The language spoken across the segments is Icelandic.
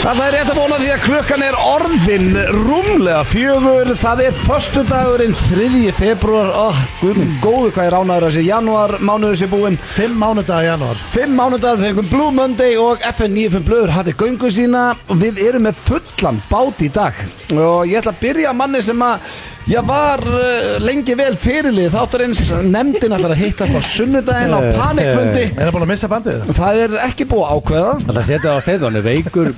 Það er rétt að vona því að klukkan er orðin rúmlega fjögur Það er föstudagurinn 3. februar oh, Guð minn góðu hvað ég ránaður þessi Janúar mánuður sé búinn Fimm mánudag í janúar Fimm mánudagar við fengum Blue Monday og FN 95 Blöður hafið göngu sína og við erum með fullan bát í dag og ég ætla að byrja á manni sem að ég var uh, lengi vel fyrirlið þáttur eins nefndin ætlar að hittast á sunnudaginn á Eh, panikfundi Er það búin að missa bandið? það er ekki búið að ákveða Það setja á steinu, hann er veikur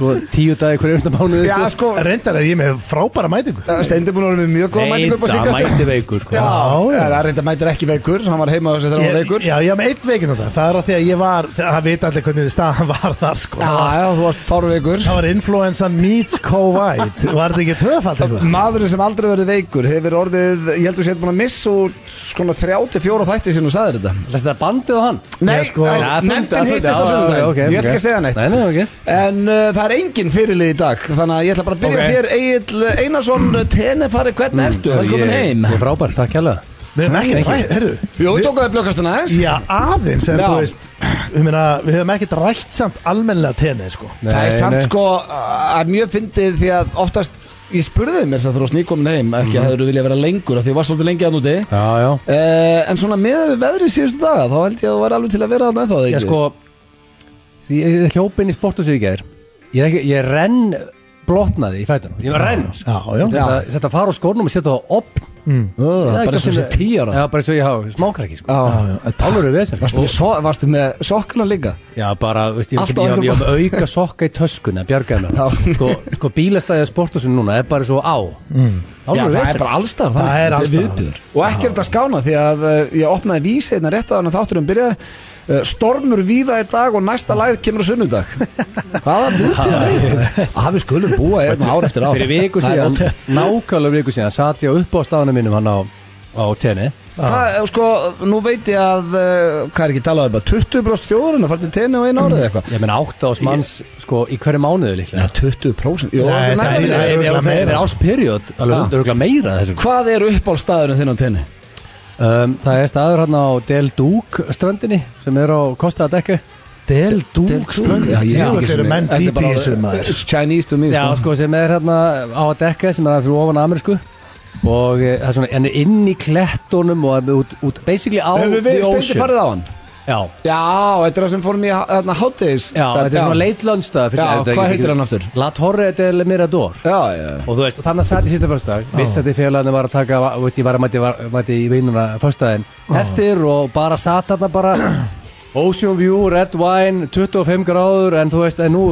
Svo tíu dagi hverju einsta mánuði Já sko, Reyndar er ég með frábæra mætingu Steindi búin að vera með Eh, mjög góð mætingu upp á Neita, síkast mæti veikur sko. Já, Já, já. það er reynda mætir ekki veikur hann var heima á þessu þegar hann var Ég- veikur Já, ég haf með eitt veikinn þetta Það er að því að ég var, það veit allir hvernig staðan var þar sko Já, já, þú varst fárveikur Það var influensan meets COVID Var þetta ekki tvöfald eitthvað? Maðurinn sem aldrei verið veikur hefur orðið, ég heldur sér búin að missa úr skona 34 þætti sín og sagði þetta Það setja bandið á hann Nei, sko, sko, Já, nefndin fundi- já, hittist á já, sunnudaginn ok, Ég ætla ok. ekki að segja neitt Nei, nei, ok En uh, það er engin fyrirlið í dag Þannig að ég ætla bara að byrja Ok. Mm, þér Egil Einarsson, Tenefari, hvernig ertu? Velkomin Ég- heim ég er Frábær, takk hérlega Við hefum Thank ekkert you. rætt, herru Jú, tókaðu blökkastuna aðeins Já, aðeins, en Já. þú veist ég meina, Við hefum ekkert rætt samt almennilega tenni sko Það er Nei, samt nei. sko að mjög fyndið því að oftast Ég spurði mér sem þú varst nýkomin heim Ekki Mhm. að þú vilja vera lengur af því þú varst svolítið lengi að núti Já, já Uh, en svona með veðrið síðustu daga þá held ég að þú væri alveg til að vera þarna ennþá, eða Ég ekki? sko Ég ég hljóp inn í sporthúsið í gær Ég er ekki, ég renn blotnaði í fætunum Ég var renn sko. Já, já Já. Þetta þetta að fara á skórnum og setja á opn Ö, Það er bara ekki sem að sem finna- tíu ára Já, bara eins og ég hafa smákrakki sko. Já. Álur er vesens varstu, með so varstu með sokkuna líka? Já, bara, veist, ég, Allt á ég, ég, öðrum ég haf auka sokka í töskuna, bjargaði mér Já. sko, sko bílastæðið sportúsin núna er bara svo á mm. Já, það er bara allstar Það er alls staðar. Og ekki er þetta skána því að uh, ég opnaði vísi hérna rétt að hann þátturum byrjaði uh, Stormur víða í dag og næsta læð kemur á sunnudag Hvaða viðbjör er þetta? Að við skulum búa hérna ár eftir ár Fyrir viku Það er síðan, ótrúlegt. nákvæmlega viku síðan satt ég upp á stafanum mínum hann á, á tenni Það, eh, sko, nú veit ég að, uh, hvað er ekki talað um, að 20% þjóðurinn að fara til tenni á einu árið eitthvað Ég menn átta ás manns sko, í hverju mánuði Já, líklega 20% Jó, það Nei, er þetta nærri því. er- það Ef- örugglega ef- ef meira, Það er sko. ásperiod, Já. alveg örgulega meira af þessu Hvað er uppáhaldstaðurinn þinn á tenni? um, Það er staður hann á Del Duc ströndinni sem er á kostaða dekku Del Dúk Já, ég veit ekki Þetta eru sem- menn þetta er dýpi bara- í þessu maður It's Chinese to me Já, sko. sko, sem er hérna á að dekka sem er hann fyrir ofan amerísku og e, það er svona, hann er inn í klettunum og er út, út basically á Hefur við the steindi ocean. farið á hann? Já, Já, þetta er það sem fórum í hérna, hátegis já, þetta er svona leitlöndstað Já, hvað heitir hann aftur? La Torre del Mirador Já, já og þú veist, og þannig að sæti sísta föstudag vissi að því félaginu var að taka, veit, ég var að mæti, var, mæti í vinnuna föstudaginn eftir og bara sat þarna bara Ocean View, Red Wine 25 gráður, en þú veist, en nú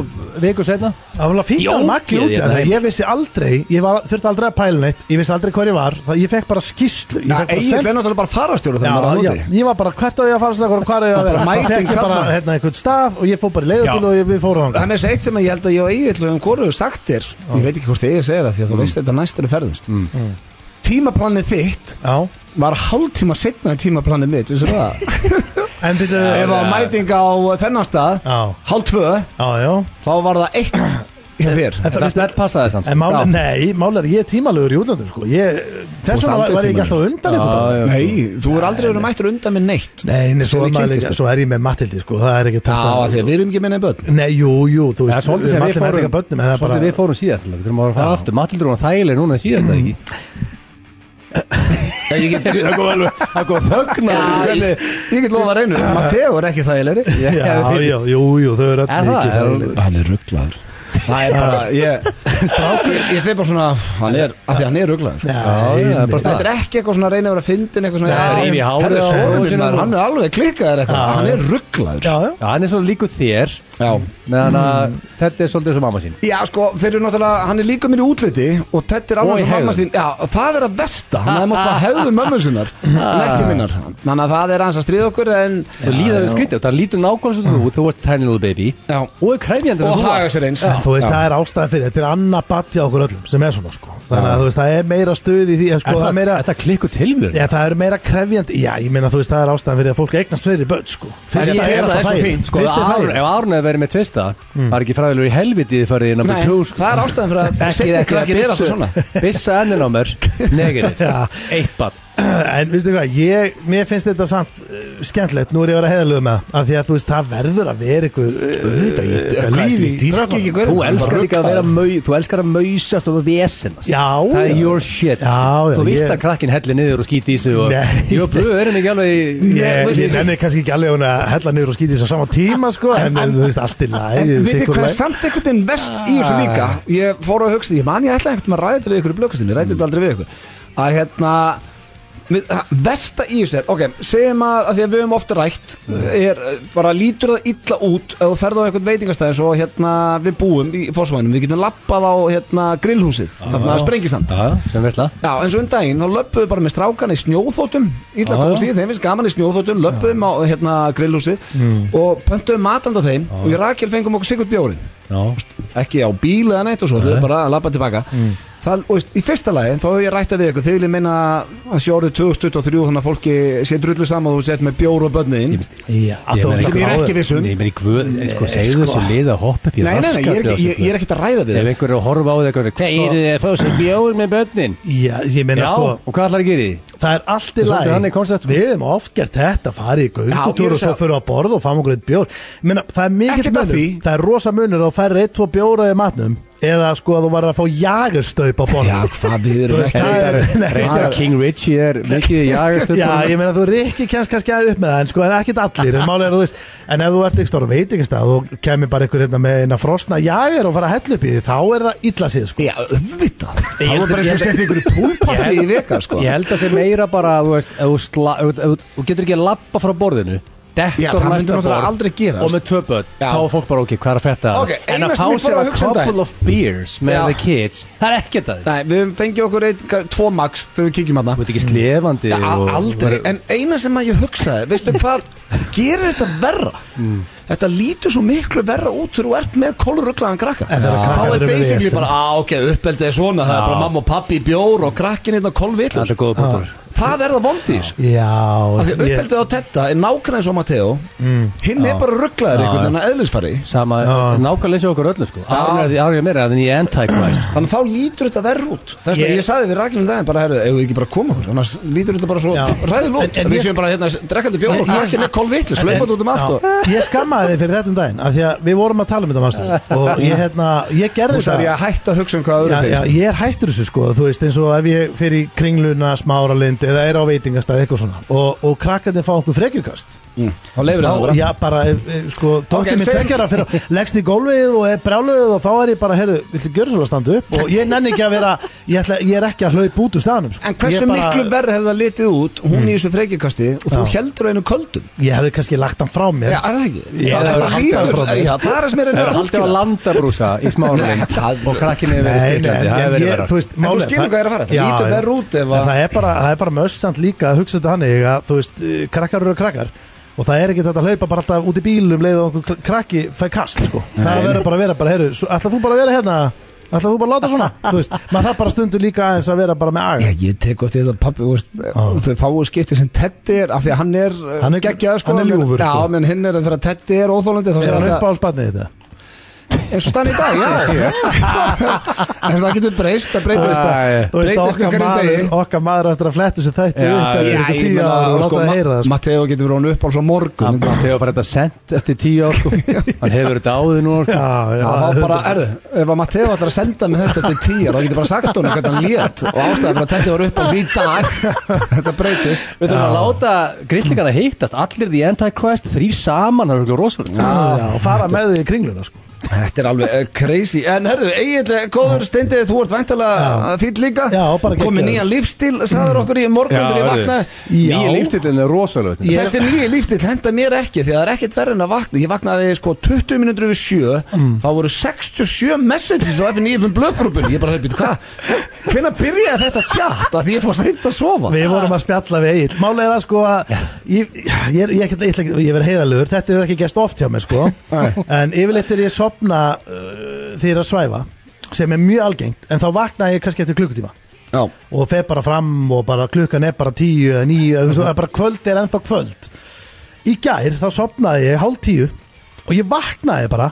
viku setna Það var fínt að Jókið makli út ég af það. það Ég vissi aldrei, ég var, þurfti aldrei að pæla neitt Ég vissi aldrei hver ég var, það, ég fekk bara skýslu Ég Já, fekk bara Egil sent- er náttúrulega bara farastjóru Já, þegar maður já, er á móti ég var bara hvert á ég að fara strax og hvað er ég að Bara vera mæting Það fekk ég bara þarna. hérna einhvern stað og ég fór bara í Já. leiðubíl og ég, við fórum Það hann er með þess eitt sem ég held að ég og Egil höfum hvoruðu sagt þér Ég veit ekki hvort Egil segir það því að þú veist þetta næst eru ferðumst Tímaplanið þitt Já, var hálftíma setna en tímaplanið mitt, vissir það? en býtu Ef Já, að mæting á þennan stað Já. hálf tvö, já þá var það eitt hjá þér en það snett passaði samt En máli, Já. nei, máli er ég er tímalegur í útlöndum sko ég, ert Þess vegna aldrei var, var ég ekki alltaf á undan ykkur Já, bara já. Nei, þú er aldrei verið mættur undan með neitt Nei, nei, Sem svo, við er maður kynntumst. líka- svo er ég með Matildi sko, það er ekki Já, af því að við erum ekki minni börn Nei, jú, jú, þú Já, veist svolítið sem við við erum allir fórum með bönnum en það er Svolítið við bara- fórum síðast Við þurfum að fara aftur Matildur var þægileg núna síðast eða ekki Ég get, ég Það kom þögn get lofa reynu Matteo er ekki þægilegri Já, já, jú, jú, þau eru Er allir það? þægilegir. Hann er rugglaður Það er bara, ég Strákur, ég fyrir bara svona Hann er, af því að hann er rugglaður Nei, Já, já, nei. bara Þetta er ekki eitthvað svona reynið að vera fyndin eitthvað svona Nei, rífi í hárið herðu, á sonur honum minn, sínum. maður, Hann er alveg klikkaður eitthvað Hann er rugglaður Já, já Já, hann er svona líku þér Já meðan að þetta er svolítið eins og mamma sín Já, sko, fyrir náttúrulega, hann er líka mér í útliti og Teddy er annars Og í og mamma hegðun. sín Já, það er að versta, hann hefði mátt það hegðu mömmu sinnar en ekki minnar Þannig að það er hans að stríða okkur en Þú líður við skrítið og það lítur nákvæmlega svo þú Þú ert tiny little baby Já. Og er kræfjandi Og haga sér eins En þú veist, Já. það er ástæðan fyrir, þetta er annað batt hjá okkur öllum sem er svona, sko. Þannig að þú veist, það er meira stuð í því, en sko, það er meira, Þetta klikku tilvíður já, það er meira krefjandi, já, ég meina, þú veist, það er ástæðan fyrir að fólk eignast fleiri börn, sko. En ég- það það er svo þægilegt. fínt, Sko, Fyrst ef er Aron- þægilegt. ef Arun hefði verið með tvista Mm. Það er ekki fræðilegur í helviti þið farið inn á Nei, það er ástæðan fyrir að Ekki, seinni ekki, krakkar eru alltaf svona Bissa ennin á mér Negirð Eitt bann En veistu hvað, ég, mér finnst þetta samt uh, skemmtilegt, nú er ég að vera heiðalög með það af því að þú veist, það verður að vera eh, ykkur Auðvitað, ég- hvað, lífi ég dýrka ekki gaurinn. Þú Bara elskar líka að ruglaður. vera mau, þú elskar að mausast og vesennast Já, Það já. er your shit Já, já, Þú veist ég- að krakkin helli niður og skýti í sig og Nei. Jó, blöð er henni ekki alveg í- Ég, veist, ég ég- nenni kannski ekki alveg hún að hella niður og skýti þess að sama tíma sko, en, en þú veist allt í læg En við þið hvað er samt einhvern veginn vest í þessu líka Ég fór að hugsa, ég man ég ætla einhvern veginn að ræða þetta við ykkur í blökkastinni, ræði þetta aldrei við ykkur Að hérna við- ha- Vesta í þessu er, ok, segjum að, að því að við höfum ofta rætt er, eh, bara lítur það illa út ef þú ferð á einhvern veitingastæði svo hérna við búum í fórsvæðinum, við getum lappað á hérna grillhúsið, hérna sprengisand Já, sem veistla Já, eins og um daginn, þá löppuðu bara með strákan í snjóþótum Ítla Já, já. kósi, þeim finnst gaman í snjóþótum Löppuðum á hérna grillhúsið Mm. Og pöntuðum matanda þeim Og við Rakel fengum okkur sikkert bjórin Já, Ekki á bíl eða neitt og svo, þau eru bara að labba tilbaka Mm. Það, og veist, í fyrsta lagi, þá hefur ég rættað við ykkur Þau vilja meina að sjórið 2023 Þannig að fólki sé drullu saman og þú sett með bjór og börnin ég veist Já, þú Ég meina, veist Sem ég er ekki viss um Nei, Nei, ég meni, guð, sko, segðu þessu lið að hoppa upp í nei, nei, ég er ekki- ég- ég er ekkert að ræða við Ef þau einhver er að horfa á þig eitthvað Hvað Sko- er þið að fá sér bjóður með börnin? Já, ég meina Já, sko og hvað ætlar að gera í því? Það er allt í er svolítið lagi. þannig koncept, sko. Við hefum oft gert þetta farið Já, í ég er göngutúr að og svo segja- fyrir á borð og fáum okkur eitt bjór Minna, Það er mikill Ekkert að munur, því. það er rosa munur að þú færir eitt, tvo bjóra í matnum eða sko að þú var að fá jagerstaup á borð Já, hvað við Þú erum veist, ekki það er- Nei, Reyndar að Ah, King Richie er mikið jagastur Já, ég meina þú rikki kemst kannski að upp með það en sko, en ekkert allir, en málega er að þú veist en ef þú ert ekki stóra veitingastað og kemur bara einhver hérna með eina frosna jager og fara að hella upp í því, þá er það illa síð sko. Já, auðvitað Það held var bara að- eins og stefni ykkur púlparti í veka, sko Ég held að sé meira bara að þú veist ef Þú sla- ef- ef- þú getur ekki að lappa frá borðinu Já, það Dettor myndi næsta náttúrulega borð aldrei gerast Og með tvö börn Já. Þá er fólk bara ok, hvað er að fetta Ok, En eina að sem fá ég fór sér að að hugsa um daginn. couple of beers Já. Með the kids Það er ekkert að því Nei, við höfum fengið okkur eitt, ka- tvo max þegar við kíkjum að Þú ert ekki slefandi það og- Aldrei, en eina sem að ég hugsaði Veistu hvað, gerir þetta verra Mm. Þetta lítur svo miklu verra út þegar þú ert með koluruglaðan krakka En það er að Þá krakkar er eru með basically vesen. bara, á ok, uppeldið er svona Það Já. er bara mamma og pappi í bjór og krakkin hérna Það kolvillur er góða punktur Það er það vondið þessu Af Já, því ég, Mm. uppeldið á tetta er nákvæmlega eins og Matteo Hinn er bara rugglaður einhvern veginn að eðlisfari Sama, nákvæmlega eins og okkur öllum sko Árið er því árið er meira en ég er anti-Christ sko. Þannig að þá lítur þetta verð út Þess vegna Ég- ég, sagði við Rakel um daginn bara herru, ef við ekki bara koma okkur annars lítur þetta bara svo Já. ræðilótt En- en Við ég- séum bara hérna drekkandi bjóð En- og krakkin er kolvitlu Slöfum út um allt og já, ég skammaði þið fyrir þetta um daginn af því að við vorum að tala um þetta mannstu og ég, hérna, ég gerði Þú sagði ég að hætta að hugsa um hvað já, öðru já, finnst ég er hættur þessu sko þú veist eins og ef ég fer í kringluna smáralind eða er á veitingastað eitthvað svona og, og krakkandi fá okkur frekjukast Mm. Þá leifir það þá, bara já bara e, e, sko Ok, dóttir okay, minn segjum- tveggjara fyrir leggst í gólfið og er brjáluð og þá er ég bara heyrðu, villu gjöra svo að standa upp og ég nenni ekki að vera ég, ætla, ég er ekki að hlaupa út úr staðanum sko. En hversu Ég bara- Mm. miklu verð hefði það litið út hún í þessu freikikasti og þú heldur á einu köldum ég hefði kannski lagt hann frá mér Já, er það ekki? Það Ég hefði er bara bara haldið það frá lítur mér. Já, það er sem er Það einu er haldið á landabrúsa í Nei, smárulind það- Og krakkinni hefur verið Nei, nei, styrklandi Það en hefur verið ég, verra þú veist, En þú málið- skilur hvað ég er að fara, þetta Já, lítur en- verra út ef en að- Það er bara, það er bara mössand líka að hugsa þetta hannig að, þú veist, eh, krakkar eru krakkar og það er ekki þetta að hlaupa bara alltaf út í bílum leið og einhver kr- krakki fæ kast, sko það verður bara að vera, bara, heyrðu, svo- ætlar þú bara að vera hérna ætlar þú bara að láta svona, þú veist maður þarf bara stundu líka aðeins að vera bara með Já, aga ég tek eftir þetta pappi, þú veist, þau fáu skipti sem Teddy er, af því að hann er, uh, Hann er- geggjaður, sko, hann er menn- ljúfur, Já, sko. menn hinn er en þegar Teddy er óþólandi þá er segir hann alltaf- upp á alls barnið þetta? eins og stann í dag, já en það getur breyst, það breytist Æ, það Þú veist, breytist með okkar hverjum maður, degi okkar maður eftir að flettu sér þætti Já, upp Já, eftir eitthvað ég tíu meina, ára og sko, láta það Ma- heyra það, sko. Matteo getur verið hún upp alls á morgun Þegar fær þetta sendt eftir tíu ár sko. Hann hefur þetta áður núna sko. Já, já, Já, þá bara, 100%. erðu, ef að Matteo ætlar að senda mig þetta til tíjar, þá getur bara sagt honum hvernig hann lét og ástæðan fyrir að Teddy var upp á því dag þetta breytist Við þurfum að láta grillingana hittast Allir því anti-Christ, þrýr saman Það er okkur rosalega Já, og fara með þau í kringluna, sko Þetta er alveg eh, crazy En herðu, eiginlega, góður steindið Þú ert væntalega fýll líka Já, bara geggjaður. Komið nýjan lífstíl, sagður okkur í morgun Þegar ég vaknaði Nýja líftitin er rosalega Ég... Þessi nýji líftill henda mér ekki því það er ekkert verið en að vakna Ég vaknaði sko 20 minútur yfir 7 Þá voru 67 messages á F9 blöðgrúpun um Ég bara hefði býtt hvað Hvenær byrjaði þetta tjátt að því ég fór seint að sofa Við vorum að spjalla við Egil Mála er að sko að Ég, ég, er- ég, ég, ég, ég, ég verð heiðalögur Þetta hefur ekki gæst oft hjá mér sko En yfirleitt er ég að sopna uh, Því ég er að svæfa Sem er mjög algengt En þá vakna ég kannski eftir klukkutíma Já, Og fer bara fram og bara klukkan er bara tíu eða níu eða þú veist, það er bara kvöld er ennþá kvöld Í gær þá sopnaði ég hálf tíu Og ég vaknaði bara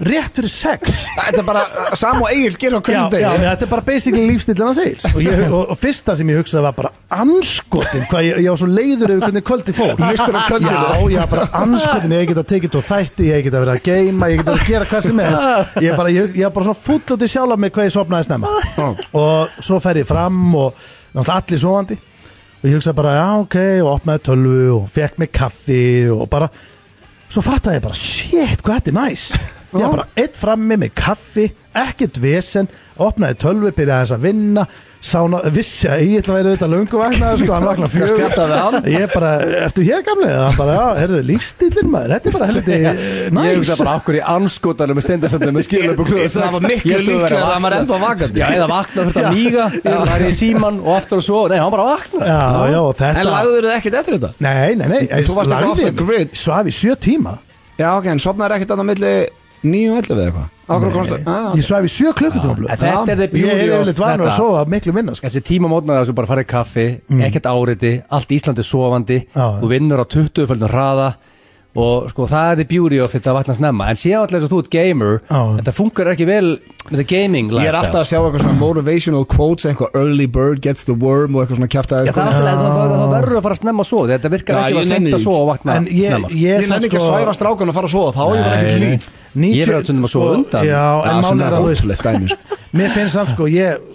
rétt fyrir sex Þetta er bara uh, Sam og Egil gerir á já, hvernig já, degi já, þetta er bara basically lífstillin hans eils og, ég, og, og fyrsta sem ég hugsaði var bara anskotin, hvað ég, ég var svo leiður yfir hvernig kvöldi fór Mistur á kvöldinu. já, já, bara anskotin, ég get að tekið þú þætti ég get að vera að geima, ég get að gera hvað sem er ég bara, ég, ég var bara svona full út í sjálf með hvað ég sopnaði snemma og svo fer ég fram og náttúrulega allir sofandi og ég hugsaði bara, já, ok, og opnaði tölvu og fekk mig kaffi og bara svo fattaði ég bara, shit, hvað þetta er næs ég var bara eitt frammi með kaffi ekkert vesen, opnaði tölvi byrjaði þess að vinna sána, vissi að ég ætla að vera auðvitað löngu vaknaði sko, hann vaknaði Hvað spjallaði við fjögur ég bara, ertu hér gamlega? hann bara, já, herðu, lífstílinn maður þetta er bara helviti eh, Ég næs hugsa bara okkur í anskotanum með stendasendum með skilaböku Það var miklu líklega að hann var ennþá vakandi Já, eða vakna fyrir að míga eða það er í síman og aftur og svo Nei, hann bara vakna já, já, og En þetta lagður þið ekkert eftir þetta? nei, nei, nei, ég Þú varst eitthvað off the grid. svaf í sjö tíma Já, ok, en sopnaður ekkert annað milli 9 og 11 eða eitthvað? Á hverju komstu? Ah, ég svaf í sjö klukkutíma En blöð. Þetta er the ég er beauty of yfirleitt vanur að þetta sofa miklu minna sko. Þessi tíma mótnar þessu bara farið kaffi ekkert áriti, allt Íslandi sofandi Mm. Já, já. þú vinnur á 20 fölgnum hraða og sko það er the beauty of þetta að vakna snemma en séu alltaf eins og þú ert gamer Já. þetta funkar ekki vel með þetta gaming Ég er lifestyle. alltaf að sjá eitthvað svona motivational quotes eitthvað early bird gets the worm og eitthvað svona sko. Já, kjæftæði það er alltaf leið, þá- þá- þá verður að fara snemma svo Þetta virkar Já, ekki ég að nenni senda því. svo og vakna en ég, snemma ég, Ég nenni ekki að sko- svæfa strákan og fara að sofa þá er ég bara ekkert Nei, nei. líf Ég er að stundum að sofa sko, undan. Já, Já, en sem málið er að þú veist dæmi sko. Mér finnst samt sko Ég,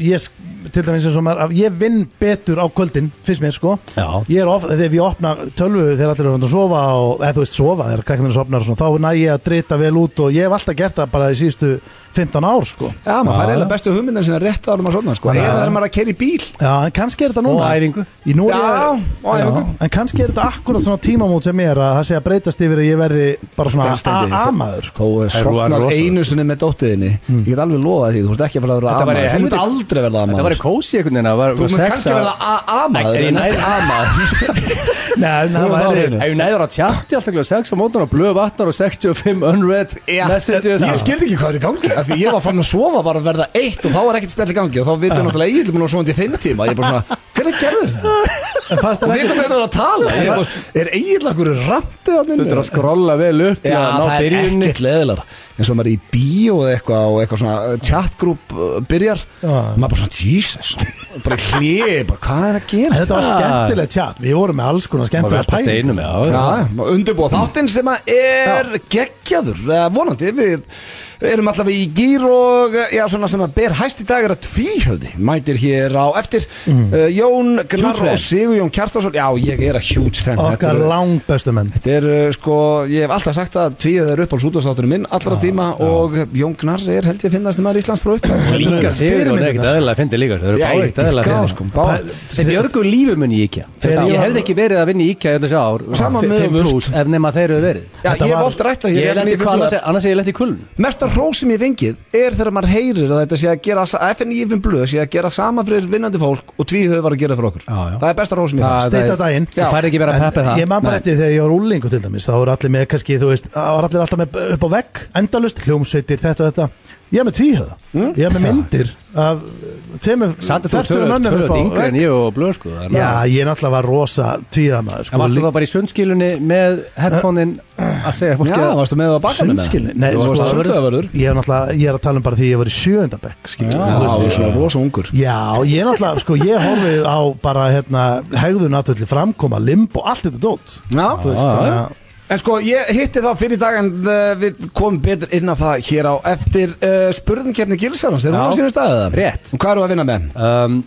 ég sk- til dæmis eins og maður að Ég vinn betur á kvöldin Finnst mér sko Já. Ég er ofta Þegar ég opna tölvu Þegar allir eru að sofa og, Eða þú veist sofa Þegar krakkarnir sofnar og svona Þá næ ég að drita vel út Og ég hef alltaf gert það bara í síðustu 15 ár sko Já, maður fær eiginlega bestu hugmyndin sinna rétt árum að sofna sko. Þannig Eða að- er maður að keyra í bíl Já, en kannski er þetta Og núna æfingu. Í nú er Já, ég- og æfingu. Já, En kannski er þetta akkurat svona tímamót sem er Að það sé að breytast yfir að ég verði Bara svona Steindi, amaður sko Þú sofnar rosalegt. einu sinni með dóttiðinni Ég get alveg lofa því, þú veist ekki að fara að vera Þetta væri amaður Þú myndi helviti- aldrei verða Þetta var í amaður kósi einhvern veginn að var- Þú var myndi Sko, sex kannski að- verða a- Er amaður ég en nær- ekki amaður Nei, en það Þú var á væri hreinu. Ef ég næður að tjatti alltaf kláð 6 á mótun og blöð vatnar og 65 unread Já, messages Ég skildi ekki hvað er í gangi af Því ég var fann að sofa bara að verða eitt og þá var ekkert spjall í gangi og þá vitum náttúrulega ég er búin að sofa í fimm tíma ég er bara svona, hvernig gerðist það? En fannst Og þér við komum þetta að tala Ég er bara, er eiginlega einhverju randu að Þú ert að skrolla vel upp til Já, að ná það er byrjunni ekkert leðilegar eins og maður er í bíó eða eitthvað og eitthvað svona uh, chatgrúp uh, byrjar Já. maður bara svona, Jesus bara hlið, bara hvað er að En gera þetta var skemmtilegt tjátt, við vorum með alls konar Maður skemmtilega veltast pælingar. einum já, já. hérna? Já, undirbúa þáttinn sem að er geggjaður, eh, vonandi við erum allavega í gýr og eh, já, svona sem að ber hæst í dag er að tvíhöfði mætir hér á eftir uh, Jón Gnar fan. og Sigur Jón Kjartason já, ég er að huge fan þetta Okkar er, langbestu menn þetta er eh, sko, ég hef alltaf sagt að tvíhöfði er upp á slútastátturinn minn allra tíma og Jón Gnar er held ég að finnast maður Íslands frá upp Líka sigur og ekkert aðeinslega fyndi líka Þau eru Já, báðið ég ekkert aðeinslega dýrka þá, fyndi sko, báða. Þeir björgu lífi munni í IKEA Þegar Ég ég var- hefði ekki verið að vinna í IKEA í öll þessi ár Sama fimm- með fimm Vult. plús, Ef nema þeir eru verið Já, Þetta ég hef var- ofta rætt að Ég lendi hvað annars ég er- annars er ég lendi í kulun Mesta hrós sem ég hef fengið er þegar maður heyrir að þetta sé að gera, að FNÍF blöð sé að gera sama fyrir vinnandi fólk og tvíhauð var að gera fyrir okkur. Já, já. Það er besta hrós sem ég fannst. Steita daginn. Já. Það fær ekki verið að peppa það Ég man bara eftir þegar ég var úlingu til dæmis Þá voru allir með, kannski, þú veist, það var allir alltaf með upp á vegg Endalust, hljómsveitir, þetta og þetta Ég er með tvíhöða, ég er með myndir Af tveimur, Hm? Samt að þú fertugum ert mönnum upp tvöðu á yngri en vegg. ég og blöð sko þannig Já, að- ég náttúrulega var rosa tvíhöðamaður En sko, varstu lí- það bara í sundskilunni með headphone-in að segja fólki Já, að varstu með á bakanum með það? Sundskilni? Nei, þú sko, varst sundöðavörður. Ég er náttúrulega, ég er að tala um bara því ég var í sjöundabæk Já, Já, þú varst svona rosa ungur. Já, ég náttúrulega, sko, ég horfið á bara, hérna, hegðun náttúrulega framkoma, limb og allt þetta dót Já, Þú veist, já. þannig að en sko ég hitti það fyrir í dag en uh, við komum betur inn á það hér á eftir uh, spurðinkefni Gilsarans, er hún Já. á sínum staðið það? Rétt. Hvað eru að vinna með? um,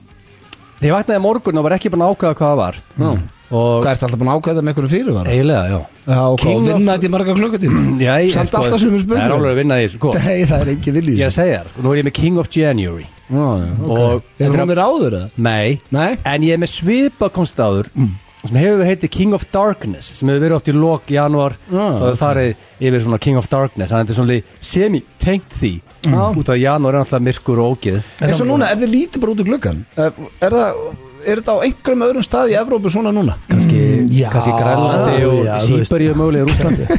Þegar ég vaknaði í morgun og var ekki búin að ákveða hvað það var Mm. Og Hvað ertu alltaf búin að ákvæða með einhverju fyrirvara? eiginlega, já Já, ok, King og of- vinna þetta í marga klukkutíma? Já, ég- Samt sko, alltaf sömu Það er alveg spurningar. að vinna í þessu sko. Nei, það er engin vilji í Ég þessu. segi þér, nú er ég með King of January Já, já, Og- ok. Er hún mér áður eða? Nei, Nei. en ég er með svipakonst áður sem hefur heitið King of Darkness sem hefur verið oft í lok januar og okay. farið yfir svona King of Darkness þannig að þetta er svona semi-tengt því Ah. út af januar er alltaf myrkur og ógið eins og núna, ef þið lítið bara út í gluggan er, er, það, er þetta á einhverjum öðrum stað í Evrópu svona núna? kannski, já, kannski Grænlandi og já, þú veist. Sýberíu mögulega í Rúslandi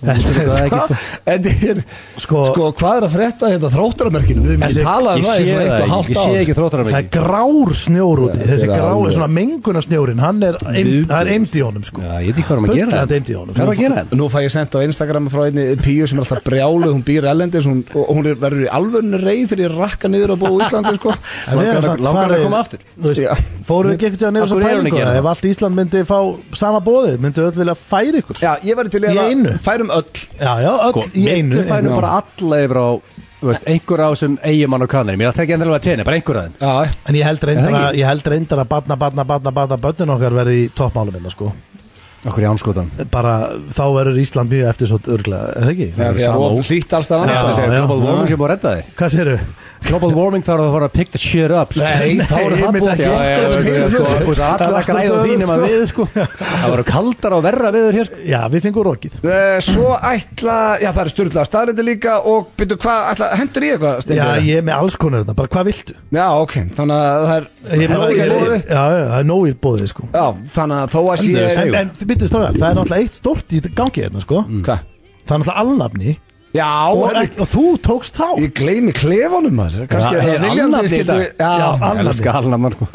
það er ekki Þetta er, Sko, sko, hvað er að frétta hérna þróttaramerkinu? Við erum ekki talað um Ég það í sé svona eitt það og ekki, hálft ég sé ár. ekki þróttara það er grár snjór úti þetta Þessi er grár, alveg- svona menguna snjórin Hann er, eim, það er eimd í honum sko Já, ég veit ekki hvað er að gera Bullandi eimd í honum Hvað er að gera þetta? Nú fæ ég sendt á Instagram frá einni píu sem er alltaf brjálu, hún býr ellendis hún, og hún er, verður í alvörinu reið þegar ég rakka niður að búa í Íslandi sko. En við erum Langar- samt langar að farið- koma aftur. þú veist, Já. Fórum við ekki ekkert niður Af þessa hverju er hún ekki pælingu hérna? Ef allt Ísland myndi fá sama bóðið Myndi öll vilja færa ykkur Já, ég verður til Í í einu? að færum öll Já, já, öll Sko, í einu Við fænum Já. bara alla yfir á þú veist, einhver á sem eigimann og kannir Mér ætla ekki endilega að tenni, bara einhver að þeim Já, En ég held Er reyndar það að, ég held reyndar að batna, batna, batna, batna, bönnin okkar verði í toppmálum minna, sko. Okkur í ánskotan Bara, þá verður Ísland mjög eftir svo örglega, eða ekki? þegar það er of hlýtt allstað Já, annars. já. Global warming sem búið að redda þig Hvað sérðu? Global warming þarf að fara að pick the shit up sko. Nei, þá er Nei, það einmitt búið ekki. Já, já, já, Nei, já, nei, sko. nei. Þú veist, Það er allar að græða á akkurat því nema öfugt, sko. við sko. Það voru kaldar og verra viður hér sko. Já, við fengum rokið. Eh, Svo ætla, já það er styrla staðrindi líka og byrju hvað, ætla, hendur ég eitthvað Já, Steindór? ég er með alls konar þetta, bara hvað viltu? já, ok, þannig að það er Ég er það með er ég- ekki Já, bóði. já, það er nóg í bóðið, sko. Já, þannig að þó að sé Endur, En, segjum. en byrju stráðar, það er náttúrulega eitt stórt í gangi hérna, sko. Mm. Hvað? Það er náttúrulega alnafni Já, og, en og þú tókst þá. ég gleymi klefanum maður Kannski er Já, það er viljandi annafni í skildu- dag? Já, Já, Ég elska alnafnar sko.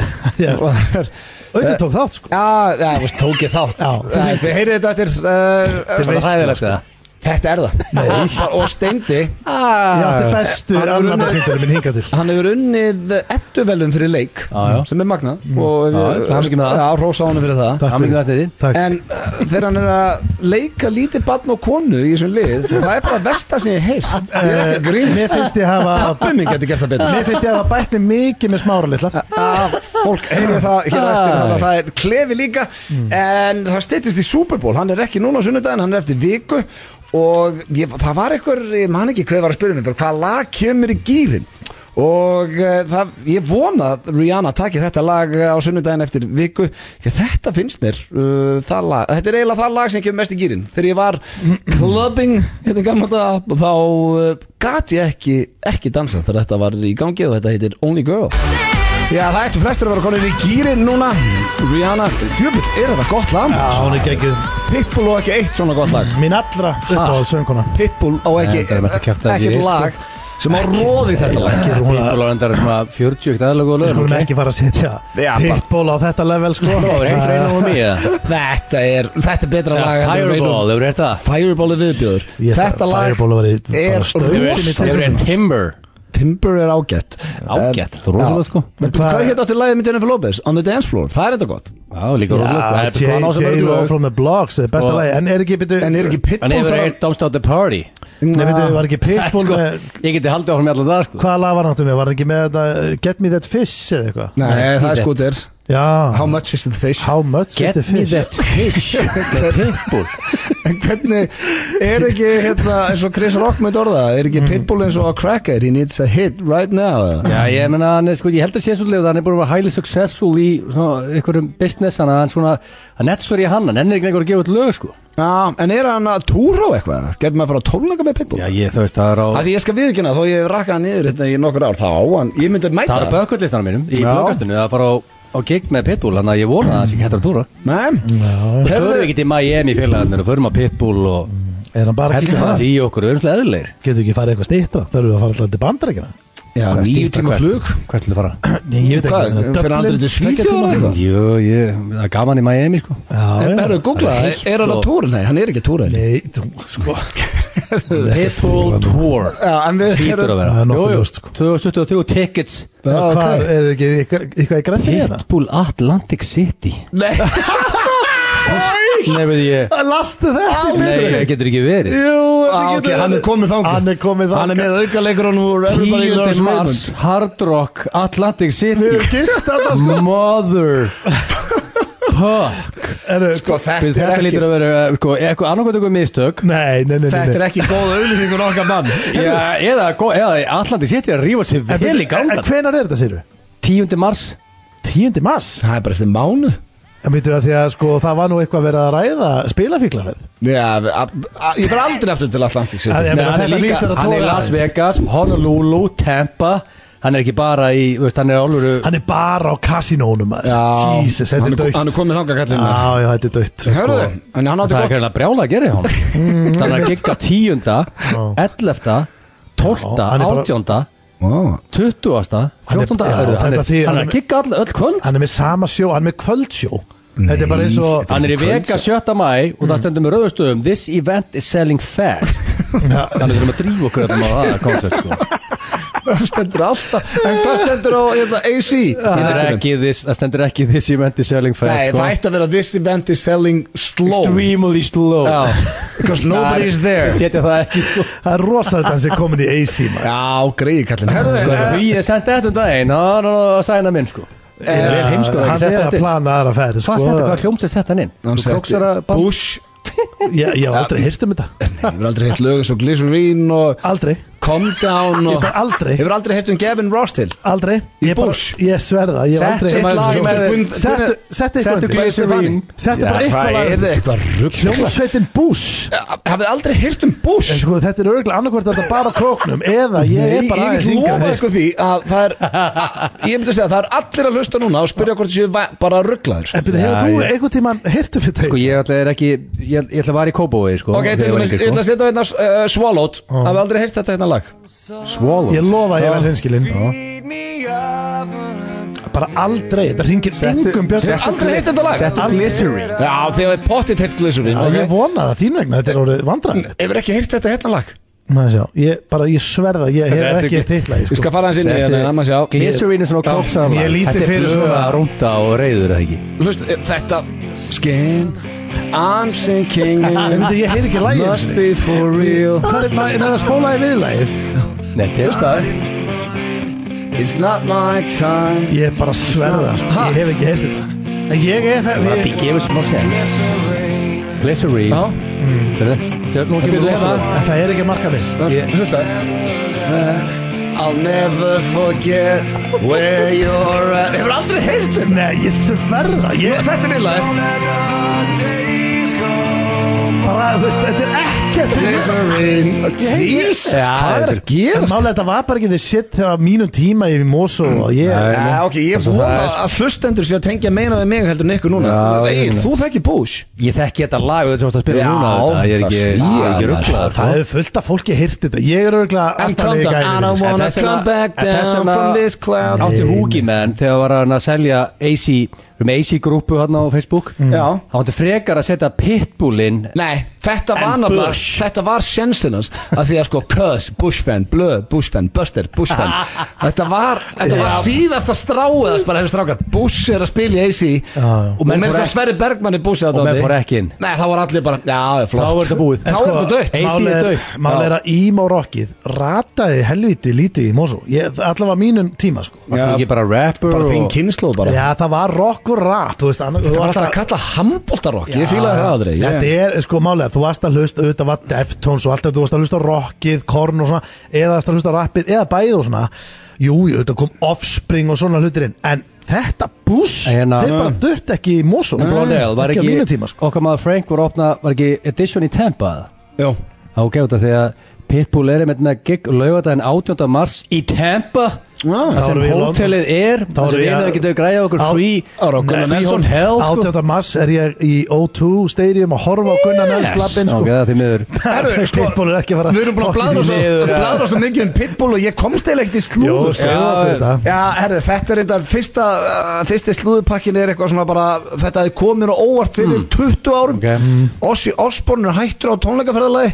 Já, og það er- Auðvitað tók þátt, sko. já, já, þú veist, tók ég þátt Já. Nei, Þið heyrið þetta eftir eh, Það veist er hæðilegt það, það Þetta er það Og- Og Steindi, Ég átti bestu Hann er alnafni unnið- minn hingað til. hann hefur unnið ettuvelun fyrir leik Já, já. sem er magnað og uh, Já, til hamingju með það. Já, rósa honum fyrir það Takk Hamingju fyrir. með þetta, Eydís. Takk. En uh, þegar hann er að leika lítið barn og konu í þessum lið það er bara versta sem ég heyrst Ég er ekki að Mér grínast finnst ég hafa Pappi minn getur gert það betur Mér finnst ég hafa bætt mig mikið með smára litla að fólk heyri það hér á eftir Æ. þannig að það er klefi líka en það styttist í Super Bowl hann er ekki núna á sunnudaginn, hann er eftir viku og ég, það var einhver, ég man ekki hvað ég var að spyrja mig, bara hvað lag kemur í gýrin og uh, það, ég vona að Rihanna taki þetta lag eh, á sunnudaginn eftir viku því að þetta finnst mér uh, það lag, þetta er eiginlega það lag sem kemur mest í gýrin þegar ég var clubbing hérna gammal dag, þá uh, gat ég ekki, ekki dansa þegar þetta var í gangi og þetta heitir Only Girl Já, það ættu flestir að vera konin í gýrin núna Rihanna, jöfnvel, er þetta gott lag? Já, hún er geggjuð Pitbull og ekki eitt svona gott lag Mín allra uppáhald sönguna Pitbull á ekki, Nei, þetta er mest að kjafta þessi ekkert í, sko. lag sem á róði þetta lag Hún People are under svona 40 ekkert aðlega góða Við lögum skulum ekki fara Já, að setja bara- hitból á þetta level sko Það er eitt reyna og mér Þetta er, þetta er betra lag heldur en Fireball, hefur eitt það Rain- Fireball er viðbjöður Ég- Þetta lag Fireball var í- bara er stöðin í rosalega- Hefur eitt Timber Timber er ágætt Ágætt, En- Já. rosalega, sko. En Hvað- Hvað hétt áttu lagið með Jennifer Lopez? On the dance floor, það er þetta gott Já, líka Já, rosalega sko. Það er J- J-Lo bara náðu sem from the blocks er besta Og- lagi En er ekki, byrju En er ekki Ah. En Pitbull hefur eitt Don't Stop the Party Nei, byrju, var ekki pitból Sko, með Ég geti haldið á hún með allar það sko Hvaða lag var náttúrulega, var hann ekki með þetta uh, Get me that fish eða eitthvað Nei, það er Get- skotir How Já, much is the fish? how much is Get the me fish that fish The Pitbull En hvernig er ekki hérna, eins og Chris Rock með orða er ekki Pitbull eins og a cracker he needs a hit right now Já, ég meina, hann er sko, ég held að sé svolítið að hann er búin að vera highly successful í svona, einhverjum business hann, hann svona, hann er svo í hann hann ennir ekki lengur að gefa út lög, sko Já, en er hann að túra á eitthvað getur maður að fara að tónleika með Pitbull Já, ég, þú veist, það er á að því ég skal viðkynna þó ég hef rakkað hann niður hérna í nokkur ár þá á hann, ég myndi að mæta Það er bökullistanum mínum í Já. blöggastinu að fara á, á gig með Pitbull þannig að ég vona að það sé ekki hættur að túra Nei, Já, Það Heyrðu- förum við ekki til Miami félagarnir og förum að Pitbull og er hann bara ekki hellum það það í okkur, við erum svolítið eðlir Getur ekki farið eitthvað stýttra, það eru að fara alltaf til bandarækina já, nýju tíma flug Hvert til að fara? Nei, ég veit Hvað, ekki fyrir andrið til Svíþjóðar Svíþjóð eitthvað? Jú, ég, það er gaman í Miami sko Já, En já verður googlað, Það er er, heitt er hann að og- túra? Nei, hann er ekki að túra Já, Nei, þú, sko Pitbull Tour en við Hlýtur að Það vera er nokkuð Jú, jú, ljóst, sko. 2023 tickets Já, ok. Hvað, er ekki eitthvað, eitthvað í hérna? græntinni eða? Pitbull Atlantic City Nei, Nei, við ég Lastu þetta í Nei, betur það getur ekki verið Jú, þetta ah, ok, getur hann er komið þangað Hann er komið Hann er þangað. með aukaleikurunum úr Everybody 10. Loves mars Raymond Hard Rock Atlantic Við City erum gist þetta sko Mother Puck Eru, Sko, þetta er Þetta ekki lítur að vera uh, sko, eitthvað annarkvæmt eitthvað mistök Nei, nei, nei, nei, Þetta nei. er ekki góð auðlýsingur okkar mann Já, eða, gó- eða Atlantic City er að rífa sér En vel í byrju, ganga En hvenar er þetta, sér við? 10. mars 10. mars Það er bara eftir mánu En veitum við að því að sko það var nú eitthvað verið að ræða spilafíklaferð Já, við- a- a- ég fer aldrei aftur til Atlantic City Það er- Ég Nei, meina, hann er þetta líka, lítur að hann er toga í Las aðeins. Vegas, Honolulu, Tampa hann er ekki bara í, þú veist, hann er áluru Hann er bara á kasinónum maður Jesus, þetta hann er er, dögt hann er komið þangað Já, kallinn maður. já, þetta er sko. dögt Hörðu þið, en hann átti það er gott ekki að brjála að gera í hann Mm. þannig að hann gikk að tíunda, ellefta tólta, Já, hann er bara- átjónda Vá. 20. Hann er- 14. já, Hörðu, hann þetta er, þýðir- hann hann er að er- kikka all, öll kvöld Hann er með sama sjó, hann er með kvöldsjó Þetta er bara eins og hann er í veka 7. mæ og Mm. það stendur með rauðustöðum This event is selling fast þannig að við erum að drífa okkur öllum á það koncept sko. Það stendur alltaf En hvað stendur á hérna, AC? Í það stendur netinu? ekki this, það stendur ekki this event is selling fast Nei, sko. það ætti að vera This event is selling slow extremely slow Já, Because nobody is there setja það ekki sko. Það er rosalega hann sem er komin í AC maður. Já, greiði kallinn Hörðu eh, þið, Sko, því ég sendi þetta um daginn það er að sæna minn sko Eh, Ég er vel heimsko Hann er að hvað plana aðra ferð sko. setti, hvað hljómsveit setti hann inn Hann þú króksar að setti Bush Ég ég hef aldrei hýrt um þetta Ég hefur aldrei heilt lögur svo Glycerine og Aldrei, Calm Down ég og bara aldrei Hefur aldrei heilt um Gavin Rostil Aldrei Í Ég bara- Bush? Ég sverða, ég hef Sett aldrei sitt heyrt um lag þetta. með- Settu, settu eitthvað settu undir. glycerín Settu bara Já, eitthvað Hvað lag er þið undir. eitthvað rugg? Hljómsveitin Bush Hafið aldrei heilt um En Bush? sko, þetta er örgulega annarkvort að þetta bara á króknum Eða ég er Ég, bara ég aðeins get yngri en lofað þeir, sko. sko því að það er Ég myndi segja að það er allir að hlusta núna og spyrja hvort þið séu va- bara rugglaður En byrja, Já, hefur þú ég- einhvern tímann hýrt um þetta? sko ég ætla er ekki ég ég ætla að vara í Kópavói sko Ok, til þegar ég var dæmis, ég yngri, sko. ætla að setja hérna uh, Swallowed Hafið aldrei heilt þetta hérna lag Swallow Ég lofa að ég vel hinskilinn Bara aldrei, þetta ringir engum bjössum Hefur aldrei heilt þetta lag? Settu glycerin Já, þið hafið pottitt heilt Glycerin Já, ég ok? vona það þín vegna, þetta er orðið vandræðilegt Hefur ekki heilt þetta hérna lag? Maður sjá, ég bara, ég sverða, ég hef Þetta er ekki ekki- eitt sko. hitlaði Ég skal fara hans inn í Settu- hérna, það maður sjá Glycerin er svona kóksaðan ég er lítið fyrir Þetta svona- er blöð, rúnda og reyður eða ekki Hlust, eh, þetta Skin I'm sinking En in þetta, ég heyr ekki lagið sko. Must be for real Hvað er lagið, það er að spóla í viðlagið Nei, til staðar It's not my time Ég er bara að sverða, sko. Ha? ég hef ekki heyrt þetta En ég er Það var að ég- byggja yfir smá sens Glycerin Já, Þetta- Nú byrjuðu kemur hérna. það En það er ekki að marka við Ég- hlusta I'll never forget Where you're at Hefur aldrei heyrt þetta Nei, ég sverða, ég Þetta er viðlag bara, þú veist, þetta er ekkert fyrir mig. Glycerin Jesus, hvað Já, er að þetta- En gerast? málega þetta var bara ekki þið shit þegar á mínum tíma ég í Mosó og ég Nei. Já, ok, ég Það er- vona að hlustendur sé að tengja meina við mig heldur en ykkur núna Já, Egil, ég- þú þekki Bush Ég þekki þetta lag og þetta sem þú ert að spila Já, núna þetta, Ég er ekki, það sé ég er ekki ég, rugglaður Það hefur fullt af fólki heyrt þetta Ég er örgulega And calm down, I sko. don't En wanna þess vegna- come back en þess down vegna- from this cloud Átti húki með hann þegar var hann að selja AC um AC grúpu hann á Facebook Já. Hann átti frekar að setja Pitbullin Nei, þetta En var nafnilega, Bush. þetta var sjensinans að því að sko Cuz, Bush fan, Blö, Bush fan, Buster, Bush fan Þetta var, þetta var síðasta stráiðast bara þessu strákar Bush er að spila í AC já. og menn menn fóru sem ekki- Sverri Bergmann er Bush Og menn fóru ekki inn. Nei, þá var allir bara, já, já, flott Þá er þetta búið. Sko, Þá er þetta dött AC er dautt. Málega Já. er að ím og rockið Rataði helviti lítið í Mosó Ég- Allavega á mínum tíma sko Já. Varstu ekki bara rapper Bara þín og- kynnslóð bara Já, það var rock og rap Þú veist, annað- þú Þetta var varst alltaf að kalla handbóltarokk, ég fílaði það aldrei ég- Þetta er, sko, málega, þú varst að hlusta auðvitað var Deftones og allt þetta, þú varst að hlusta á rockið, korn og svona, eða varst að hlusta á rappið eða bæð og svona, jú, jú, þetta kom offspring og svona hlutir inn en þetta buss, En hérna- þeir bara dutt ekki í mosum, Brodell, var ekki á mínu ekki tíma sko. Okkar maður Frank var að opna, var ekki Edition í Tampa eða? Já, Já, ok, út af því að Pitbull er einmitt með gig laugardaginn 18. mars í Tampa Já. Það sem erum við í London. hótelið er Þá Það erum sem við við að- erum ekki að græja okkur Á- frí Á Rocco Nei, frí Nelson. hotel sko. 18. mars er ég í O2 stadium að horfa á Gunnar Nels lappin sko. Ok, það er því miður Herru, sko, Pitbull er ekki að fara Við erum búin að bladra svo, Niður, sko. ja. bladra svo mikið um Pitbull og ég komst eða ekkert í Jú, slúður segðu það fyrir þetta. Já, herru, þetta er þetta fyrsta, uh, fyrsti slúðupakkin er eitthvað svona bara Þetta hefði komið og óvart fyrir 20 árum Ok. Mm. Ossi Osborn er hættur á tónleikaferðalagi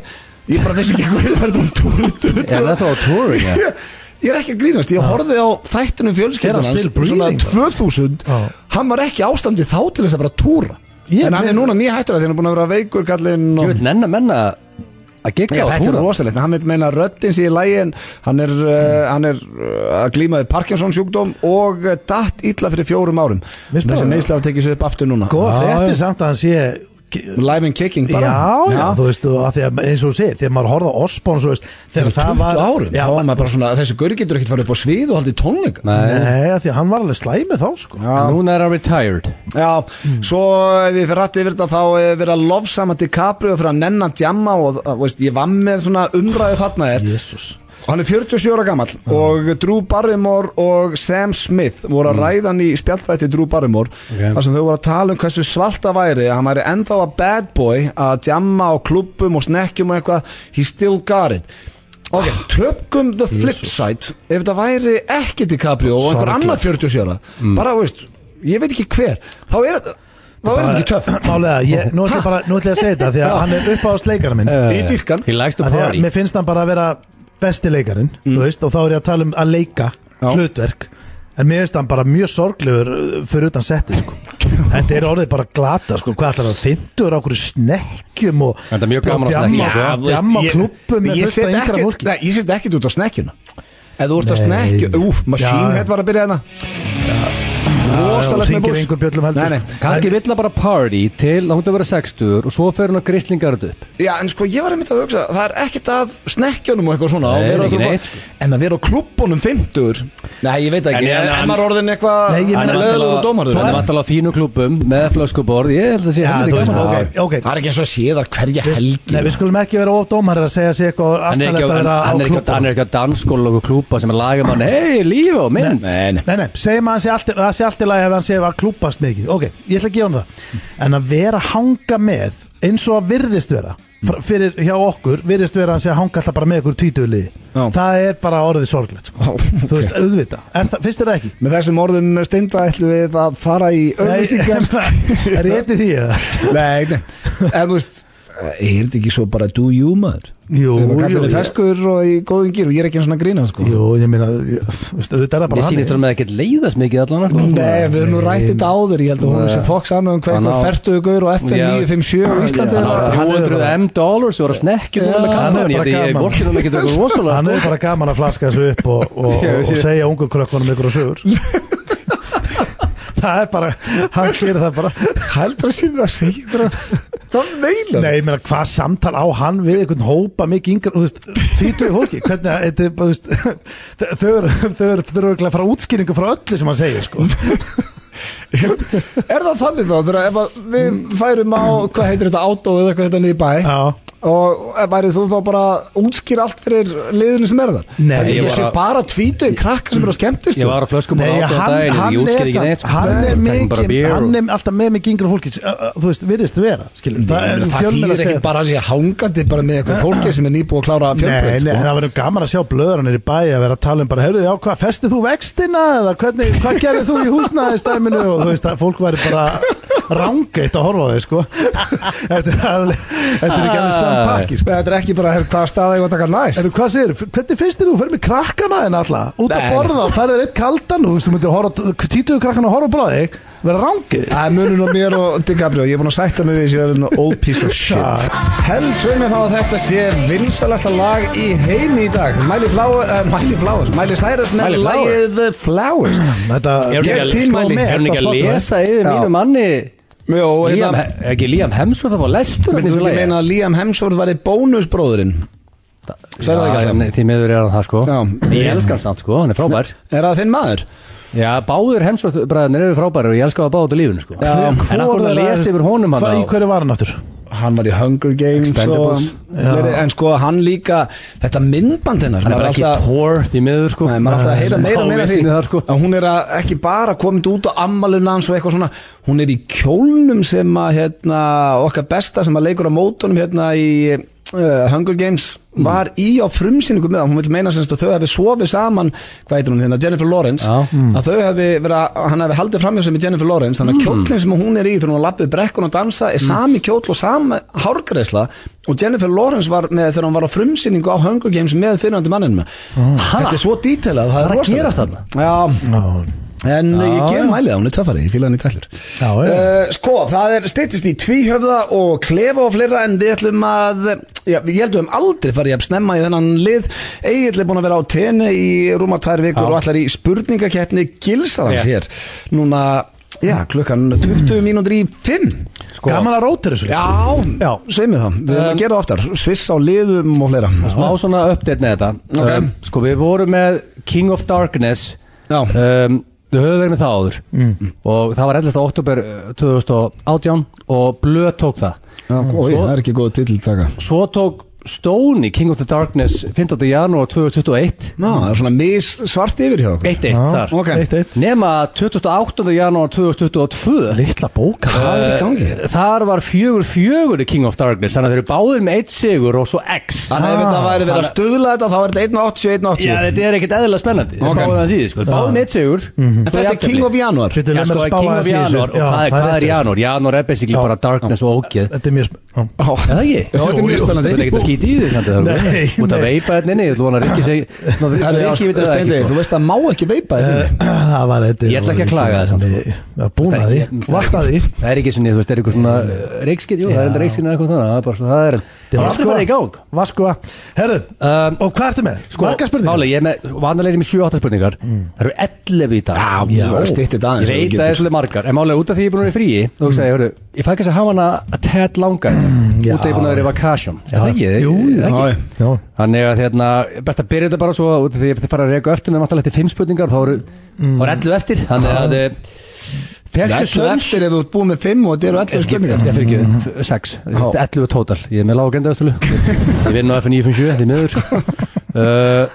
Ég bara vissi ekki hverju það er búin túr, túr, túr. Er það þá á touring, ja? Ég er ekki að grínast, ég horfið á þættunum Er fjölskyldan hann hans still breathing, Svona bara? 2000 Já. Hann var ekki ástandið þá til þess að bara túra Ég En hann er meina- núna nýja hættur að því hann er búin að vera veikur kallinn Ég vil nenn að menna að Já, gigga á þetta er túra rosalegt, en hann veit meina að röddinn sé í lægi en hann er, uh, Mm. hann er uh, að glíma við Parkinson sjúkdóm og uh, datt illa fyrir fjórum árum Misbráður. þessi meðslega tekið sér upp aftur núna Góða Já, frétti já. Sko, samt að hann sé live and kicking Já, bara já, þú veist, og að því að eins og þú segir, þegar maður horfði á Osborn, svo veist, þegar það var... 20 árum, Oh Já, þá var maður bara svona þessi gauri getur ekkert farið upp á svið og haldið tónleika Nei, af því að hann var alveg slæmi þá sko. En Núna er hann retired Já, svo ef ég fyrir rætti yfir þetta þá eh, er verið að eh, lofsama DiCaprio fyrir að nennan djamma og uh, veist, ég var með svona umræðu þarna er Jésús Hann er 47 ára gammal og Drew Barrymore og Sam Smith voru að ræða hann í spjallrætti Drew Barrymore Ok. þar sem þau voru að tala um hversu svalt það væri að hann væri ennþá að bad boy að jamma á klubbum og snekkjum og eitthvað he still got it Ok, tökum the flip side ef það væri ekki DiCaprio og einhver annar 47 ára bara, veist, ég veit ekki hver þá er þetta þá er þetta ekki töff Málega, ég, nú ætlum ég bara Nú ætlum ég að segja þetta Því að hann er uppáðast leikarinn minn í dýrkan He likes to Af því að party mér finnst hann bara að vera besti leikarinn þú veist, og þá er ég að tala um að leika Já. hlutverk en mér finnst hann bara mjög sorglegur uh, fyrir utan setti sko. þetta er orðið bara glata sko. hvað ætlar það, 50 er okkur snekkjum og Þetta er mjög gaman að snekkja, sko. Já, þú veist, djamma ég- klubbum með ég fullt set af yngra ekki- fólki Nei, ég set ekkert út á snekkjuna Ef þú ert að Nei. snekju, úf, Machine Já. Head var að byrja hérna Róstalegt með hringir bús engum bjöllum heldur. Nei, nei. Kanski vill það bara party til að hún það vera 60 og svo fer hún að grislingar þetta upp Já, en sko, ég var einmitt að hugsa Það er ekkert að snekkjunum og eitthvað svona Nei, og vera á ekki klúbba- neitt, sko. En að vera á klubbunum 50 Nei, ég veit ekki, En ég- en en- en maður orðin Nei, eitthvað ég meina- Leðalegu dómarður Þannig eða? að tala á fínu klubum með flöskuborð Ég held að sé Já, heldur þú gaman veist, að- ok, ok. Það er ekki eins og að sé þar hverja Nei, helgi við skulum ekki vera of dómarir að segja sig eitthvað Hann er ekki astanlegt á- að vera á hann er ekki á- hann klubba er ekki að danskóla og klúpa sem er lagamann Hei, líf og mynd Nei, nei. Nei, nei, segjum að hann sé allt, að það sé allt í lagi ef hann sé að klúpast mikið Ok, ég ætla að gefa hann það En að vera að hanga með eins og að virðist vera fr- fyrir hjá okkur, virðist vera að hann sé að hanga alltaf bara með ykkur títuðliði Já. Það er bara orðið sorglegt sko. Þú veist, auðvita, er það, fyrst er það ekki Með þessum orðum steinda ætlum við að fara í auðvitsingar Nei, er ég eitthvað því eða? Nei, nei, en þú veist Er þetta ekki svo bara do you maður? Jú, Við erum að kalla jú, henni ég- feskur og í góðum gýr og ég er ekki eins og að grína sko Jú, ég meina, ég- þú veist, auðvitað er það Mér bara sýnist hún með ekkert leiðast mikið allan sko. Nei, við erum nú rætt þetta áður, ég held að hún sé fokk saman um Hann hvernig á- fertuðu gaur og FM Já. 957 á Íslandi Hann á eða- Hann er 300 bara- M dollars og var að snekkja Já, út með hann er kannan Ég bara veit ég gaman. vorkið hún ekkert okkur rosalega Hann er bara gaman að flaska þessu upp og, og, og, og segja ungu krökkunum ykkur og sögur Það er bara, hann gerir það bara Heldur að síðan að segja þetta Það meina Nei, ég meina, hvað samtal á hann við einhvern hópa mikið yngra, þú veist, tvítuði fólki hvernig, að- þetta er, bara, þú veist þau- þau eru, þau eru, þau eru örugglega að fara útskýringu frá öllu sem hann segir, sko Er það þannig þá, þegar ef að við færum á, hvað heitir þetta, átó eða hvað þetta niður í bæ Já, og ef værið þú þá bara að útskýra allt fyrir liðinu sem er þar Nei, Það er ég ekki var þessi að- bara tvítuði krakka sem eru að skemmtist Ég var á flöskum Nei, og átta á hann, daginn hann, Ég er, útskýr ekki neitt samt, sko. hann, er Við tekum bara mikið, bíl og- hann er alltaf með mikið yngra fólki uh, uh, þú veist, virðist vera, skilur Það, það þýðir ekki bara að sé hangandi bara með eitthvað fólki sem er nýbúið að klára sko. Nei, fjölbreyt nei, sko. það verður gaman að sjá blöðranir í bæi að vera að tala um bara, heyrðu, já, hvað, festið þú vextina eða hvernig, hvað gerðið þú í húsnæðistæminu og þú veist að fólk væri bara rángeitt að horfa á þig, sko Þetta er alveg, þetta er ekki alveg Ah. saman pakki, sko Þetta er ekki bara her, hvaða staða ég var að taka næst Erðu, hvað segir, hvernig finnst þér þú ferð með krakkana en alltaf, út að Nei. borða og ferðir eitt kaldan, þú veist, þú myndir horfa títuðu krakkana að horfa bara á þig, vera rángið Það er munun á mér og DiCaprio Ég er búin að sætta mig við þessi verðin old piece of shit Heldsveið mér þá að þetta sé vinstalasta lag í heimi í dag Miley Flowers, uh, Miley Flowers Miley Cyrus með Miley Flowers. lagið The Flowers Þetta, Er hún Ég ekki að- tíma sko, henni. er hún ekki að lesa yfir Já. mínu manni Jó, Liam, hérna He- ekki Liam Hemsworth það var lestur Myndum við meina að Liam Hemsworth væri bónusbróðurinn Sagði það ekki alltaf Því meður er hann það sko Já. Ég elska hann samt sko, hann er frábær Er það þinn maður? Já, báður Hemsworth bræðinir eru frábæri og ég elska það báður til lífinu sko En akkur það lesi yfir honum hann Hvað- Í þá hverju var hann aftur? hann var í Hunger Games og, Expendables. fleiri, en sko hann líka þetta myndband hennar Hann er maður bara ekki alltaf- poor því miður sko Nei, maður er alltaf að heyra meira og meira af því Ávísinni þar, sko. að hún er að, ekki bara komið út á ammalinu hans og eitthvað svona hún er í kjólnum sem að hérna, okkar besta sem að leikur á mótunum hérna í uh, Hunger Games var í á frumsýningu með hann, hún vil meina semst að þau hefði sofið saman hvað heitir hún hérna, Jennifer Lawrence Já. að þau hefði verið, að- hann hefði haldið framjá sem í Jennifer Lawrence, þannig að kjólinn sem hún er í þegar hún lappið brekkun og dansa er sami kjóll og sami hárgreisla og Jennifer Lawrence var með þegar hún var á frumsýningu á Hunger Games með fyrirhandi manninu þetta er svo dítelað, það er Hvað er að rosalegt. gerast þarna? Já, Ná, en eh, ég já. ger mælið að hún er töffari, ég fíla hann í tællur Já, já. Eh, Sko, það er steytist í tvíhöfða og klefa og fleira en við ætlum að já, við heldum aldrei farið að snemma í þennan lið Egil er búin að vera á tenni í rúma tvær vikur Já. og allar í spurningakeppni gilsarans Rétt. hér Núna, já, klukkan 20 mínútur í 5 Sko, Gaman að rótir þessu Já, já. Já. sveimið það, við erum að Um, gera það oftar Sviss á liðum og fleira smá svona update með þetta Ok. um, Sko við vorum með King of Darkness Já. Mm. um, Við höfum verið með það áður Og það var 11. oktober 2018 Og blöð tók það Já, og það er ekki góð titill taka Svo tók Stone í King of the Darkness 15. janúar 2021 Ná, það er svona mis svart yfir hjá okkur 1-1 þar ok. Eitt, eitt nema 28. janúar 2022 Littla bóka Hvað er í gangi? þar var 4-4 í King of Darkness þannig að þeir eru báðir með 1 sigur og svo X Þannig að ef þetta væri verið að stuðla þetta þá er þetta 1.80, Ah, Já, 1.80 þetta er ekkert eðlilega spennandi Ok. okay. Spáðum við að síði, sko Báðum eitt sigur En þetta er King of Januar Hlutu, Já, leið mér sko, að það er spá King of aðeins í þessu. Janúar Já, Og hvað er- hvað er rétt. Janúar? Janúar er basically Já. bara darkness og ógeð Þetta er mjög sp- já. Er það ekki? Já, þetta er mjög spennandi. Þú veit ekki að skýti í því samt að það Nei, er Út að nei. veipa hérna inni, ég ætla vona að hérna Rikki segi Ná, Herri, já, Rikki veit að það Steindi, ekki sko. Þú veist að má ekki Eh, veipa þetta Eh, Það var þetta Ég ætla ekki að klaga það samt, sko. Já, búin að því, vart að því Það er ekki svona, þú veist, það er eitthvað svona reikskir, jú, það er enda reikskir eða eitthvað svona Það er bara svona, það er Það er sko- aldrei farið í gang Vaskva Herru, Um, og hvað ertu með? Marga spurningar? Máli, ég er með, vanalega er ég með 7-8 spurningar Það eru 11 í dag Já, stýttir Ég aðeins ef veit þú að það er getur. svolítið margar En málega út af því ég er búin að vera í fríi Þú veist að ég, hörru, ég fæ kannski að hafa hana að tett langa Út af ég er búin að vera í vakasjón Er það ekki? Jú, jú. Er það Já, ekki? já. Já, Þannig að hérna, best að byrja þetta bara svo út af því að þið fara að reka eftir með náttúrulega eftir fimm spurningar þá eru mm. ellu eftir þannig að eh, Það fegstu er svo söms eftir ef þú ert búið með 5 og þetta eru 11 spurningar Ég fyrir ekki, sex, ellu tótal Ég er með lág gendaðastölu Ég vinn á F957, því miður uh,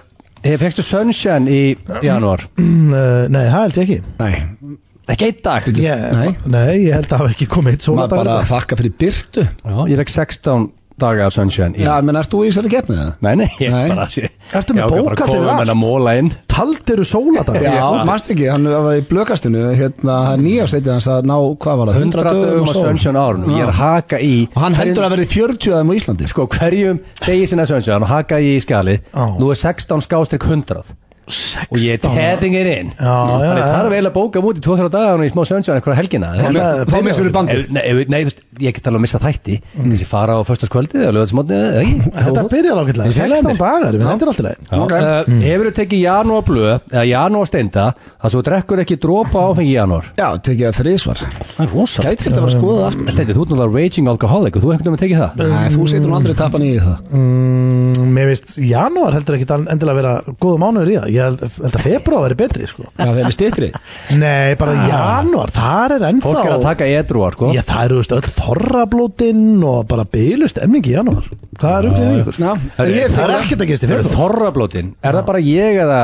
Ég fegstu Sunshine í janúar Mm, uh, Nei, það held ég ekki Nei, Ekki einn dag Ég- Nei. Nei, ég held að það hafa ekki komið eitt svona maður bara dagur þakka fyrir byrtu Já, Ég fekk 16 daga af Sunshine í Já, menn, erst þú í þessari keppni það? Nei, nei, ég Nei. bara sé Ertu með Já, ég bara bókhald komið yfir með allt? henn að móla inn Taldiru sóladag Já, mannst ekki, hann var í blökastinu hérna, nýja setið hans að ná, hvað var það 100 dögum á sól. Sunshine árunum Ég er að haka í og hann heldur að verði 40 aðeim á Íslandi sko hverjum degi sinna söndsjáðan og haka ég í skali Já. nú er 16 skástrík 100 og ég er tapping it in Já, já, þannig já. þarf eiginlega að bóka múti 2-3 dagar í smá söndsjáðan eitthvað helgina Þannig að- þá missur við bandið Ef- Nei, ef- nei, þú veist, ég get alveg að missa þætti Mm. kannski fara á föstaskvöldið eða lögðarsmótnið eða ekki Þetta byrjar ágætlega Ég sé 16 lendir. dagar, ég meina, þetta er alltaf leið Já, Ok. eh, Hefur þú tekið janúar blöð eða janúar steinda þar svo þú drekkur ekki dropa áfengi í janúar Já, tekið það þrísvar Það er rosa Gæti þetta að vera skoða Mm. aftur Steindi, þú ert náttúrulega raging alcoholic og þú hefði með tekið það Nei, þú setur nú aldrei tappan í það Mm, Mér veist, janúar heldur ekki endilega að vera góða mánuður í það Ég held, held að februar veri betri, sko Já, þeir eru stittri Nei, bara janúar, þar er ennþá Ah. Fólk er að taka edruar sko Já, það eru veist, öll þorrablótin og bara bylust emning í janúar Hvað er ruglir í ykkur? Já, en ég Það er tek- ekkert að gerist í Eru februar Þorrablótin, er það bara ég eða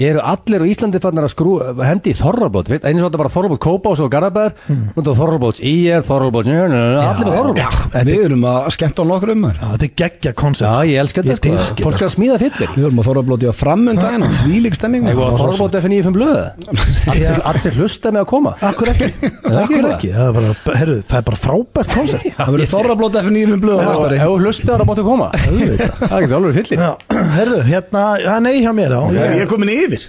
eru allir á Íslandi fannar að skrú hendi í þorrablót, Veit, eins og þetta er bara þorrablót Kópás og Garabæður, mm. þorrablóts í er þorrablóts, allir með Já, þorrablót við erum að skemmta nokkur um þær Já, Þetta er geggja Já, koncept ég elska Ég þetta sko, dyrki þetta fólk skal smíða fyllir Við erum að þóra að blóti á framöndan og þvílík stemming Ég var maður. þorrablót F95 blöða Allir hlusta með að koma Akkur ekki, það ekki akkur eitthvað? ekki Það er bara, herru, það er bara frábært koncept Það verður þóra að blóti F95 blöð á Ef næstari þú hlusta það máttu koma Auðvitað. Það er ekki alveg fyllir Já, herru, hérna, það nei hjá mér á er komin yfir Já,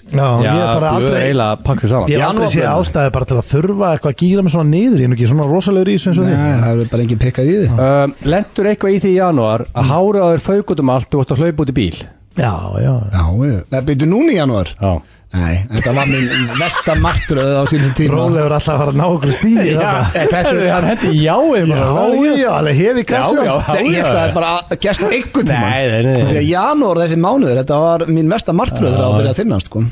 ég er bara aldrei eila pakku saman Ég hef aldrei sé ástæði bara til að þurfa eitthvað að gýra mig svona niður, ég er nú ekki svona rosalegur í þessu eins og Nei, því það verður bara engin pikkað í því um, Lendur eitthvað í því í janúar að Mm. hára þér fauk út um allt og vorst að hlaupa út í bíl Já, já, Já, ég Nei, byrju núna í janúar Já Nei, þetta var minn versta martröð á sínum tíma rólegur alltaf að fara að ná okkur stíði Já, Já, þetta er- hann hendi jái já, já, alveg hefi kassu Já, já. Nei, ég ætla það bara að gerst einhvern tíma Nei, nei, nei. Því að janúar þessi mánuður, þetta var mín versta martröð þegar það byrjaði að þinnast sko.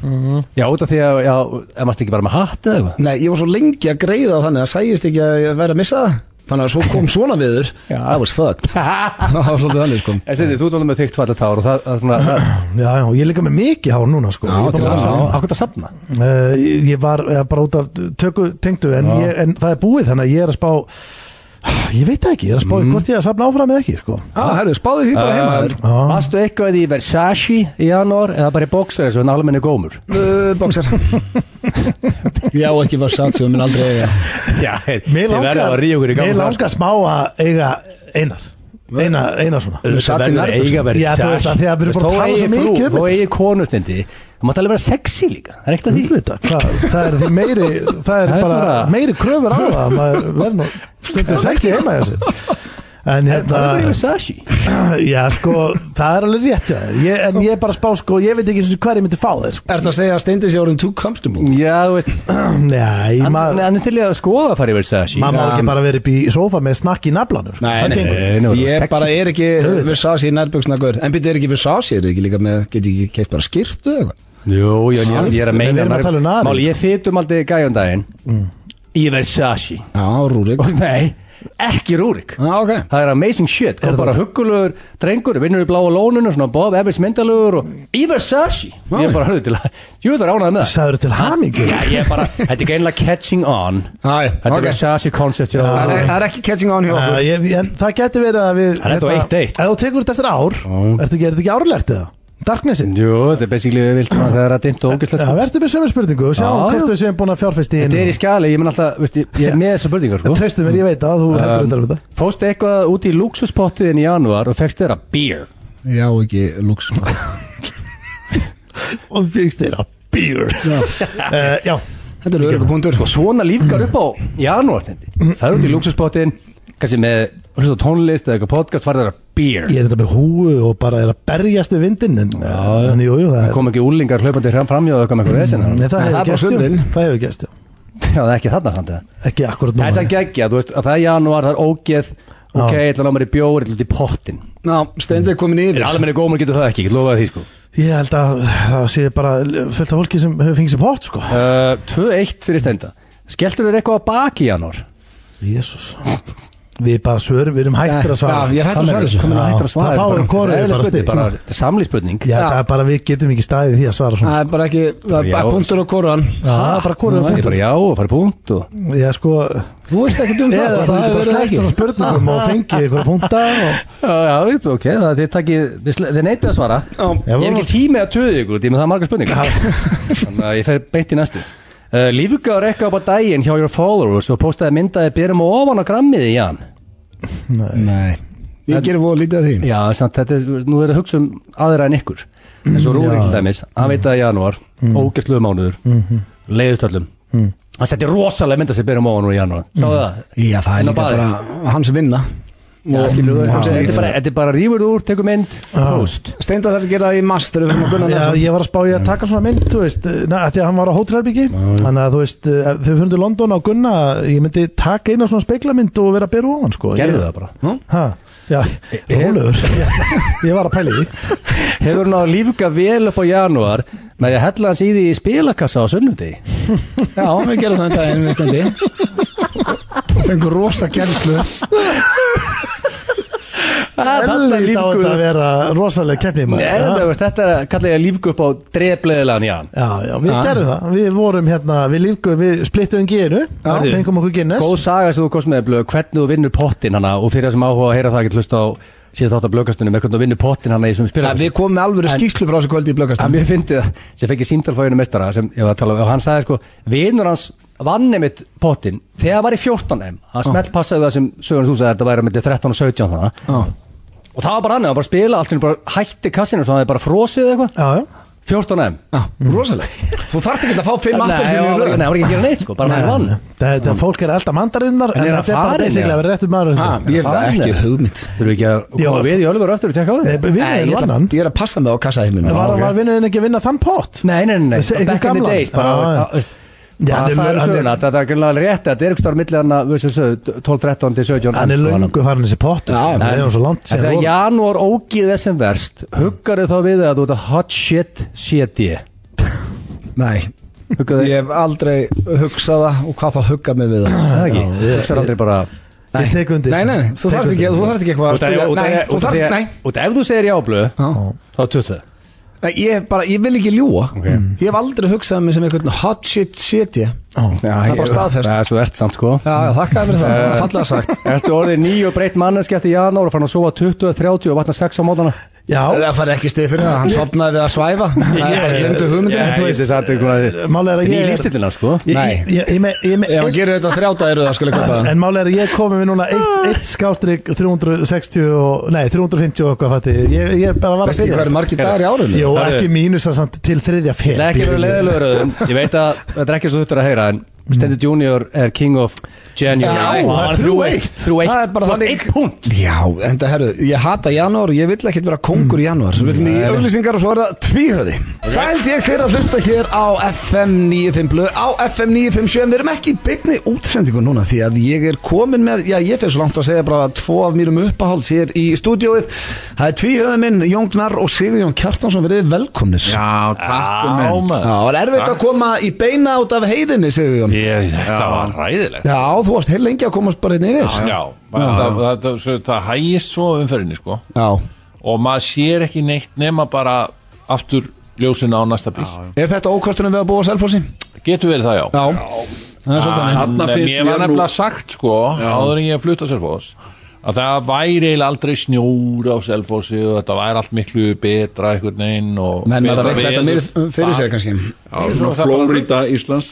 Já, út af því að, já, er maður ekki bara með hatt eða eitthvað? Nei, ég var svo lengi að greiða á þannig að sægist ekki að ég væri að missa það Þannig að svo kom svona viður Já. Það var fucked Það var svolítið þannig sko En stendi, þú tónum með þygt fallet hár og það, það er svona, það, Já, já, ég er líka með mikið hár núna sko Já, Ég er til bara- alls. það er ákveðt að safna. Eh, Ég var eh, bara út af tökku tengdu en, ég, en það er búið þannig að ég er að spá Ég veit það ekki, ég er að spá í hvort ég er að safna áfram eða ekki sko Já, Ah, herru, spáðu því bara heima þér Já. Varstu eitthvað í Versace í janúar eða bara í bóksar eins og en almenni gómur? uh, Bóksar Já, ekki var satt sem minn aldrei eiga Já, Mér þið verða að langar, ríða okkur í mér gang langar smá að eiga einar Eina, eina svona Versace verður nærbuxur. eiga Já, þú veist Versace. að því að við erum búin að tala svo mikið um Þú þetta. eigi konustindi, það mátt alveg vera sexy líka, það er ekkert að því. Auðvitað, hvað, það er því meiri það er Það er bara bara- meiri kröfur á það að maður verður nú stundum sexi heima hjá sér en hérna Það er bara í Versace. já sko, það er alveg rétt hjá þér Ég- en ég er bara að spá sko, ég veit ekki eins og hver ég myndi fá þér sko. Er það að segja að steindi sér orðin too comfortable? Já, þú veist, nei, hann maður hann er til í að skoða að fara í Versace. maður má ekki bara verið upp í sófa með snakk í naflanum sko. Það gengur. nei, nei, Ég sexy. bara er ekki Versace í nærbuksnagur En byrju, er ekki Versace, er ekki líka með Geti ekki keitt bara skýrtu eða eitthvað? Jú, jú, ég, ég er að Við meina erum að tala um Mm. naðrið. Máli, ég þytum aldrei gæjum daginn Í Versace Já, Rúrik Og nei, ekki Rúrik Já, Ah, ok það er amazing shit Er er bara það- huggulegur drengur, vinnur í bláa lóninu svona Bob Evans myndalugur og Iver Sashi ég er bara hörðu til að, jú það er ánað með það Sæður til hamingu Já, ég er bara, þetta er greinlega catching on Æ, þetta Ah, ok. er Sashi concept hjá Það Rúrik. er- það er ekki catching on hjá okkur Uh, ég, en það getur verið að við Það er þetta á hérna, 1-1. Ef þú tekur þetta eftir ár Er þetta ekki, er þetta ekki árlegt eða? Darknessin jú, þetta er basically við vilt maður þegar það er dimmt og ógæslegt Já, sko. verður með sömu spurningu og sjá Já, hvort já. við séum búin að fjárfæst í þetta er í skali, ég mun alltaf, veist, ég, ég er með þessar spurningar sko. Treystu mér, ég veit að þú heldur undan um þetta fóstu eitthvað út í luxuspottiðin í janúar og fegst þeirra beer Já, ekki lúks Og fyrst þeirra beer uh, Já, Þetta eru öryggur punktur og svona lífgar upp á janúar Mm. það er út í luxuspottiðin kannski með hlusta á tónlist eða eitthvað podcast var þeirra beer ég er þetta með húu og bara er að berjast við vindin En, Já, en jú, jú, það það er kom ekki úlingar hlaupandi fram framjáðu eitthvað með eitthvað Nei, vesina það það er hefur bara gæst, jú. sundin. það hefur gæst jú. já það er ekki þarna þannig Ekki akkurat það er núna það geggja, þú veist að það er janúar, það er ógeð ok, Já. ég ætla að ná mér í bjór, ég ætla út í pottin Ná, steindið komin yfir almenni gómar getur það ekki, ég lofaði því sko Ég held að það sé bara fullt af fólki sem hefur fengið sem hot sko. uh, 2-1 fyrir stenda skelltur þér eitthvað á baki í janúar Jésús Við bara svörum, við erum hættir að svara Já, ég er hættur að svara þessu. komin Já, að hættur að svara það fáum bara- við hvorugur eðlileg bara spurning, stig. bara- þetta er samlíspurning Já, það er bara við getum ekki staðið í því að svara svona Það er bara ekki, það er Já. bara punktur á koran Það er bara hvorum það er bara já og farið punkt og Ég sko Þú veist ekki um það Eða Það hefur þú getur verið slægt ekki svona spurningum og fengið ykkur punta og Já, já, ok, það þið takkið, þið sle- þið neitið að svara Já, Ég er vorum- ekki tími að töðu ykkur, því með það er margar spurningar Þannig að ég fer beint í næstu uh, Lífgaður eitthvað upp á daginn hjá your followers og postaði myndaði byrjum og ofan á grammið í hann Nei Ég gerir voða lítið af því Já, samt, þetta er, nú er að hugsa um aðra en ykkur En svo Rúrik til dæmis, hann veit að janúar, mm. ógæstluðu mánuður, mm -hmm. leiðutöllum mm. Hann setti rosalega mynda sér byrjum ofan úr í janúar Sáðu það? Já, það er En á líka baði. bara hans vinna Já, skilur þú, Mm. Já. þetta er bara- þetta er bara rífur þú úr, tekur mynd, post Steinda þarf að gera það í master Við fyrir að gunna Já, næst ég var að spá ég að taka svona mynd, þú veist na, af Því að hann var á hótelherbyggi Þannig að þú veist, eh, þegar við fyrir til London á Gunna Ég myndi taka eina svona speiklamind og vera að bera ofan sko. Gerðu Ég- það bara Eh, Ha, já, rólegur ég, ég var að pæla í því Hefur hann á að lífga vel upp á janúar með því að hella hans í því í spilakassa á sunnundi Já, við gerum það en daginn við steindi Fengur rosa gerðslu Erfitt á þetta að vera rosalega keppni maður. Þetta veist, þetta er að kalla ég að lífga upp á drefleðilegan jan Já, já, við gerðum það Við vorum hérna, við lífguðum, við splittum ginu Hörðu, Fengum okkur Guinness Góð saga sem þú komst með blöð hvernig þú vinnur pottin hana og fyrir það sem áhuga að heyra það ekki hlusta á síðan þátt að blöðkastunum hvernig þú vinnur pottin hana í þessum spilakassa Við komum með alvöru skýslu frá þessu kvöldi í að blöggast mér fyndi það sem fekk ég símtalfæðinu mestara sem ég var að tala um og hann sagði sko vinur hans vann einmitt pottin þegar hann var í 14M Ah. hann smelt passaði það sem sögurinn þú sagði þetta væri myndi 13 og 17 þannig og það var bara annað hann var bara að spila allt henni bara hætti kassinu svo hann hefði bara frosið eða eitthvað Já, já 14M Rosalegt Þú þarft ekki að fá Nei, fimm hann var aftur ekki- sem hann við var röðum ekki að gera neitt sko bara hann vann Þetta er fólk er alltaf mandarinnar En En er hann þetta er bara farinn, basically eða? að vera réttum maður Ha, Ég hef Farin, ekki eða? hugmynd þurfum við ekki að koma Já. við í Ölver aftur og tjekka á Nei, því Við Nei, erum ég ætla- vannan Ég er að passa mig á kassaheiminu Var, var vinnuðin ekki að vinna þann pott? nei, nei, nei, Þessi- nei. back in the gamlan. days Já, bara, já. að- veist, Já, hann bara er- sagði hann er- söguna, þetta er grunlega rétt þetta er eitthvað millir hann að 12, 13 til 17 Hann er sko, löngu farin þessi pott Já, Það er hann svo langt En síðan þegar voru. janúar ógið þessum verst Huggar þau þá við að þú ert að hot shit shit ég Nei Huggar Ég þau hef aldrei hugsað það og hvað þá hugga mig við það Það ekki, Já, ég- huggar aldrei bara Ég tek undir Nei, nei, nei, þú Tek þarft ekki, undir. þú þarft ekki eitthvað að Út af- spyrja út af- Nei, út þú af því þarft, að- nei út af ef þú segir jáblöð Já. Þá tutt það Nei, ég, hef bara, ég vil ekki ljúa Ég hef aldrei hugsað um mig sem eitthvað hot shit shit ég Það er bara staðfest. Það er svo ert samt sko Já, já, þakkaði fyrir það, Eh. fallega sagt Ertu orðið ný og breytt manneski eftir janúar og fann að sofa 20, 30 og vatna 6 á mótana Já, Það fari ekki stið fyrir það, hann sopnaði við að svæfa Það er bara glemdu hugmyndin Ég veist þess að þetta er Málið er að Ný ég er- lífstillina sko Nei. Ég- ég- ég með- ég með- Ef hann gerir þetta þrjáta eru það skulle kaupa það En máli er að ég komi við núna 1 skástrík 360 og, nei 350 og eitthvað fatti ég, ég bara var að Veist ekki byrja hvað eru margir dagar í árunni? Jó, Herru. ekki mínus að samt til þriðja Það er ekki verið fél leiðilegur öðum Ég veit að þetta er ekki svo þuttur að heyra en Stendi Junior er king of Mm. January Já, Og hann er 3-1 3-1 Það er bara Þú ert þannig- einn punkt Já, en það herru, ég hata janúar, ég vill ekkert vera kongur í janúar Svo viljum við í auglýsingar og svo er það tvíhöði Það held ég fyrir að hlusta hér á FM 95 blöð, á FM 957 Við erum ekki í beinni útsendingu núna því að ég er komin með, já ég fyrir svo langt að segja bara að tvo af mínum uppahalds hér í stúdióið Það er tvíhöði minn, Jóngnar og Sigurjón Kjartansson, verið velkomnir Já, takk um minn Já, það var erfitt að koma í beina út af heiðinni, Sigurjón ég, þetta var ræðilegt Já, þú varst heil lengi að komast bara inn yfir Já, það, það, það, það, það hægist svo á umferðinni sko Já. og maður sér ekki neitt nema bara aftur ljósin á næsta bíl Er þetta ókostunum við að búa á Selfossi? Getur verið það já Já Það er svolítið En Þarna mér finnst mér var nú- nefnilega sagt sko áður en ég flutta Selfoss að það væri eiginlega aldrei snjór á Selfossi og þetta væri allt miklu betra einhvern veginn og Menn var að betra veikla þetta veður. meir fyrir sig kannski Já, svona það bara- Flóríta Íslands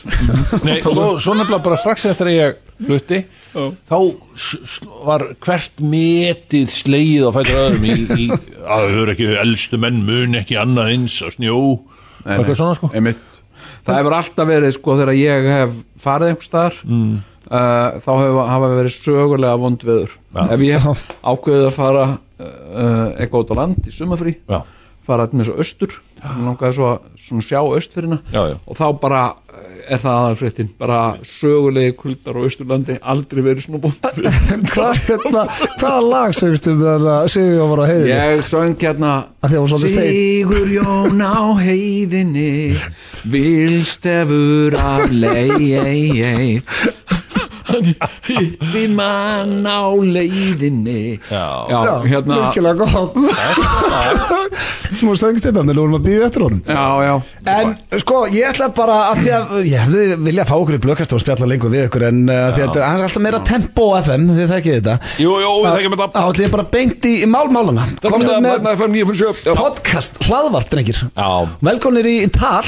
Nei, svo, svo nefnilega bara strax eftir að ég flutti þá s- sl- var hvert metið slegið á fætur öðrum í, í, að þau eru ekki elstu menn mun ekki annað eins á snjó Nei, eitthvað nei, svona sko einmitt. Það hefur alltaf verið sko þegar ég hef farið einhvers staðar mm. þá hef, hafa verið sögulega vond viður ef ég hef ákveðið að fara uh, eitthvað út á land í sumafrí Já. fara með svo austur Mig langaði svo að svona sjá austfyrina Já, já. og þá bara eh, er það aðalfréttin bara sögulegi kuldar á austurlandi aldrei verið svona vond viður Hvað, hérna, hvaða lag sögstum þegar Sigur var á heiðinni? Ég söng hérna Af því að hún svolítið segir- Sigur Jón á heiðinni Vilstefur af leið Hann hitti mann á leiðinni Já. hérna virkilega gott Smá söngst þetta, menn vorum að býða eftir honum Já, já En sko, ég ætla bara að því að ég hefði viljað fá okkur í blökast og spjalla lengur við ykkur en uh, því að þetta er aðeins alltaf meira tempo á FM því þekkið þetta Jú, jú, við þekkjum þetta. Þá ætla ég bara beint í, í málmálana Komum Komum við með með podcast, hlaðvart drengir Já. Velkonir í tal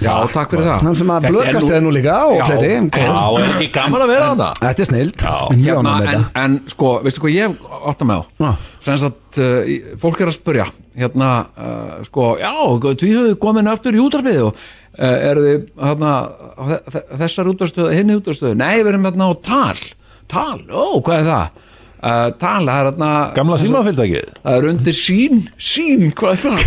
Já, takk fyrir það Hann sem að Þetta er blökast eða nú líka og fleiri Já, kom. er ekki gaman að vera þarna Þetta er snild hérna, en, en sko, veistu hvað ég átta með Já. á sem að uh, í- fólk er að spurja hérna, uh, sko, já, því höfðu komin aftur í útarpið og uh, eru þið hérna, á þe- þe- þessar útarstöðu, hinni útarstöðu nei, við erum hérna á tal tal, ó, hvað er það uh, tal, það er hérna Gamla sem sagt- símafyrirtækið Það er undir sín, sín, hvað er það?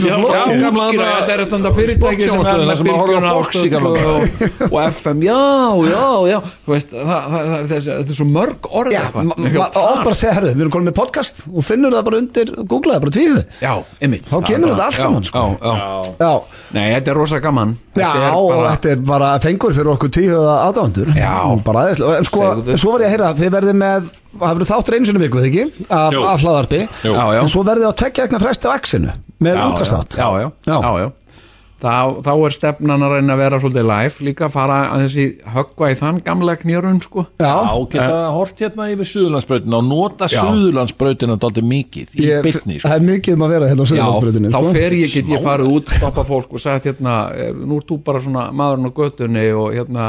Já, flókið. já, Gamla útskýra, þarna- þetta er þetta fyrirtæki sem er sportsjónvarpsstöðina með sem að horfa á bylgjuna box í gamla og- og, og FM, já, já, já, þú veist, það, það, það, það, þetta er svo mörg orð Já, eitthvað. maður ma á bara að segja, herru, við erum komin með podcast og finnur það bara undir, googlaði bara tvíðu Já, einmitt. Þá kemur þetta allt Já, saman, sko. Já, já, Já, nei, þetta er rosa gaman. já Þetta er og bara- þetta er bara fengur fyrir okkur tvíhuða aðdáðandur Já. bara, aðeinslega. En sko, Segðu. svo var ég að heyra að þið verðið með það verður þáttur einu sinni í viku, þið ekki? Af, Jú. af hlaðarpi Jú. Já, já. En svo verðið á tekja egnar fresti á exinu með Já, útastátt já, já, já, já, já. Þá, þá er stefnan að reyna að vera svolítið live líka að fara að þessi höggva í þann gamla knjörun sko Já, geta hort hérna yfir Suðurlandsbrautina og nota Já. Suðurlandsbrautina dálítið mikið í Ég, bytni sko. það er mikið um að vera hérna á Já, Suðurlandsbrutinu þá fer ég, get ég farið út stoppa fólk og sagt hérna eh, nú er þú bara svona maðurinn á göttunni og hérna,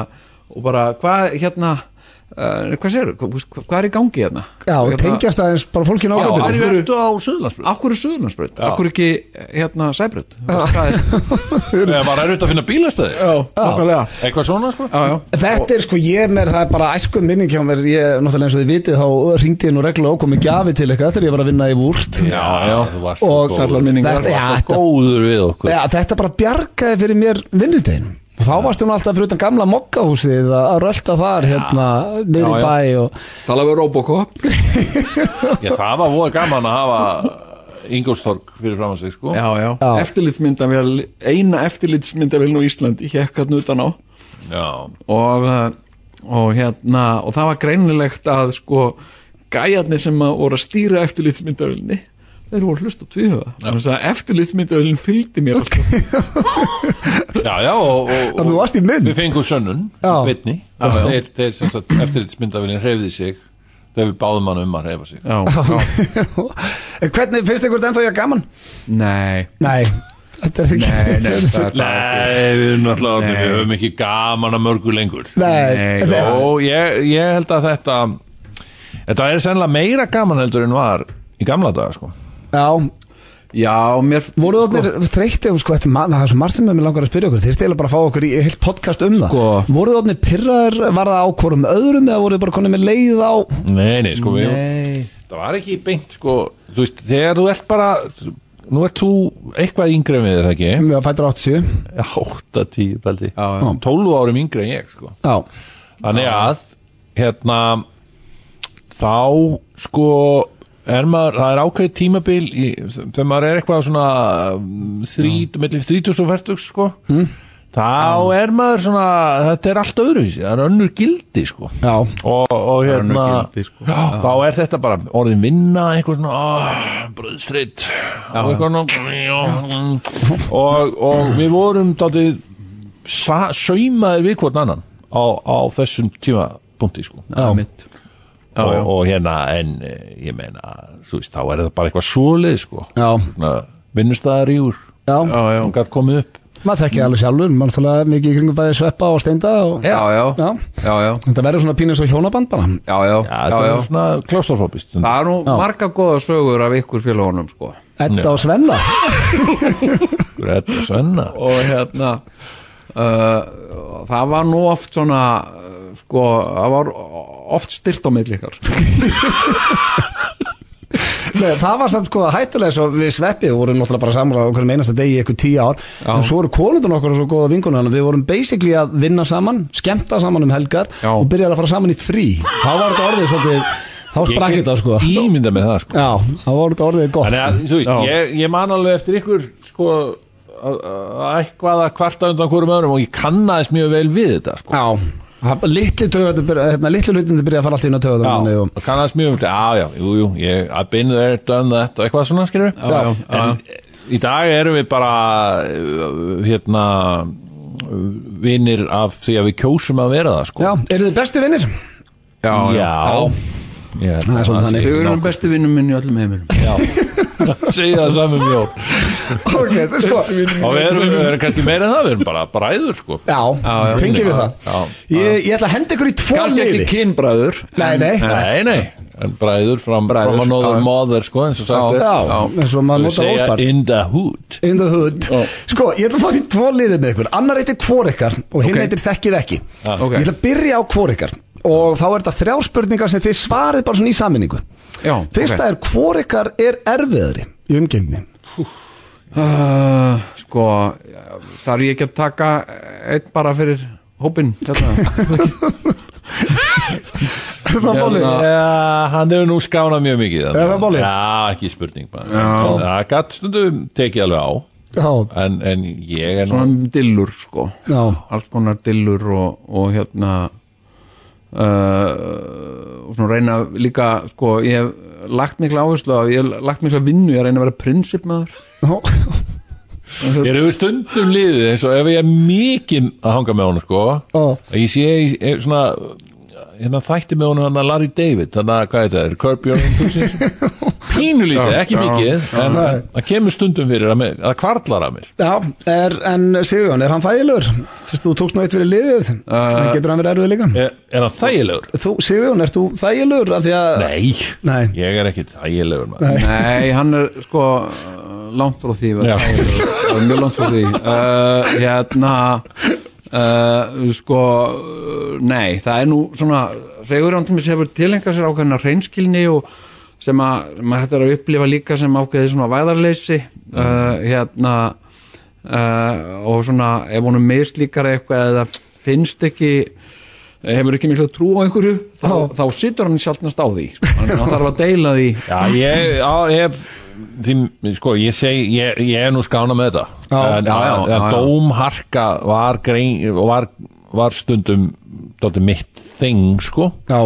og bara hvað hérna, uh, hvað séru hvað er í gangi hérna? Já, hérna, tengjast aðeins bara fólkinu á Já, göttunni. af Hverju hverju- ertu á Suðurlandsbrautina? Akkur er Suðurlandsbraut, akkur ekki eh, hérna Sæbraut Þú veist, hvað er- Það var erut að finna bílastöði Já, nákvæmlega Eitthvað svona sko Já, já, Þetta er sko, ég er með, það er bara æsku minning hjá mér, ég, náttúrulega eins og þið vitið, þá ringdi ég nú reglulega og komið gjafi til eitthvað þegar ég var að vinna í vúrt. Já, já, þú varst Og- svo allar góður. minningar Þetta, já, Varst svo þetta, góður við okkur já, þetta bara bjargaði fyrir mér vinnutegin. Og þá varstu nú alltaf fyrir utan gamla mokkahúsið að að rölda þar, hérna, niður í Já, bæ og... Talaðu við Robocop Já, það var voða gaman að hafa Ingolstorg fyrir fram að sig sko Já, já, Já. eftirlitsmyndavél eina eftirlitsmyndavél nú í Íslandi hekk hann utan á Já. og, uh, og hérna og það var greinilegt að sko gæjarnir sem að voru að stýra eftirlitsmyndavillinni þeir voru að hlusta á tvíhöða þannig að eftirlitsmyndavillin fylgdi mér alltaf já, já, og, og, Þannig þú varst í mynd? Við fengum sönnun, Já. bitni Þeir, þeir sem sagt, eftirlitsmyndavillin hreyfði sig Þegar við báðum hann um að hreyfa sig já, já. En Hvernig, finnst ykkur þetta ennþá ég gaman? nei, Nei, þetta er ekki... nei, nei, það er það Nei, við erum náttúrulega Nei. Við höfum ekki gaman að mörgu lengur Nei, Nei, þetta er- Jó, ég, ég held að þetta Þetta er sennilega meira gaman heldur en var Í gamla daga sko já, já, mér voru það sko, þreyttið um sko, þetta er ma- það er svo margt sem mér langar að spyrja okkur, þeir stila bara að fá okkur í heilt podcast um það, Sko. voru það pyrraður, var það á hvorum öðrum eða voru þið bara konið með leið á Nei, nei, sko við nei, Það var ekki beint sko Þú veist, þegar þú ert bara Nú ert þú eitthvað yngri en við er það ekki við að fæta 80 Já, 8, 10, beldi Já, já. 12 árum yngri en ég sko. já, Þannig að hérna þá sko er maður, það er ákveðið tímabil í, þegar maður er eitthvað svona þrít, millir þrítus og færtugs sko þá er maður svona þetta er allt öðruvísi, það er önnur gildi sko. Já. og, og hérna önnur gildi, sko. já, þá er þetta bara orðin vinna einhver svona oh, bröðstreitt og, eitthvað svona, já, og, og við vorum dátið saumaðir við hvort annan á, á þessum tímapunkti sko. já, mitt já, og, já. og hérna en eh, ég meina, þú veist, þá er þetta bara eitthvað svoleið sko, Já. svona vinnustæðarígur Já, Já, já. sem gætt komið upp maður þekkja alveg sjálfur, maður náttúrulega mikið í kringum bæði sveppa og steinda og já, já, Já. já, já, þetta verður svona pínus og hjónaband bara. já, já, já, þetta já. er svona klástrofóbist það er nú marga góða sögur af ykkur félagunum sko. Edda og Svenna. Þetta er svenna og hérna uh, það var nú oft svona uh, sko, það var oft styrt á milli ykkar sko. Nei, það var samt sko hættulega svo við sveppi við vorum náttúrulega bara samráð okkur um einasta degi í eitthvað tíu ár en svo voru konundun okkur og svo góða vinkunum þannig að við vorum basically að vinna saman skemmta saman um helgar Já. og byrjaði að fara saman í frí þá var þetta orðið svolítið þá sprakk þetta sko Ímynda með það sko Já, þá var þetta orðið gott sko. Þannig að, þú veist, ég, ég man alveg eftir ykkur sko að að eitthvað að kvarta undan hverjum öðrum og ég kannaðist mjög vel við þetta sko Já, það- litlu töðunni hérna, litlu hlutinu byrjaði að fara alltaf inn á töðunni og... kannaðist mjög vel, já, já, jú, jú ég, I've been there, done that og eitthvað svona skilur Já, já, en í dag erum við bara eh, hérna vinnir af því að við kjósum að vera það sko Já, eru þið bestu vinnir? já, já. Ég held Það er svolítið að- þannig. Þau eru hann besti vinnum minn í öllum heiminum Segja það saman mjór Ok, það er sko Og við erum, við erum kannski meira en það, við erum bara bræður sko Já, já. tengjum við það Já, Ég, ég ætla að henda ykkur í tvo Kannski liði ekki kynbræður Nei, nei Nei, nei, en bræður from, Bræður, from another já. mother sko eins og sagt er. Já, Já. eins og maður Þau notar segja óspart in the hood In the hood Sko, ég ætla að fá því tvo liðið með ykkur Annar heitir hvor ykkar og hinn Ok. heitir þekkið ekki ok. Ég ætla að byrja á hvor ykkar Og þá er þetta þrjá spurningar sem þið svarið bara svona í saminningu Já, Fyrsta er hvor ykkar er erfiðari í umgengni Uh, sko, já, þarf ég ekki að taka einn bara fyrir hópinn hérna. Það er málið Já. Já, hann hefur nú skánað mjög mikið Er það málið? Já, ekki spurning bara Það gatt stundum tekið alveg á Já, En, en ég er nú svona dillur sko Já. alls konar dillur og, og hérna uh, og svona reyna líka sko, ég hef lagt mikla áherslu á, ég hef lagt mikla vinnu, ég reyna að vera prinsipmaður Ég er hefur stundum liðið eins og ef ég er mikið að hanga með honum sko Já. að Ég sé í- í svona hérna þætti með honum hann að Larry David þannig að hvað er þetta, er Curb Your Enthusiasm Pínulítið, Já, ekki já, mikið en Nei. það kemur stundum fyrir að, mig, að kvarlar að mér Já, er, en Sigurjón, er hann þægilegur? Fyrst þú tókst nú eitt fyrir liðið uh, Getur hann verið erfið líka? Er, er hann þægilegur? Þú, Sigurjón, ert þú þægilegur? Af því að Nei, Nei. ég er ekki þægilegur maður nei, hann er sko uh, langt frá því að Já. vera þægilegur, mjög langt frá því uh, hérna Uh, sko uh, nei, það er nú svona Sigurjóndumis hefur tilhengað sér ákveðna reynskilni og sem að maður hættir að upplifa líka sem ákveði svona væðarleysi uh, hérna uh, og svona ef honum mislíkar eitthvað eða finnst ekki hefur ekki miklu trú á einhverju þá, þá situr hann sjálfnast á því sko. hann hann þarf að deila því Já, ég, já, ég því, sko, ég segi, ég, ég er nú skána með þetta Já, en, já, já, en já, já. dómharka var, grein, var, var stundum dóttir mitt þing, sko Já,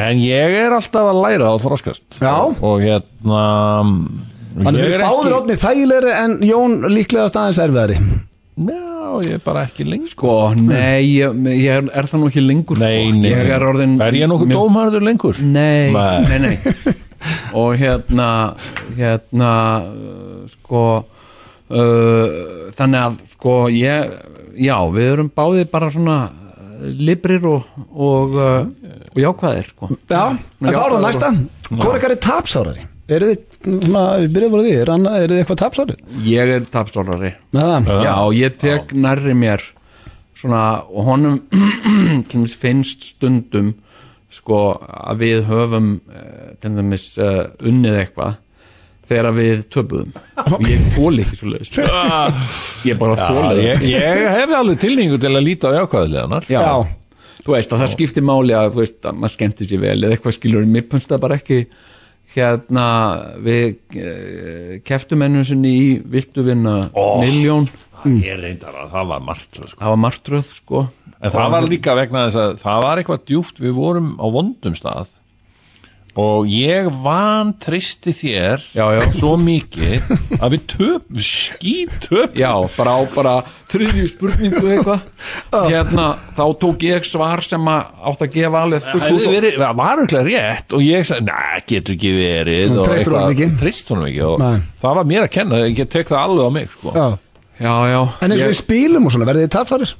en ég er alltaf að læra og þroskast Já. og hérna Þannig ég þeir er eru báðir ekki, orðni þægilegri en Jón líklega staðins erfiðari já, ég er bara ekki lengur Sko, nei, ég, ég er, er það nú ekki lengur Nei, sko. nei, Ég er orðin ég nokkuð mjög- dómharður lengur? Nei, Nei. nei, nei Og hérna, hérna, uh, sko, uh, þannig að, sko, ég, já, við erum báðið bara svona uh, librir og, og, uh, og jákvæðir, sko Já, en þá er það næsta Hvor ykkar er tapsárari? Eru þið, svona, við byrjum bara á því Er annað- Eru þið eitthvað tapsárari? Ég er tapstólari Nei, það Já, ég tek nærri mér svona, og honum til dæmis finnst stundum sko, að við höfum eh, til dæmis uh, unnið eitthvað þegar við töpuðum og ég þóli ekki svo leiðist ég bara Já, þóli ég, ég hefði alveg tilningu til að líta á jákvæðileganar já, Já. þú veist að það skiptir máli að, þú veist, að maður skemmtir sér vel eða eitthvað skilur mér finnst það bara ekki hérna við eh, keftum ennum sinni í viltu vinna miljón það er reyndar að það var margt sko. það var martröð sko En það var líka vegna þess að það var eitthvað djúft við vorum á vondum stað og ég van tristi þér Já, já. svo mikið að við töp, skýt töp já, bara á bara þriðju spurningu eitthvað hérna, þá tók ég svar sem að átt að gefa alveg fullt út verið, það var umhverfið rétt og ég sagði, næ, getur ekki verið og treystir eitthvað, honum ekki. treystir honum ekki og Nei. það var mér að kenna, ég tek það alveg á mig sko. Já. já, já, En eins og við ég, spilum og svona, verðið þið tapfarir?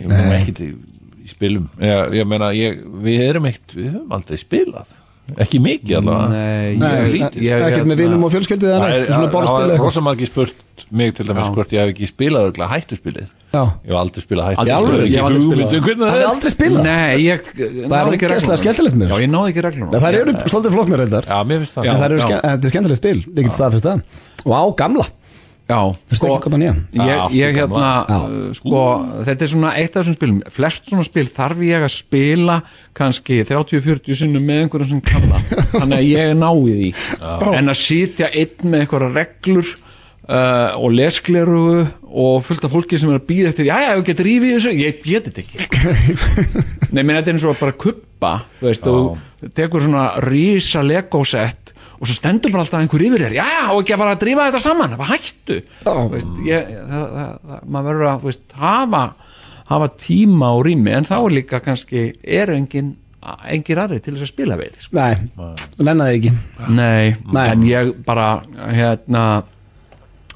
ég meina ekki til í spilum ég, ég meina, ég, við erum eitt við höfum aldrei spilað, ekki mikið allavega nei, Nei, ég, lítið. ég, ég Ekkert með vinum og fjölskyldið eða Það neitt, er- svona það borðspil er eða eitthvað rosa margir spurt mig til dæmis Já. hvort ég hef ekki spilað örugglega hættuspilið Já. ég hef aldrei spilað Aldrei spilað, hættuspilið ég hef aldrei spilað hugmynd um hvernig Það það er er aldrei spilað Nei, ég Það er ógeðslega skemmtilegt með Já, þessu. ég náði ekki reglunum Nei, Það eru svolítið flokk með reyndar já, mér finnst það Já. En það eru ske- en þetta er skemmtilegt spil, ég get staðfyrst það Og á gamla, Já, sko- þurfti ekki að koma nýja ég, Já, ég þú hérna, Já. uh, sko, þetta er svona eitt af þessum spilum, flest svona spil þarf ég að spila kannski 30-40 sinnum með einhverjum sem kalla þannig að ég nái því en að sitja einn með einhverja reglur uh, og leskleru og fullt af fólki sem er að býða eftir já, já, ég get rífið þessu, ég get þetta ekki Nei, menn þetta er eins og bara kuppa, þú veist, þú tekur svona rísa legósett og svo stendur bara alltaf einhver yfir þér já, já, og ekki að fara að drífa þetta saman, það var hættu Þú veist, ég, það, það, það, maður verður að þú veist, hafa, hafa tíma og rými, en þá er líka kannski er engin engir aðri til þess að spila við sko. Nei, nennaði ekki nei, Nei. en ég bara hérna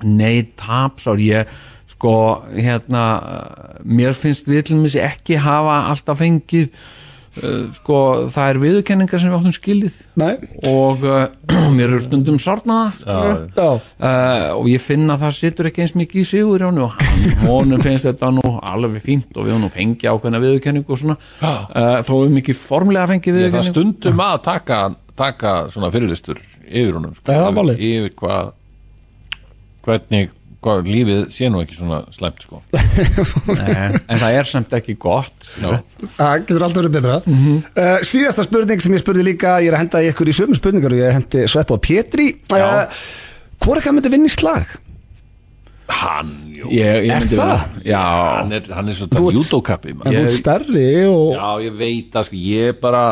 nei, tapsár, ég sko, hérna eh, mér finnst við til mér ekki hafa alltaf fengið uh, sko, það er viðurkenningar sem við áttum skilið Nei, og uh, mér er stundum sárnaða já, uh, og ég finna að það situr ekki eins mikið í sigur hann og hann- honum finnst þetta nú alveg fínt og við honum fengja ákveðna viðurkenningu og svona uh, þó við mikið formlega fengið Ég- það viðurkenningu stundum að taka, taka svona fyrirlistur yfir honum sko, Já, það er málið. yfir, yfir hvað hvernig hvað, lífið sé nú ekki svona slæmt sko. Nei, en það er samt ekki gott Já. það getur alltaf verið betra uh, Síðasta spurning sem ég spurði líka Ég er að henda í ykkur í sömu spurningar og Ég hendi Sveppa og Pétri uh, Hvor ekki að myndi vinna í slag? hann, jú, ég, ég Er myndi það? vera- Já, hann, er, hann er svo Þú það ert- judokappi maður. En þú ert stærri og Já, ég veit að sko, ég bara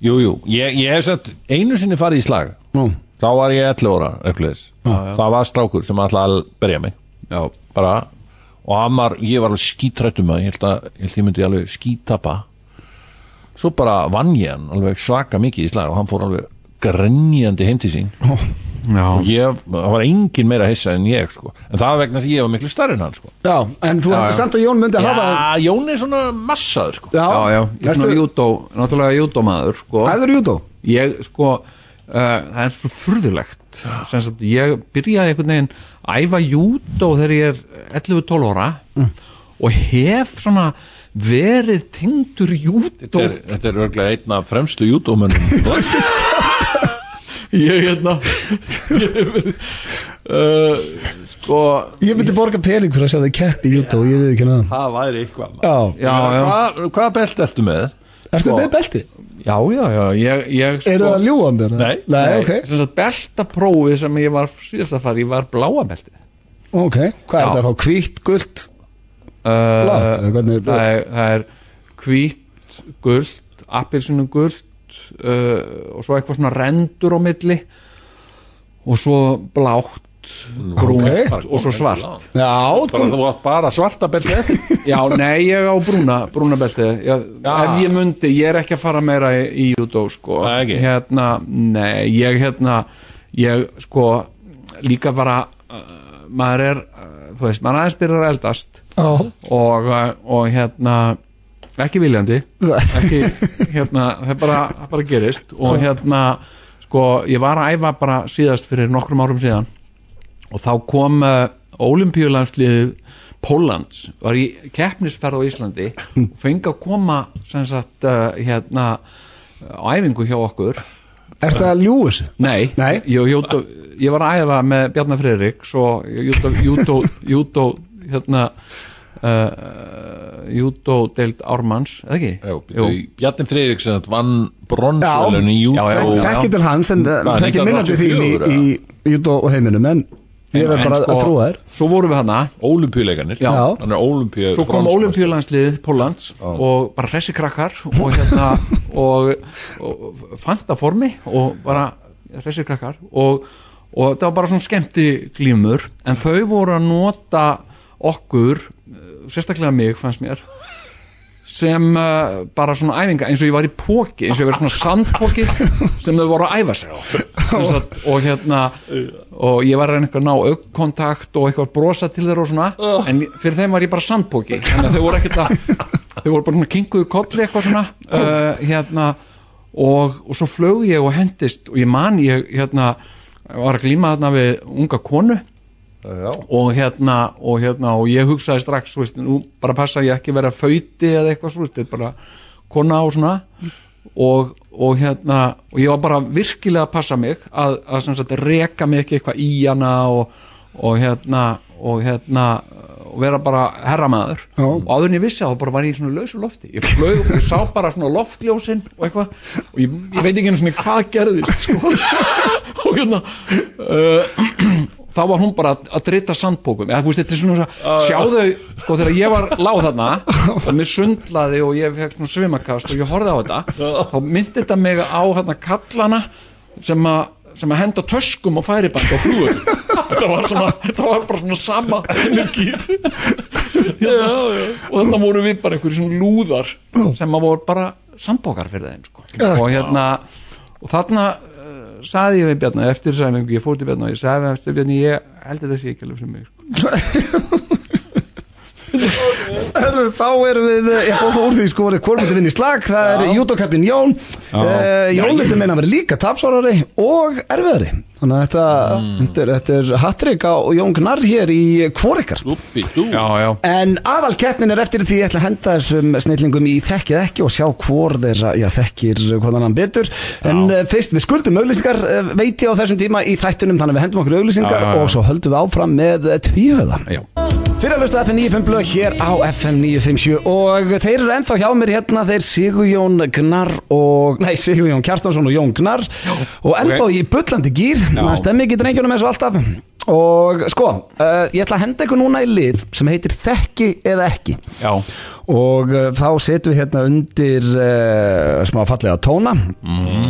Jú, jú, ég, ég hef sett einu sinni farið í slag Nú. Þá var ég 11 óra, aukliðis Það var strákur sem ætlaði að berja mig já, bara Og hann var, ég var alveg skítrættum að ég held að ég, held ég myndi alveg skítapa Svo bara vann ég hann alveg svaka mikið í slag og hann fór alveg grenjandi heim til sín já. og ég, það var engin meira hissa en ég sko. en það var vegna þess að ég var miklu starri en hann sko. Já, en þú heldur samt að Jón myndi hafa Já, Jón er svona massaður sko. Já, já, ég er svona Ertu- júdó, náttúrulega júdómaður sko. Æfðirðu júdó? ég sko uh, það er svo furðulegt sem sagt ég byrjaði einhvern veginn að æfa júdó þegar ég er 11-12 ára og hef svona verið tengdur júdó Þetta er, þetta er örglega einn af fremstu júdómönnum landsins. ég hérna ég hef verið uh, sko Ég myndi borga pening fyrir að sjá þig keppi í júdó Ég veit ekki hann að það. Það væri eitthvað maður. Já, já, já, Hvað, hvaða belt ertu með? ertu Sko- með belti? já, já, já ég, ég sko, Eru það að ljúga um þetta? Nei. Nei, Nei, ok, sem sagt beltaprófið sem ég var síðast að fara í var bláabeltið ok Hvað er Já. þetta þá? Hvítt, gult? Uh, Blátt, eða hvernig er það er, það er hvít, gult, appilsinu gult uh, og svo eitthvað svona rendur á milli og svo blátt brúnt ok. og svo svart Já, Bara, þú átt bara svarta belti eftir. já, nei, ég á brúna, brúna belti ég, Já. ef ég mundi, ég er ekki að fara meira í, í judó, sko Nei, ekki. hérna, nei, ég hérna ég, sko, líka bara uh, maður er uh, þú veist, maður aðeins byrjar að eldast já og, eh, og hérna ekki viljandi ekki, hérna, það bara, það bara gerist og hérna sko, ég var að æfa bara síðast fyrir nokkrum árum síðan og þá kom uh, olimpíulandsliðið Póllands, var í keppnisferð á Íslandi og fengi að koma sem sagt, uh, hérna á æfingu hjá okkur Ertu að ljúga þessu? Nei, Nei. Ég, júdó, ég var að æfa með Bjarnar Friðrik svo júdó júdó, júdó hérna uh, júdó deild Ármanns eða ekki? Bjarni Freyriksson vann bronsvelun í Já, já, júdó. já. Þekki til hans en Hvað, þekki minna til þín í, 1984 í júdó og heiminum En Ég verð bara að trúa þér. sko, Svo vorum við hana Ólympíuleikanir Já. Þannig að Ólympíu Svo kom olimpíulandsliðið Póllands og bara hressi krakkar og hérna og, og fanta formi og bara hressi krakkar og, og það var bara svona skemmti glímur en þau voru að nota okkur, eh, sérstaklega mig fannst mér sem uh, bara svona æfinga eins og ég var í póki eins og ég var svona sandpóki sem þau voru að æfa sér á Sem sagt, og hérna og ég var að reyna eitthvað að ná aukkontakt og eitthvað að brosa til þeirra og svona en fyrir þeim var ég bara sandpóki þannig að þau voru ekkert að þau voru bara svona kinguðu kolli eitthvað svona uh, hérna og, og svo flög ég og hendist og ég man ég hérna var að glíma þarna við unga konu og hérna, og hérna og ég hugsaði strax, þú veist, nú bara passa ég ekki vera föyti eða eitthvað svo veist, bara kona og svona og, og hérna og ég var bara virkilega að passa mig að, að sem sagt reka mig ekki eitthvað í hana og, og hérna og hérna og vera bara herramaður Já. og áður en ég vissi að þá bara var ég í svona lausu lofti ég flög og ég sá bara svona loftljósin og eitthvað og ég, ég veit ekki einu svona hvað gerðist sko. og hérna þá var hún bara að drita sandbókum eða þú veist þetta er svona svo, sjáðu sko þegar ég var láð þarna og mér sundlaði og ég fekk svona svimakast og ég horfði á þetta þá myndi þetta mig á hérna kallana sem að sem að henda töskum og færiband á flúur þetta var, svona, þetta var bara svona sama energið já, já. og þarna voru við bara einhverjum svona lúðar sem að voru bara sambókar fyrir þeim sko. og hérna og þarna saði ég við Bjarni eftir sæmingu, ég fór til Bjarni og ég sagði við eftir Bjarni, ég held að þetta sé ekki alveg fyrir mig sko. Herru, þá erum við, ég bóð það úr því sko, hvort myndi vinna í slag, það er judokappin Jón, uh, Jón vildi meina að vera líka tapsvarari og erfiðari. Þannig að þetta, þetta er, þetta er hattrik á Jón Gnarr hér í Kvorikar. Uppi, dú já, já, En aðalkeppnin er eftir því ég ætla að henda þessum snillingum í þekkið ekki og sjá hvor þeirra, já þekkir hvað hann betur En já. fyrst við skuldum auglýsingar eh, veit ég á þessum tíma í þættunum þannig að við hendum okkur auglýsingar Já, já, já. og svo höldum við áfram með eh, tvíhöða já, Fyrir að hlusta FM 95 blöð hér á FM 957 og þeir eru ennþá hjá mér hérna þeir Sigurjón Gnar og, nei Sigurjón Kjartansson og Jón Gnar og ennþá í bullandi gýr, það stemmi ekki drengjunum eins og alltaf og sko, uh, ég ætla að henda ykkur núna í lið sem heitir Þekki eða ekki já, og uh, þá setjum við hérna undir uh, smá fallega tóna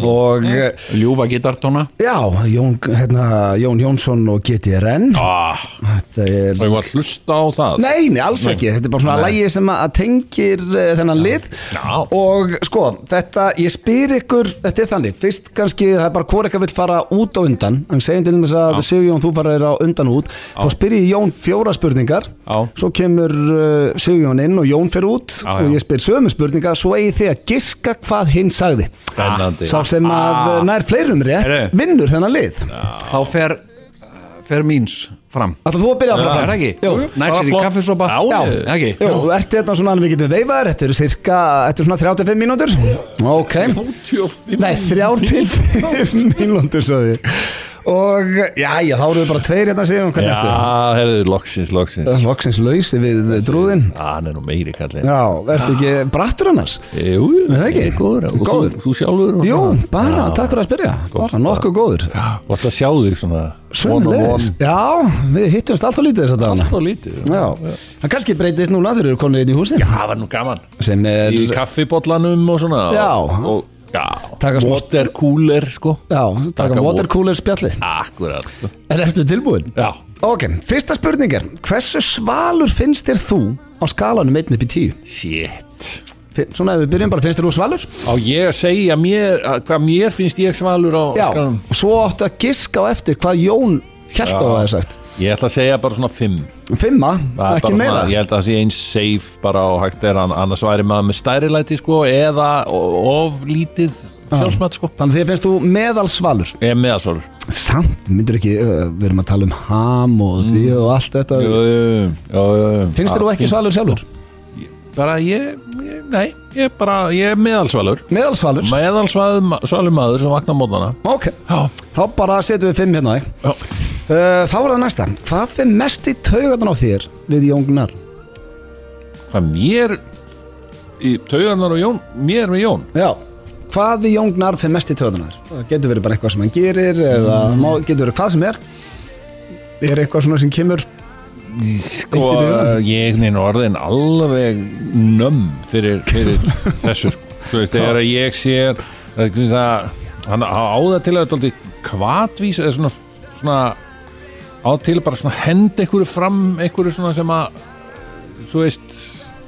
og uh, ljúfa gitartóna já, Jón, hérna, Jón Jónsson og GTRN ah, þetta er Og ég var að hlusta á það Nei, nei, alls ekki, þetta er bara svona lægi sem að að tengir eh, þennan lið Já. og sko, þetta, ég spyr ykkur þetta er þannig, fyrst kannski það er bara hvort eitthvað vill fara út á undan en segjum til þess að Sigjón, þú farir á undan og út þá spyr ég Jón fjóra spurningar Já. svo kemur uh, Sigjón inn og Jón fer út Já, já. og ég spyr sömu spurningar svo eigi þið að giska hvað hinn sagði Spennandi sá sem að ah. nær fleirum rétt Heyrðu. vinnur þennan lið þá fer, fer míns fram Alltaf þú að byrja að það fara er ekki, Jú. nær sér í flott. kaffisopa Já, já, ekki Jó, þú ert hérna svona að við getum veifaðir Þetta eru cirka, þetta eru svona 35 mínútur Ok, 85 nei 35 mínútur sagði ég. Og, já, já, þá eru við bara tveir hérna síðan Hvernig ertu? Já, heyrðu, loksins, loksins Loksins lausi við drúðin Já, hann er nú meiri kallið Já, ertu ekki brattur annars? Jú, Er það ekki? ég er góður og Góður. Þú, þú sjálfur og Jú, svona. bara, takk fyrir að spyrja Bara nokkuð góður Og alltaf sjá þig svona Svonleis Já, við hittumst alltaf lítið þess að dagana Svo lítið Já, það kannski breytist núna þegar eru konir inn í húsi Já, það var nú gaman Sem er, Í kaffibollanum og svona Já. og, og, Já Taka smá- Watercooler, sko já, taka Taka watercooler spjallið Akkurat, sko Er eftir tilbúin? Já Ok, fyrsta spurning er Hversu svalur finnst þér þú á skalanum 1 upp í 10? Shit Fin- Svona ef við byrjum bara, finnst þér þú svalur? Á ég að segja mér að, Hvað mér finnst ég svalur á Já, skanum og svo áttu að giska á eftir hvað Jón held á Já. það er sagt Ég ætla að segja bara svona fimm Fimma, Það er ekki bara meira Ég held að það sé eins safe bara á hægt er hann annars væri maður með stærilæti sko eða o- of lítið sjálfsmat sko Þannig þér finnst þú meðal svalur Ég er meðasvalur Samt, myndur ekki, uh, við erum að tala um ham og mm. og allt þetta Jú, jú, jú, jú. Finnst þér þú Ah, ekki fínt. svalur sjálfur? Bara ég, ég, nei, ég er bara, ég er meðalsvalur Meðal svalur? Meðalsvalur maður sem vaknar mótana Ok, Já, þá bara setjum við fimm hérna á þig. já uh, Þá er það næsta Hvað fyrir mest í taugarnar á þér við Jóngnar? Hvað mér í taugarnar og Jón, mér með Jón Já Hvað við jóngnar fyrir mest í töðunar? Það getur verið bara eitthvað sem hann gerir eða má, getur verið hvað sem er Mm. er eitthvað svona sem kemur sko, ég er nýna orðin alveg nömm fyrir, fyrir þessu sko. Þú veist, þegar að ég sé það, hann á á það til að þetta aldrei kvatvís eða svona, svona á til að bara svona henda einhverju fram einhverju svona sem að þú veist,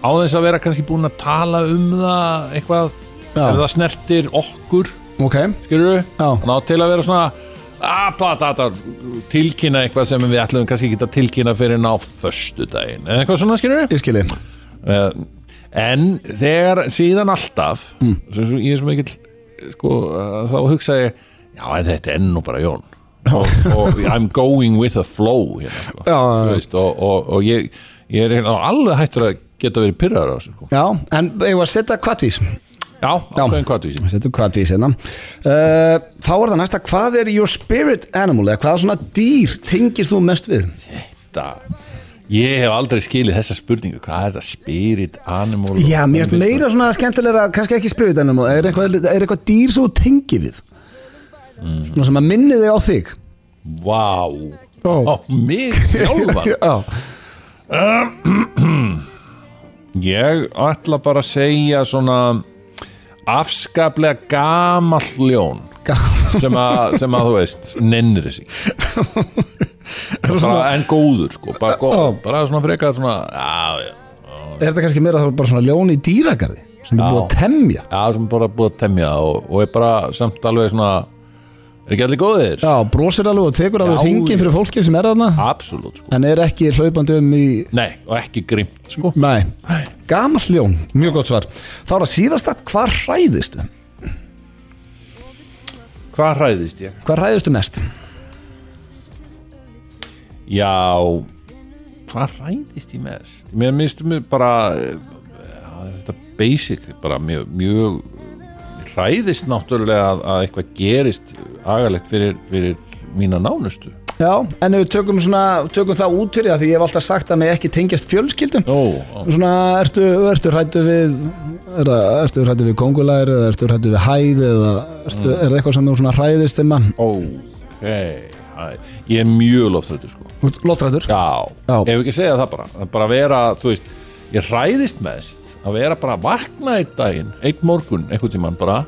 á þess að vera kannski búin að tala um það eitthvað, ef það snertir okkur ok, skilur við, Já. hann á til að vera svona ah, að plata þetta tilkynna eitthvað sem við ætlum kannski ekki að tilkynna fyrir ná föstu daginn, eitthvað svona skilur við ég skilji Eh, en þegar síðan alltaf mm. svo, svo, ég er svo mikill sko, eh, þá hugsa ég já, en þetta er nú bara Jón og, og I'm going with the flow hérna, sko. Já, já, Þú já. veist, og, og, og ég, ég er hérna alveg hættur að geta verið pyrraður á þessu sko. Já, en ég var að setja kvartvís já, ákveðin hvað því Setjum kvartvís hérna uh, Þá er það næsta, hvað er your spirit animal eða hvaða svona dýr tengist þú mest við? þetta ég hef aldrei skilið þessa spurningu hvað er þetta spirit animal Já, mér finnst meira sko. svona skemmtilega kannski ekki spirit animal, er eitthvað, er eitthvað dýr sem þú tengir við? Svona sem að minni þig á þig vá Ó. á mig sjálfan Já, ég ætla bara að segja svona afskaplega gamall ljón sem að, sem að þú veist nennir þessi bara, en góður sko bara, góð, bara svona frekar svona já, já, er þetta kannski meira þá bara svona ljón í dýragarði sem er búið að temja já, sem bara búið að temja og, og er bara samt alveg svona er ekki allir góðir? Já, brosir alveg og tekur alveg Já, hringin já. fyrir fólki sem er þarna Absolutt sko en er ekki hlaupandi um í Nei, og ekki grimt sko Nei, gamall ljón, mjög gott svar Þá er það síðasta, hvað hræðistu? Hvað hræðist ég? Hvað hræðistu mest? Já Hvað hræðist ég mest? Mér minnst mér bara eh, já, þetta basic bara mjög, mjög ég hræðist náttúrulega að, að eitthvað gerist agalegt fyrir, fyrir mína nánustu Já, en ef við tökum, svona, tökum það út fyrir það því ég hef alltaf sagt að mig ekki tengjast fjölskyldum Ó, ó. Svona, ertu, ertu hrættu við er, það- ertu hrættu við kongulær eða ertu hrættu við hæð eða ertu, er það eitthvað sem þú svona hræðist þeim að Ok hæ. Ég er mjög loftrættur sko Lóttrættur? Já, Já. ef við ekki segja það bara að bara vera, þú veist, ég hræðist mest að vera bara að vakna einn daginn einn morgun, einhvern tímann bara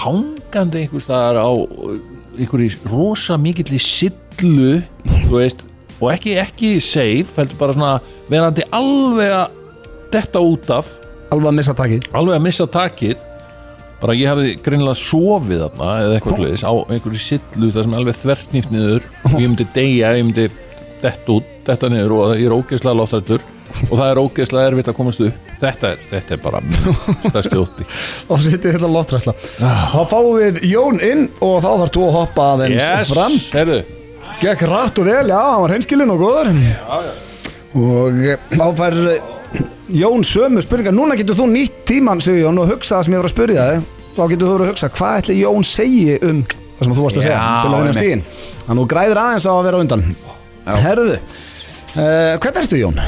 hangandi einhvers staðar á einhverju rosa mikill í sillu, þú veist og ekki, ekki safe, heldur bara svona verandi alveg að detta út af, Alveg að missa taki alveg að missa takið bara ég hafði greinilega sofið þarna eða eitthvað hlutis á einhverju sillu það sem er alveg þvertnýft niður og ég myndi deyja, ég myndi dett út, detta niður og ég er ógeðslega loftrættur og það er ógeðslega erfitt að komast upp þetta er, þetta er bara stærsti ótti og sittir þetta lóttrætla hérna Þá fáum við Jón inn og þá þarf þú að hoppa aðeins fram herru Gekk rætt og vel, já, hann var hreinskilinn og góður Og eh, þá fær eh, Jón sömu spurningar Núna getur þú nýtt tímann, segir Jón, og hugsa það sem ég var að spurja þig Þá getur þú verið að hugsa, hvað ætli Jón segi um það sem þú varst að segja Já, til að vinna einmitt. stíðin Þannig þú græðir aðeins á að vera á undan Herðu, uh, hvernig ertu Jón?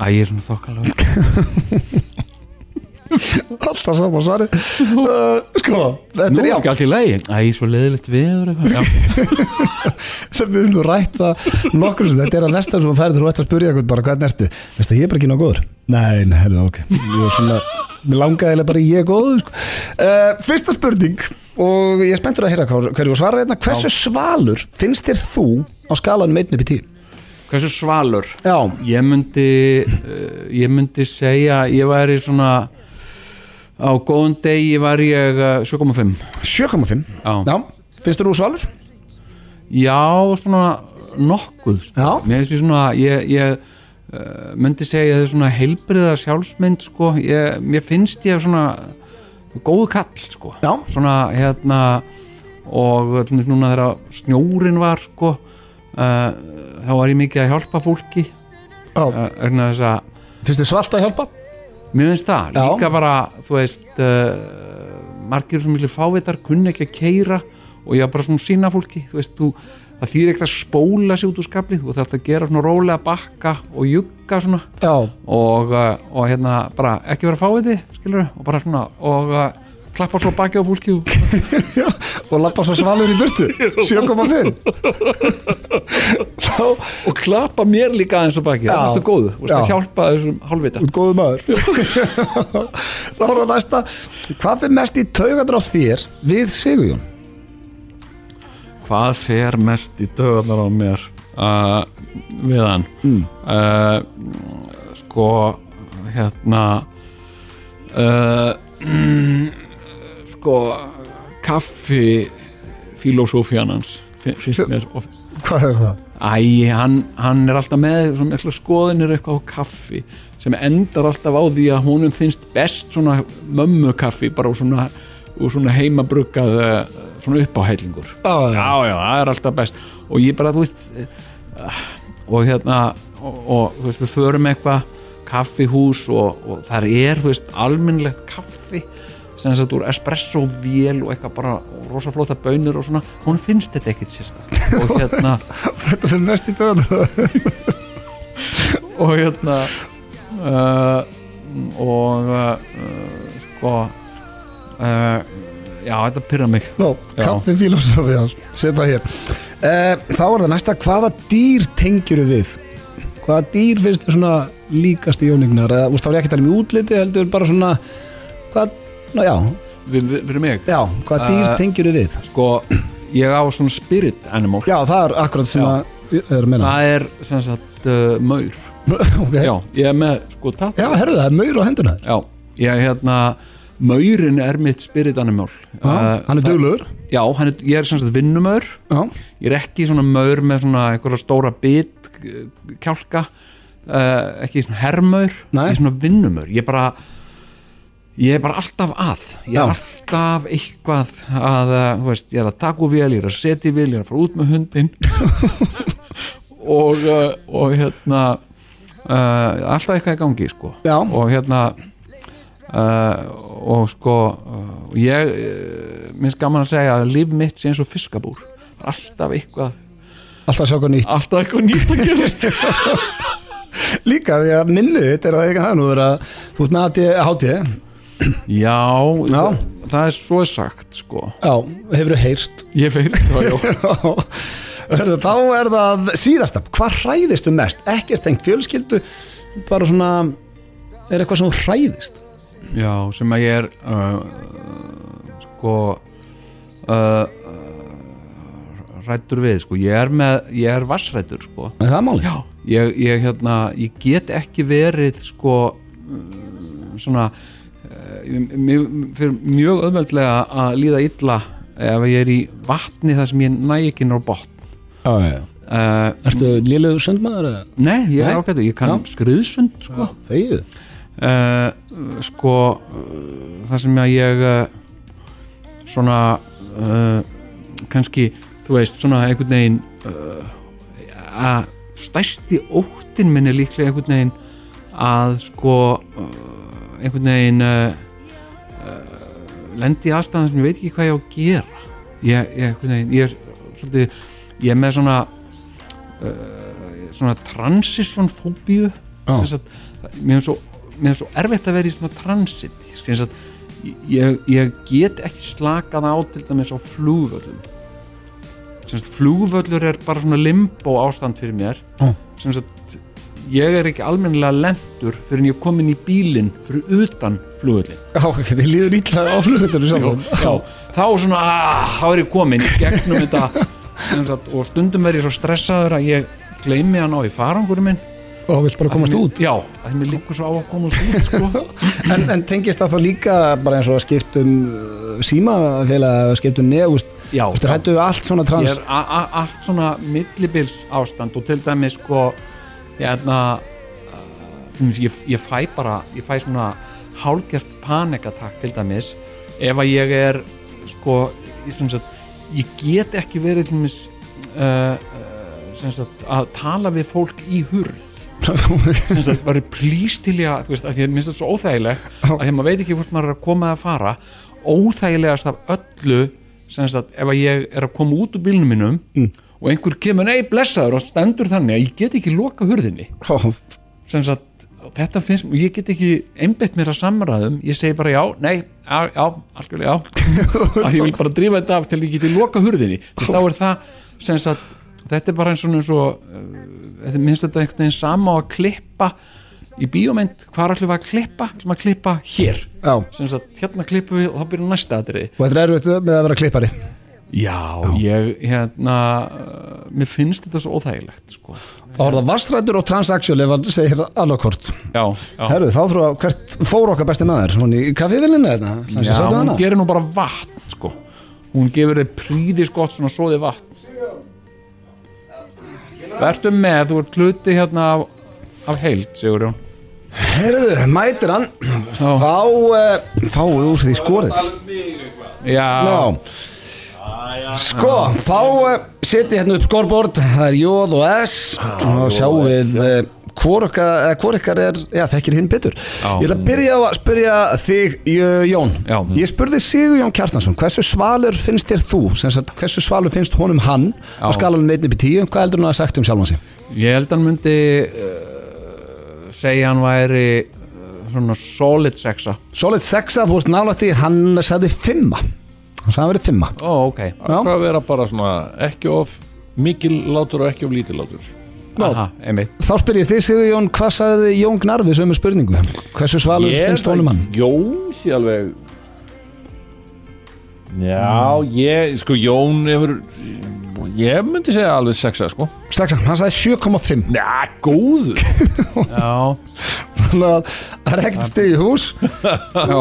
Æ, ég er svona þokkalega Alltaf saman svari uh, Sko, þetta Nú er er já ekki allt í lagi Æ, ég er svo leiðilegt viður eitthvað Já, Þegar við höfum rætt það nokkur sem þetta er að vestar sem þú færið þú ert að spyrja eitthvað bara hvernig ertu Veistu að ég er bara ekki ná góður Nei, nei, herrðu, ok Ég er svona, mér langaði eiginlega bara í ég er góður sko. uh, Fyrsta spurning og ég er spenntur að heyra hver- hverju þú svarar hérna Hversu svalur finnst þér þú á skalanum 1 upp í 10? hversu svalur Já, Ég myndi uh, ég myndi segja ég væri svona á góðum degi var ég eh, 7,5 7,5 Já. finnst þér þú svalur? Já, svona nokkuð sko. Já. Mér finnst ég svona ég, ég uh, myndi segja það er svona heilbriða sjálfsmynd sko. ég, mér finnst ég svona góðu kall sko. Já. svona hérna og til dæmis núna þegar snjórin var sko, uh, þá var ég mikið að hjálpa fólki Já, uh, vegna þess að finnst þér svalt að hjálpa? Mér finnst það, Já. líka bara þú veist uh, margir sem vilja fávitar, kunni ekki að keira og ég var bara svona að sína fólki þú veist, þú, það þýr ekkert að spóla sér út úr skaflið þú þarf að gera svona rólega bakka og jugga svona Já, og, uh, og hérna bara ekki vera fáviti, skilur og bara svona og uh, klappa svo baki á fólki og og lappa svo svalur í burtu 7,5 og klappa mér líka aðeins á baki það Já. varstu góðu, varstu að Já. hjálpa þessum hálfvita Góðu maður Þá er það næsta Hvað er mest í taugadrátt þér við Sigurjón? hvað fer mest í döðanar á mér uh, við hann uh, sko hérna uh, sko kaffi filosófían hans fin- finnst mér oft Hvað er það? Æ, hann, hann er alltaf með svona mikla skoðinir eitthvað á kaffi sem endar alltaf á því að honum finnst best svona mömmu kaffi bara úr svona, úr svona heimabruggað eh, svona uppáhællingur Já, já. já, já, það er alltaf best og ég bara, þú veist eh, og hérna og, og þú veist, við förum eitthvað kaffihús og, og þar er, þú veist, almennlegt kaffi sem þess úr espresso vél og eitthvað bara og rosa flóta bönur og svona, hún finnst þetta ekkit sérstætt og hérna Þetta er mest í taugadrátt og hérna uh, og uh, sko uh, já, þetta pyrra mig Ná, Já. kaffi filosofi hans Seta hér Eh, Þá er það næsta Hvaða dýr tengjur við? Hvaða dýr finnst þér svona líkast í jónignar? Eða, úst, þá er ég ekki að tala um í útliti heldur bara svona Hvað, ná já, við, við, fyrir mig, já Hvaða dýr Eh, tengjur við? sko ég á svona spirit animal Já, það er akkurat sem Já. að ég er að meina það er sem sagt uh, maur okay. já, ég er með sko tatt Já, herðu það, er maur á hendina þér já, ég hérna maurin er mitt spirit animal Já, Eh, Hann er það- duglegur já, hann er, ég er sem sagt vinnumaur Já, ég er ekki svona maur með svona einhverja stóra bit eh, kjálka uh, ekki svona hermaur Nei. ég er svona vinnumaur ég er bara ég er bara alltaf að ég Já. er alltaf eitthvað að eh, þú veist, ég er að taka úr vél, ég er að setja í vél ég er að fara út með hundin og, uh, og hérna uh, alltaf eitthvað í gangi sko Já. og hérna uh, og sko uh, ég uh, minnst gaman að segja að líf mitt sé eins og fiskabúr alltaf eitthvað alltaf að sjá hvað nýtt alltaf eitthvað nýtt að gerast Líka því að minnið þitt er að ekki það nú vera Þú ert með HT Já, já, Já. Það, það er svo sagt sko hefur þú heyrst ég fyrir það já Herðu, Þá er það síðasta Hvað hræðist þú mest? Ekki stengt fjölskyldu Bara svona Er eitthvað sem þú hræðist? já, sem að ég er uh, sko uh, rættur við sko ég er, með, ég er vassrættur sko Er það máli? Já, ég, ég, hérna, ég get ekki verið sko mm, svona eh, mér fyrir mjög öðmöldlega að líða illa ef ég er í vatni þar sem ég næ ekki náður botn já, já uh, Ertu lélugur söndmaður? eða? Nei, ég Nei. er ágættu, ég kann Já. skriðsund sko, Þegið uh, sko eh, þar sem að ég uh, svona uh, kannski, þú veist, svona einhvern veginn eh, að stærsti óttin minn er líklega einhvern veginn að sko uh, einhvern veginn uh, uh, lendi í aðstæðan sem ég veit ekki hvað ég á að gera ég, ég, einhvern veginn, ég er svolítið, ég er með svona uh, svona transition fóbíu Já. sem sagt, mér er svo mér er svo erfitt að vera í svona transit sem sagt, ég, ég get ekki slakað á til dæmis á flugvöllum semst flugvöllur er bara svona limbo ástand fyrir mér Já. semst ég er ekki almennilega lentur fyrir en ég er komin í bílinn fyrir utan flugvöllin Já, ok, þið líður illa á flugvöldinu saman já, þá svona ah, þá er ég komin í gegnum þetta semst, og stundum er ég svo stressaður að ég gleymi að ná í farangurum minn Og vilt bara komast út já, að því mér líkur svo á að komast út sko. en, en tengist það þá líka bara eins og að skiptum uh, um símafélag, skiptum nefust já, Þú hættu allt svona ég trans er a- a- allt svona millibils ástand og til dæmis sko hérna uh, til dæmis, ég, ég fæ bara ég fæ svona hálgert panikatak til dæmis ef að ég er sko ég, sem sagt, ég get ekki verið til dæmis uh, uh, sem sagt, að tala við fólk í hurð sem sagt bara plís til ég að þú veist, að því að minnst það svo óþægileg að því að maður veit ekki hvort maður er að koma eða fara óþægilegast af öllu sem sagt, ef að ég er að koma út úr bílnum mínum og einhver kemur, nei, blessaður og stendur þannig að ég get ekki loka hurðinni Ó, sem sagt, þetta finnst og ég get ekki einbett mér að samræðum ég segi bara já, nei, já, já algjörlega já, að ég vil bara drífa þetta af til ég geti loka hurðinni því þá er það sem sagt þetta er bara eins og, eins og uh, minnst þetta einhvern veginn sama á að klippa í bíómynd, hvað ætlum við að klippa ætlum við að klippa hér Já. sem sagt hérna klippum við og þá byrjum næsta atriði Og þetta er erfitt með að vera klippari já, ég hérna uh, mér finnst þetta svo óþægilegt sko. Það voru það vastrættur og transaksjól ef hann segir alvegkort já, já, Herru, þá þrú að hvert fór okkar besti maður Hún í kaffivillinni þetta Ætlaði já að setja hún hana? gerir nú bara vatn sko. hún gefur þið príðis gott svona svoði vatn verður með, þú ert hluti hérna af, af heild, Sigurjón Herru, mætir hann Fá, uh, fáu úr því skorið Já, Já Sko, þá uh, setjum hérna upp skorbord Það er jóð og S og sjáum við uh, hvor okkar, eh, hvor ykkar er, já þekkir hinn betur Ég ætla að byrja á að spyrja þig Jö- Jón, Já. ég spurði Sigur Jón Kjartansson hversu svalur finnst þér þú sem sagt, hversu svalur finnst honum hann á skalanum 1 upp í 10, hvað heldur hann að hafa sagt um sjálfan sig? ég held hann myndi uh, segja hann væri uh, svona solid sexa Solid 6 að þú veist nálætti, hann sagði 5 hann sagði hann verið 5 Ó, ok Já. Hvað að vera bara svona ekki of mikil látur og ekki of lítil látur Aha, einmitt Þá spyr ég þig Sigur Jón, hvað sagði Jón Gnarfi sömu spurningu? Hversu svalur finnst honum hann? Jón sé alveg Já, ég, sko Jón hefur Ég myndi segja alveg sexa, sko Sexa, hann sagði 7,5 Já, góður Já, Þannig að það er ekkert stið í hús já,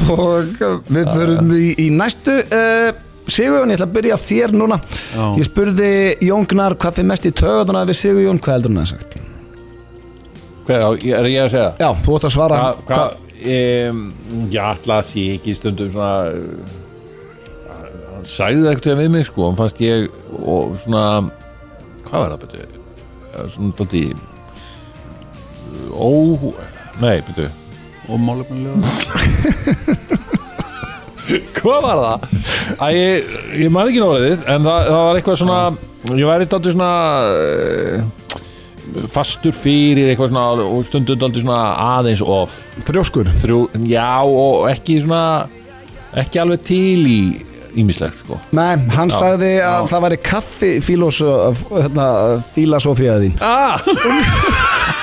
Og uh, við förum í, í næstu uh, Sigurjón, ég ætla að byrja á þér núna Já. Ég spurði Jón Gnar hvað fyrir mest í töðuna við Sigurjón Hvað heldur hann að hafa sagt? Hvað, á- er ég að segja? Já, þú ætti að svara Hva, hva, um, ég ætla að sé ekki stundum svona uh, hann sagði það eitthvað við mig sko hann fannst ég og svona hvað var það betur Eh, svona dótti ó, nei betur og málefnilega hvað var það? Æ, ég, ég man ekki náriðið en það, það var eitthvað svona ég væri dótti svona uh, fastur fyrir eitthvað svona og stundum dótti svona aðeins of Þrjóskur þrjú, já og ekki svona ekki alveg til í ímislegt sko Nei, hann sagði að það væri kaffi hérna, fílasofíaði þín ah!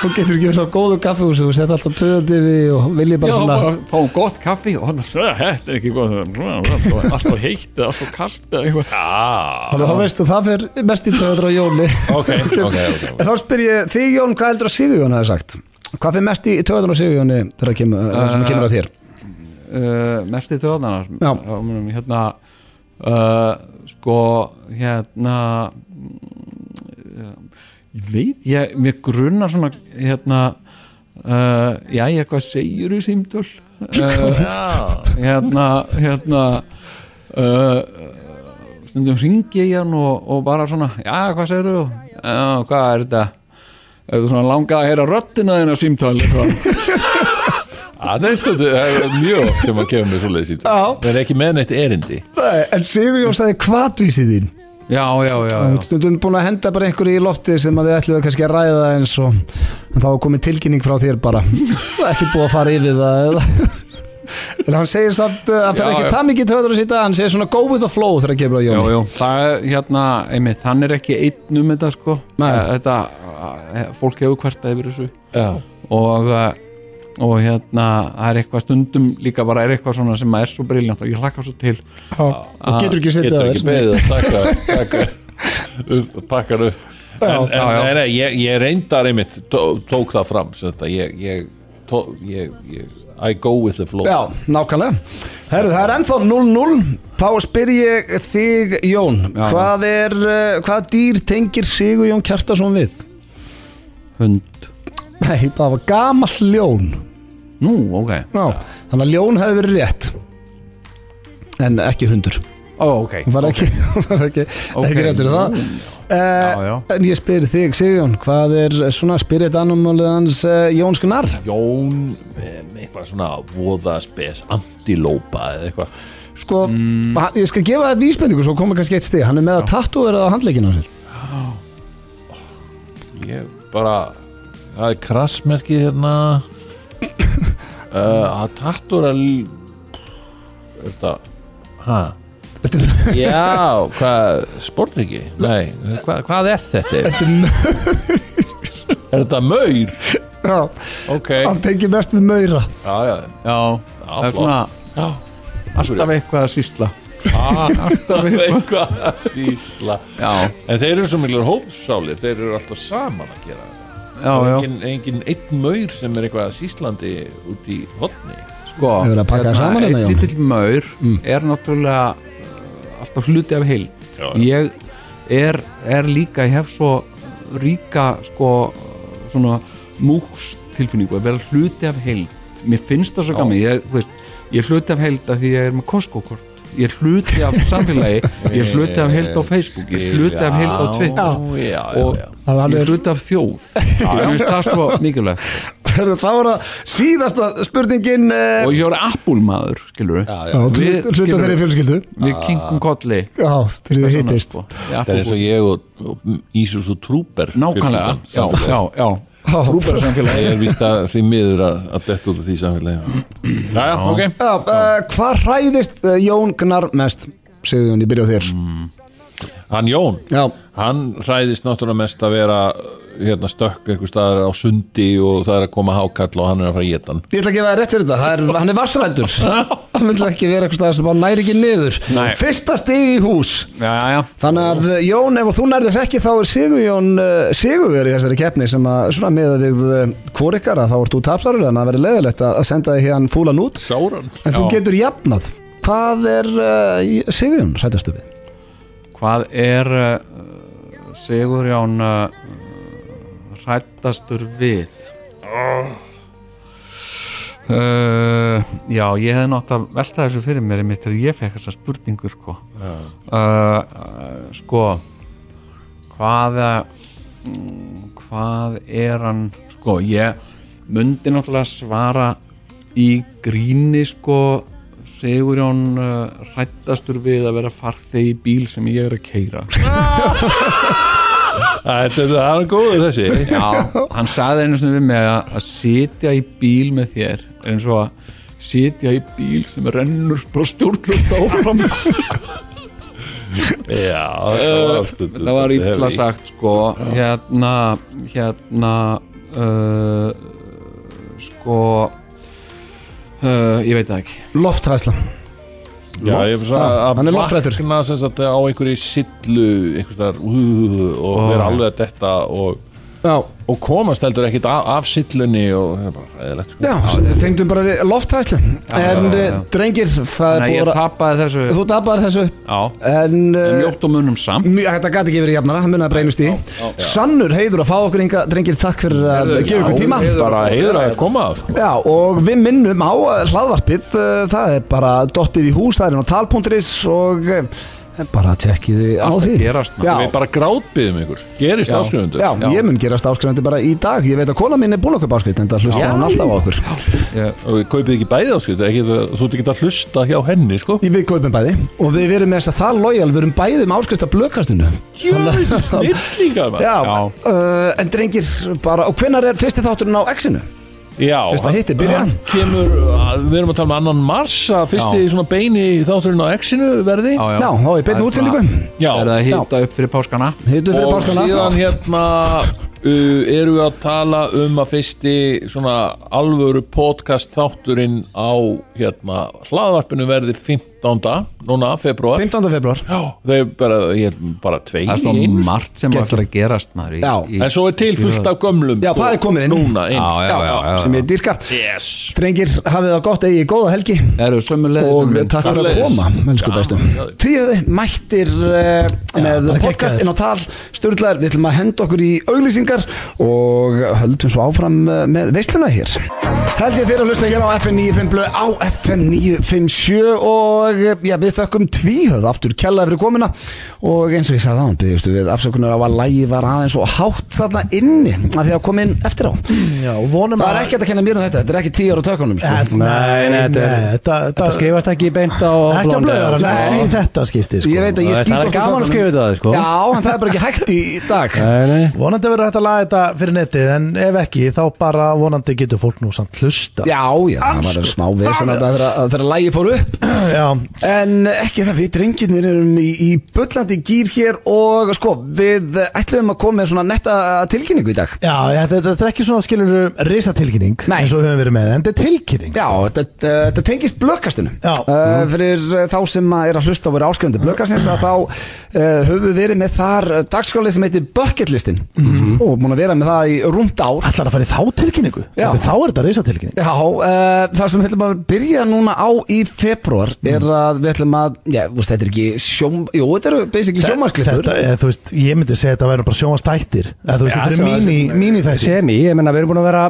Þú getur ekki verið á góðu kaffi þú sett alltaf töðandi við og viljið bara Já, svona bara fá gott kaffi og hann Þetta er ekki góð Alltaf heitt eða alltaf kalt eða eitthvað Þannig að þá veistu það fyrir mest í töður á Jóni ok, ok, ok En þá spyr ég þig Jón, hvað heldur að Sigurjón hafi sagt? Hvað fyrir mest í töður á Sigurjóni þegar kemur, uh, sem kemur að þér? uh, mest í töðanar Já. hérna uh, sko hérna mm, ég veit ég, mér grunnar svona hérna uh, já, ég eitthvað segir í símtöl uh, hérna hérna uh, stundum ringi ég hann og, og bara svona, já, hvað segir þú? Já, hvað er þetta? Er þetta svona langað að heyra röddina þín á símtöl eitthvað? það er stundu, sko, það er mjög oft sem að gefa mér svoleiðis í Já. það er ekki með neitt erindi Nei, Eh, en Sigurjón sagði hvatvísið þín Já, já, já, já. Þú stundum búin að henda bara einhverju í lofti sem að þið ætluðu kannski að ræða eins og en þá er komið tilkynning frá þér bara ekki búið að fara yfir það eða En hann segir samt uh, hann fer Já, ekki já. það mikið töður að sýta hann segir svona go with the flow þegar kemur að Jú, Jóni jú, það er hérna, einmitt, hann er ekki einn um þetta sko Nei. Eh, Þetta, eh, fólk hefur hvertað yfir þessu og, eh, og hérna, það er eitthvað stundum líka bara er eitthvað svona sem er svo briljant og ég hlakka svo til Já, og getur ekki setið Ah, getur að ekki beðið að taka, taka upp, pakka hann upp en, en Já, já. Nei, nei, ég, ég reyndar einmitt tó, tók það fram sem þetta, ég, ég, tó, ég, ég I go with the flow Já, nákvæmlega Herðu, það er ennþá 0-0 Þá spyr ég þig, Jón Já. Hvað er, uh, hvaða dýr tengir Sigur Jón Kjartason við? hund Nei, það var gamall ljón Nú, ok, Já, þannig að ljón hefði verið rétt En ekki hundur ó, ok Hún var ekki, hún var ekki, Ok. ekki réttur í það Já, Uh, já. en ég spyr þig, Sigjón, hvað er eh, svona spirit animalið hans uh, Jónskunar? Jón, eh, eitthvað svona voðaspes, antilópa eða eitthvað Sko, Mm. hann, ég skal gefa það vísbendingu svo komið kannski eitt stig, hann er með að tattúverða á handleikinu á sér Ég bara Það er krassmerkið hérna Eh, uh, Að tattur að l- Er þetta Hæ Þetta er- Já, hvað, sportryggi? Nei, hva, hvað er þetta? þetta er mjög Er þetta maur? Já, Ok, hann tengir mest við maura já, já, já, Ah. það flott. er svona já alltaf eitthvað að sýsla Það er eitthvað að sýsla já, En þeir eru svo miklu hópsálir Þeir eru alltaf saman að gera þetta já, Það er já, engin, engin einn maur sem er eitthvað sýslandi út í hotni sko Hefur það pakkað saman hérna, einn Jón? Mm. lítill maur er náttúrulega uh, alltaf hluti af heild Já, já. ég er, er líka ég hef svo ríka sko uh, svona múks tilfinningu að vera hluti af heild mér finnst það svo gaman ég, þú veist, ég er hluti af heild af því ég er með Costco-kort ég er hluti af samfélagi ég er hluti af heild á Facebook ég er hluti af heild á Twitter Já, já, og já ég er hluti af þjóð ég finnst það svo mikilvægt Herðu, þá er það síðasta spurningin eh, og ég er appulmaður, skilur við Já, Við- hluta hluta þeirri fjölskyldu við kinkum kolli Já, þegar þið hittist sko. Það er eins og ég og, og Ísus og Trúber nákvæmlega, já, já, já Trúber samfélagi er víst að því miður að, að detta út af því samfélagi Já, já, ok Já, uh, hvað hræðist uh, Jón Gnar mest? Segðu hún, ég byrja á þér Mm. Hann Jón, Já, hann hræðist náttúrulega mest að vera uh, hérna, stökk einhver staðar á sundi og það er að koma hákall og hann er að fara að geta hann ég ætla að gefa þér rétt fyrir þetta Það er, Hann er vassrættur Hann vil ekki vera eitthvað staðar sem hann næri ekki niður Nei. Fyrsta stig í hús já, já, já. Þannig að uh, Jón, ef þú nærðis ekki þá er Sigurjón uh, Sigurjón í þessari keppni sem að svona með að við uh, hvor ykkar að þá ert þú tapsarur þannig að verði leiðilegt að að senda þig hérna fúlan út Sáran en þú getur jafnað Hvað er uh, Sigurjón hrættastu við? hvað er uh, Sigurjón uh, rættastur við uh, já, ég hefði nátt að velta þessu fyrir mér einmitt þegar ég fekk þessa spurningu sko, uh, uh, sko hvað uh, mm, hvað er hann sko, ég myndi náttúrulega svara í gríni sko Sigurjón uh, rættastur við að vera farþeg í bíl sem ég er að keira Þetta er hann góður þessi Já, hann sagði einu svona við mig að, að sitja í bíl með þér er eins og að sitja í bíl sem rennur bara stjórnlust áfram Já, það var allt- það var illa sagt sko hérna hérna uh, sko uh, ég veit það ekki Lofthræðslan Já, ég fyrir að að Hann er loftrættur. vakna sem sagt á einhverju sillu einhvers staðar, uh, og vera alveg að detta og, Já, og komast heldur ekkit af, af sillunni og það er bara ræðilegt sko. já tengdum bara við lofthræðslu En já, já, eh, já. drengir, það er þannig að búið ég að tapaði þessu Þú tapar þessu já, En eh, mjótt og munum samt mjög- Þetta gæti ekki verið jafnara, hann munið að breynust í Sannur heiður að fá okkur inga Drengir, takk fyrir að gefa ykkur tíma bara heiður að koma sko. Já, og við minnum á eh, hlaðvarpið, eh, það er bara dottið í hús, það er inn á tal.is og eh, bara tekkið þið á Allt að því. gerast, maður. já, við bara grátbyðum ykkur gerist Já. áskrifundur já, ég mun gerast áskrifandi bara í dag, ég veit að kona mín er búin okkur áskrift, en það hlusta hann alltaf á okkur. og við kaupið ekki bæði áskrift ekki, þú þú ert ekki að hlusta hjá henni sko. Í Við kaupum bæði og við verum með þess að það lojal, við verum bæði með áskrift af blökastinu. ég er þessi snillinga maður. Já, Já. Uh, en drengir, bara, og hvenar er fyrsti þátturinn á X-inu? Já, Fyrsta hann- hitti, byrja. hann kemur, að- Við erum að tala um annan mars að fyrsti svona beini þátturinn á X-inu verði já, Já, þá er beinni útsendingu, Já. er það að hýta upp fyrir páskana hittu fyrir og páskana. síðan hérna uh, erum við að tala um að fyrsti svona alvöru podcast þátturinn á hérna hlaðvarpinu verði 15. núna, februar 15. februar. Já, þau bara, ég er bara tvei það er í einu. svo margt sem Geggjað. ætlar að gerast maður í, Já. í, en svo er til fullt af gömlum Já, sko, það er komið inn. núna inn. Já, já, já, já, sem ég dýrka. Yes. Drengir, hafið það gott, eigið góða helgi. eru sömulegðis og takk fyrir að Sömuleiðis. koma mennsku Já, bestu já. Tvíöði mættir uh, með bara podcast geggjaðir. inn á tal Sturlaður, við ætlum að henda okkur í auglýsingar og höldum svo áfram eh, með veisluna hér Held ég þeirra að hlusta hér á FM 95 blöð á FM 957 og eh, já, við þökkum tvíhöð aftur kjallaði fyrir komuna og eins og ég sagði á hann, byggjumstu við afsökunar á að lægi var aðeins og hátt þarna inni af því að koma inn eftir á Já, og vonum það er að- ekki hægt að kenna mér um þetta, þetta er ekki tíu ára tökunum sko. Eh, Nei, nei, þetta er- þetta Þetta skrifast ekki beint á sko. Ekki sko. að blóðan blöða, eða- nei, í þetta skipti sko. ég veit að Það ég er- skýt það er oft úr gaman að tökunum. skrifa þetta, sko. já, en það er bara ekki hægt í í dag Nei, nei Vonandi verður hægt að laga þetta fyrir netið en ef ekki þá bara vonandi getur fólk nú samt hlusta já, já, það var smá vesen að þegar lægi fór upp Já, En ekki það, við drenginir erum í, í bullandi gýr hér og sko, við ætlum að koma með svona netta tilkynningu í dag já þetta, þetta er ekki svona skilur risatilkynning Nei. eins og við höfum verið með en þetta er tilkynning Já, þetta, þetta tengist blökkastinu Já. uh, Fyrir uh, þá sem að er að hlusta og vera áskjöndi blökkastins að þá uh, höfum við verið með þar uh, dagskálið sem heitir Bucketlistin Mhm. og múin að vera með það í rúmt ár Ætlar að fara í þá tilkynningu? Já. Þetta- Þá er þetta risatilkynning Já, uh, það sem við ætlum að byrja núna á í februar er að við ætlum að, já, þú veist, þetta er ekki sjóm, jú, þetta eru basically sjómarklippur Þetta, eða, þú veist, ég myndi segja að þetta væri bara sjónastættir eða, þú veist, Já, Þetta svo- er mín, mín í þessi Semi, ég menna við erum búin að vera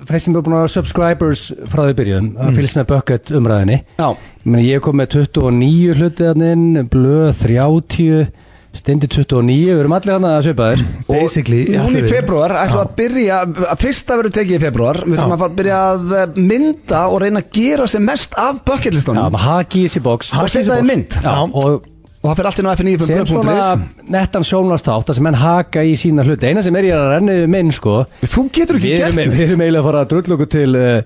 þeir sem eru búin að vera subscribers frá því byrjun að fylgst með Bucket umræðinni Já. Meni, ég kom með 29 hluti hlutininn, blöð 30 stendi 29, við erum allir hann að svipaðir Basically, já, Núna í þið- februar ætlum við að byrja að fyrsta verður tekið í februar við ætlum Já. að fara að byrja að eh, mynda og reyna að gera sem mest af Já, bucketlistanum maður haki í þessi box og setja það í mynd Já, og og það fyrir allt inn á sem svona fni.blöð.is nettan sjónlastátt það sem henn haka í sína hluti eina sem er ég að renna yfir minn sko Þú getur ekki við gert erum, við erum eiginlega að fara að drull okkur til uh,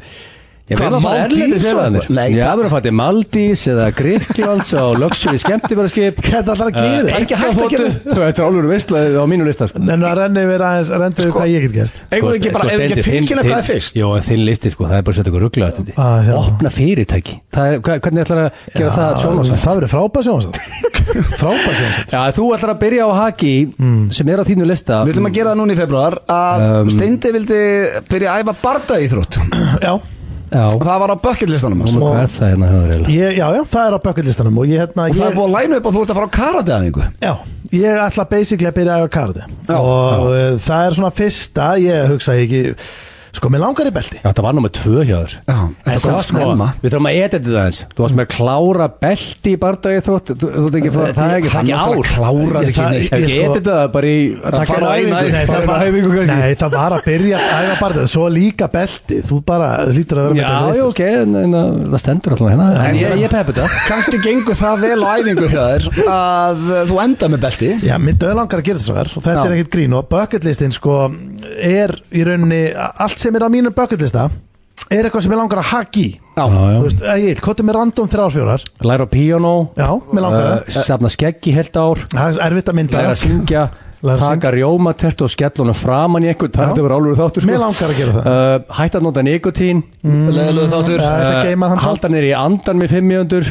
Ég Hvað, vil að fara Maldís og erlendis eða þannig eitthvað? Nei, Já, það- við erum að fara til Maldís eða Gríklands á Luxury skemmtifæraskip Þetta ætlar að gera Það er ekki hægt að gera Þú þú veit, álur veistlaði á mínu lista sko. En að renni við aðeins að renni við Sko- hvað ég get gert Eigum við ekki bara, ef við ekki Steindi, tilkynna þinn- hvað er fyrst Jó, en þinn listi, sko, það er bara að setja ykkur ruggla Ah, já. Opna fyrirtæki Það er, hva- Hvernig ætlar að gera Já, það sjónvarsvætt? Það verður frábær sjónastætt Frábær sjónastætt Já, þú ætlar að byrja á haki Mm. sem er á þínu lista Við ætlum að gera það núna í februar að Steindi vildi byrja að æfa barda í þrótt Já, Já, Það var á bucketlistanum hans Númer, hvað er það hérna höfður eiginlega? ég, já, já, það er á bucketlistanum og ég, hérna, Og það er ég, búið að læna upp og þú ert að fara á karateðingu Já, ég ætla basically að byrja að æfa karate Já. og já. það er svona fyrsta ég hugsa ekki, sko, mér langar í belti Já, það var nummer tvö hjá þér Já, En þetta það kom var sko, snemma. Við þurfum að edita það eins Þú varst með klára belti í bardagi þrótt þú- þú ert ekki frá- Það er ekki, það er ekki ár klárar Ég- ekki það- neitt Ég Ég, sko- edita það bara í að taka fara á eina eina æfingu. æfingu. Fara það á var, æfingu kannski. nei, það var að byrja að æfa barðið, svo líka belti þú bara, þú lítur að vera með Já, þetta já, leið. ok, en, en það það stendur alltaf hérna En ég, ég peppu það Kannski gengur það vel á æfingu hjá þér að eh, þú enda með belti Já, minn döð langar að gera þetta svo og Já. þetta er ekkit grín og bucketlistin sko er í rauninni, allt sem er á mínu bucketlista er eitthvað sem ég langar að haki Já, Þú veist, eh, Egil, hvað er mér random þrjár fjórar? Læra á píónó Já, mér langar uh, það Safna skeggi heilt ár Það er erfitt að mynda Læra að syngja Læra að Taka rjómatert og skella honum framan í einhvern Það Já. er þetta verið álur þáttur sko. Mér langar að gera það. uh, Hætt að nota nikotín leðilegu þáttur Já, þetta uh, geima þann Halda nýr í andan með fimmjöndur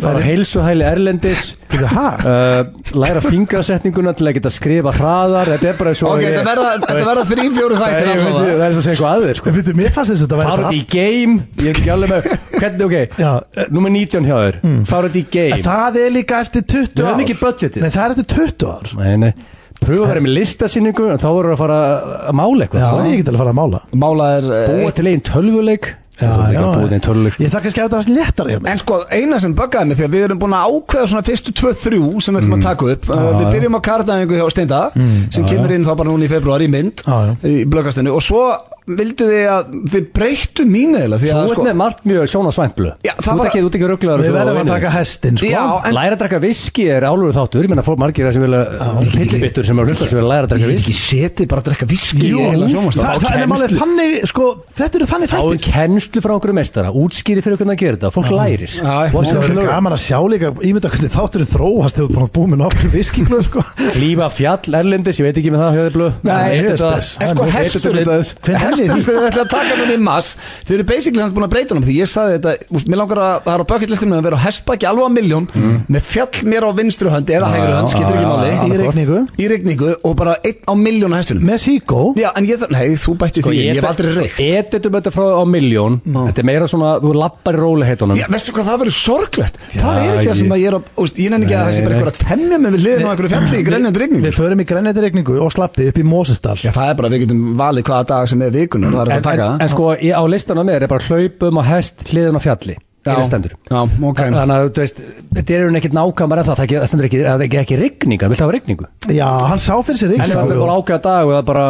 Fara heilsuhæli erlendis Bíddu, ha? uh, Læra fingrasetninguna til að geta skrifa hraðar Þetta er bara svo Ok, þetta verða, þetta verða þrín, fjóru Það þættir er allavega. það er svo að segja eitthvað aðeins En veitum, Eh, mér fannst þess að þetta væri Fara út í game Ég er ekki alveg með Hvernig, Já. Mm. ok, nummer 19 hjá þér Fara út í En game Það er líka eftir 20 Við ár höfum ekki budgetið. Nei, það er eftir 20 ár Nei, nei Pröfa að vera með listasýningu en Þá voru að fara að mála Já, eitthvað ég get alveg að fara að mála Mála er eh, Búa til einn tölvuleik Já, Það er ekki já, að búa til einn tölvuleik sko. Ég þakka að skæða það léttara hjá mig En sko, eina sem buggaði mig því að við erum búin að ákveða svona fyrstu 2-3 sem við ætlum að taka upp uh, Við byrjum á kardæfingu hjá Steinda sem kemur inn þá bara núna í februar í mynd Já, já. í blöggastinu og svo vildu þið að þið breyttu mínu eða því Þú að ert sko með margt mjög sjónasvæntblu Já, það Þú ert var- ekki, þú ert ekki rugglaður Við verðum að taka hestin, sko Já, en Læra að drakka viski er álur þáttur Ég menna fólk margir sem vilja Fyllibittur sem er hlusta sem vilja læra að drakka Ég viski ekki seti bara að drekka viski Jú, í heila sjónvarpsþátt. það, það er málið þannig, sko, þetta eru þannig Á þættir kennslu frá okkur meistara Útskýri fyrir okkur að gera þetta Fólk lærir Já, Og það Watch er your- gaman að sjá líka, ímynda hvernig þátturinn þróast hefur bara búið með nokkur viskinglu, sko Lífa fjall erlendis Ég veit ekki með það hjá þér blöð Nei, þetta er þetta- spes. En sko Þetta- hesturinn Hver er Hesturinn því? sem þið ætla að taka núna í mass Þið eru basically hans búin að breyta honum Því ég saði þetta úst, Mér langar að það er á bucketlistum að vera á hestbakki alveg á milljón Með fjall mér á vinstru hönd Eða hægri hönd, skiptir já, ekki máli Í regningu Í regningu og bara einn á milljón á hestunum Með síkó Já, en ég þarf Nei, þú bætti Sko, því ég Ég hef aldrei reykt Editum þetta frá á miljón Þetta er meira svona, þú lappar í róliheitunum Já, veistu hvað, það verður sorglegt Það er ekki það sem að ég er að úst, Ég nenni ekki að það sé bara eitthvað að temja mig við liðin á einhverju fjalli í grænjandi regningu Við förum í grænætti regningu og slappi upp í Mósestal Já, það er bara að við getum valið hvaða dag sem er vikunar Það er En, að taka en, en sko, ég, á listanum er, er bara hlaupum á hest hliðin á fjalli það Hér stendur Já, ok Þannig að þú veist, þetta er hún ekkert nákvæmar en það, það, ge- það stendur ekki, það er ekki rigningar, vill það hafa rigningu? Já, hann sá fyrir sér En ef það er bara ákveða dag og það er bara,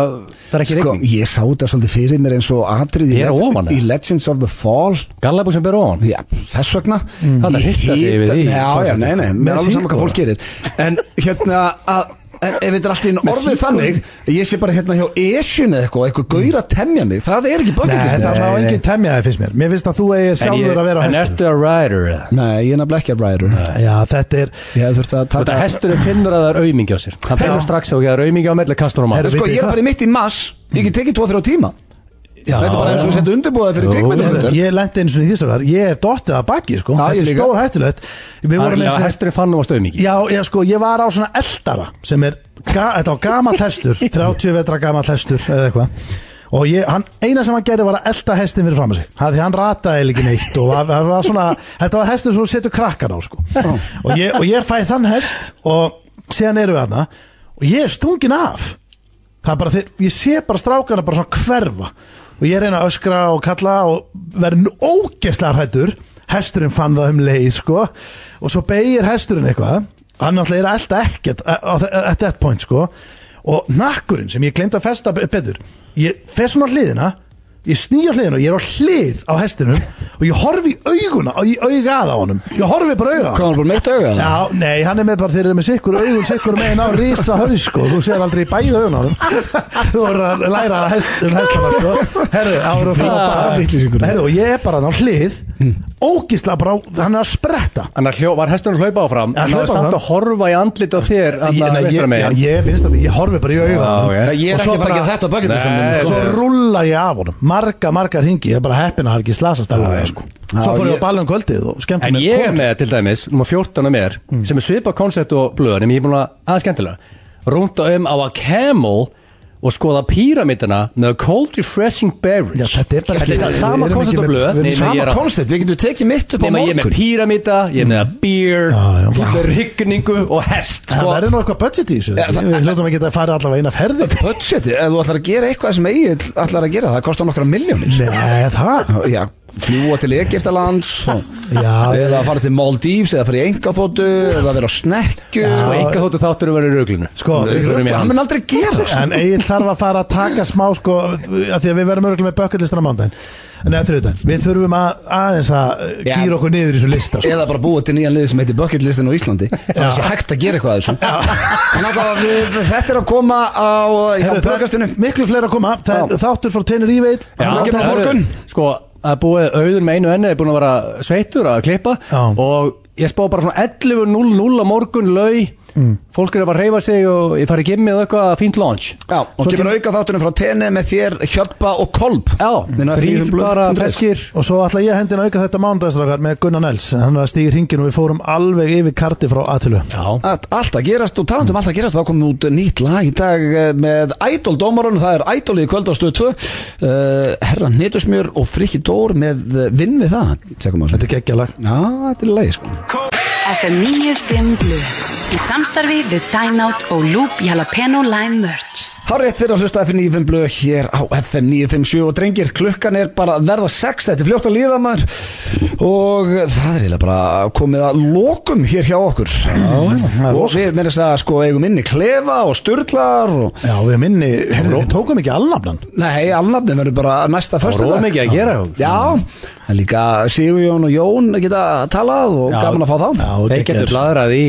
það er ekki Sko, rigning. ég sá þetta svolítið fyrir mér eins og atrið í, Ég er ofan, í eða? Legends of the Fall Gallabú sem ber ofan. Já, þess vegna mm. Þarna hrista sig yfir því. Já, já, nei, nei, Með með alveg saman hvað síkóra. fólk gerir En hérna að En ef þetta er allt í einu orðið þannig að ég sé bara hérna hjá Esjun eða eitthvað eitthvað gaur að temja mig, það er ekki Nei, það bökkindist er alveg engin temjaði finnst mér Mér finnst að þú eigi En ég- sjálfur að vera á En hestur ertu að rider eða? Nei, ég er nefnilega ekki að ræður Já, þetta er Ég hef þurft að Og þetta taka hesturinn finnur að það er aumingi á sér. Hann finnur strax að það er aumingi á melli kastur og Herru, maður. Sko, vitið ég er hvað? bara í mitt í mass, ég get tekið 2-3 tíma Já, Þetta er bara eins og já. við setja undirbúða fyrir Jú. kvikmyndafundur Ég lendi eins og í því sem var Ég er dottið að baki, sko Já, Þetta ég er líka. stór hættulegt Við vorum Þannig eins að og hesturinn fann nú að aumingi. Já, já, sko, ég var á svona eldara sem er, ga, þetta á gamall hestur 30 vetra gamall hestur eða eitthvað og ég, hann, eina sem hann gerði var að elda hestin fyrir fram að sig, það því hann rataði eiginlega ekki neitt og það það var svona, þetta var hestur sem þú setur krakkan á sko og ég, og ég fæ þann hest og síðan erum við aðna og ég er stungin af það er bara þeir, ég sé bara strákana bara svona hverfa og ég reyna að öskra og kalla og verði ógeðslega hættur hesturinn fann það um leið sko og svo beigir hesturinn eitthvað hann alltaf er alltaf ekkert eh, á- á- at that point sko og nakkurinn sem ég glemt að festa be- betur ég fer svona á hliðina ég snýja hliðina og ég er á hlið á hestinum og ég horfi í auguna og ég augað á honum, ég horfi bara augað á honum Komum bara meitt auga það? Já, nei, hann er með bara þeir eru með sikkur augun, sikkur um megin á rísa haus sko, þú sér aldrei í bæði augun á þeim þú voru að læra að hest, um hestana sko, herru, ára og Það er vitleysingur. frábæð herru, og ég er bara hann á hlið ógisla bara, á- hann er að spretta Þannig að hljó- var hesturinn að hlaupa áfram, Já, en það hlaupa var samt áfram. að horfa í andlit á þér, ég, þannig nei, að ég, vestra já, megin. ég, vinstra megin, ég horfi bara í augun á honum. Já, ok. Ég Og er ekki svo bara bara- að gera þetta á sko. Nei, bökkindistum svo Nei. rulla ég af honum marga, marga ringi, ég er bara heppin að hafa ekki slasast alveg, sko. svo fór ég á ballum kvöldið og skemmtum En ég er með til dæmis, nummer 14 af mér Mm. sem er svipa koncept og blöðan en ég er búin að aðeins skemmtilega rúnda um á að camel og skoða píramidina með cold refreshing beverage Já, þetta er bara ekki- það við sama erum koncept ekki og með- við blöð erum nema ég Sama er að- koncept, við getum tekið mitt upp á nema ég er með morgun píramida, ég er með beer Mm. Já, já. ég er með rigningu og hest það sko. verður nú eitthvað budget í þessu Já, það- við hljóðum að geta að fara allavega eina ferði Budgeti, ef þú ætlar að gera eitthvað sem Egil ætlar að gera, það kostar nokkra miljónir Nei, það Já, fljúa til Egiptalands og- Já, eða fara til Maldives eða fara í engaþóttu eða vera á snekju og enga þóttu þáttur sko, verður í rauglinu Sko, Rugl í Það hann. mun aldrei gerast En Egil þarf að fara að taka smá sko, að því að við verðum örgulega með bökkallistana mándaginn Nei, þriðudaginn, við þurfum að aðeins að eh, Já. gýra okkur niður í þessu lista sko. eða bara búa til nýjan lið sem heitir Bucket Listin á Íslandi það Já. er svo hægt að gera eitthvað að þessu en alltaf að við, þetta er að koma á, á Heyrðu, það blöggastinu er miklu fleira að koma Það er þáttur frá tennir íveit Já, Hann er ekki með það eru- morgun. Sko, að búið auðun með einu enni er búin að vera sveitur að klippa Já. og ég spá bara svona 11.00 á morgun lau fólk er að fara að reyfa sig og ég fari í gimmi og eitthvað fínt launch Já, og Svo kemur kemur- auka þáttunum frá tenni með þér, Hjörpa og Kolb Já, Nú er þrýr því blöð- bara blöð- freskir Og svo ætla ég að hendina auka þetta mándagstrakar með Gunnar Nels Hann er að stíga hringin og við fórum alveg yfir karti frá Atilu Já, Allt allt að gerast og talandum um allt að gerast þá komum út nýtt lag í dag eh, með Idol dómarun, það er Idol í kvöld á stöð 2 uh, Herran Nýtusmjör og Frikki Dór með eh, vinn við það Tekum á þessu. Þetta er geggjalag Já, þetta er lagi sko FM 95 Blu Í samstarfi við Dine Out og Loop Jalapeno Lime Merch Hárið þeirra að hlusta FM 95 blöð hér á FM 957 og drengir klukkan er bara að verða 6 þetta er fljótt að líða maður og það er eiginlega bara komið að lokum hér hjá okkur er og við meira þess að sko eigum inni klefa og sturglar og Já, við minni, heyrðu, við tókum ekki alnafnan nei, alnafni verður bara næsta það föstudag er mikið að gera Já, en líka Sigurjón og Jón geta talað og Já. gaman að fá þá Já, Þeir geggjaður. getur bladrað í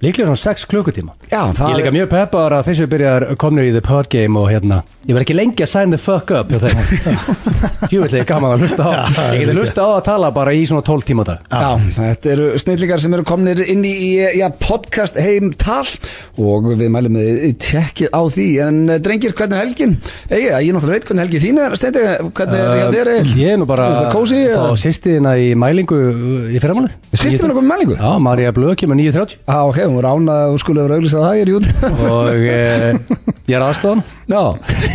líklega svona 6 klukkutíma Já, það Ég er líka mjög peppaður að þessu byrjar komnir í the pod game og hérna Ég verð ekki lengi að sign the fuck up hjá þeim Júvillig gaman að hlusta á Ég geti hlusta á að tala bara í svona 12 tíma á dag Já, þetta eru snillingar sem eru komnir inn í já, podcast heim tal og við mælum með tjekkið á því en eh, drengir, hvernig er helgin? Egi, ég náttúrulega veit hvernig helgin þín er Steindi, hvernig er hjá þér? Uh, Egill? Ég er nú bara Er það kósí, að eða? Fá sýstiðina í mælingu uh, í fyrramálið Systir minna komið mælingu? Já, Marja Blöð kemur 9.30 Já, ok, hún var ánað að þú skulle vera auglýsað það, ég er jút Og eh, ég er aðstofan Já,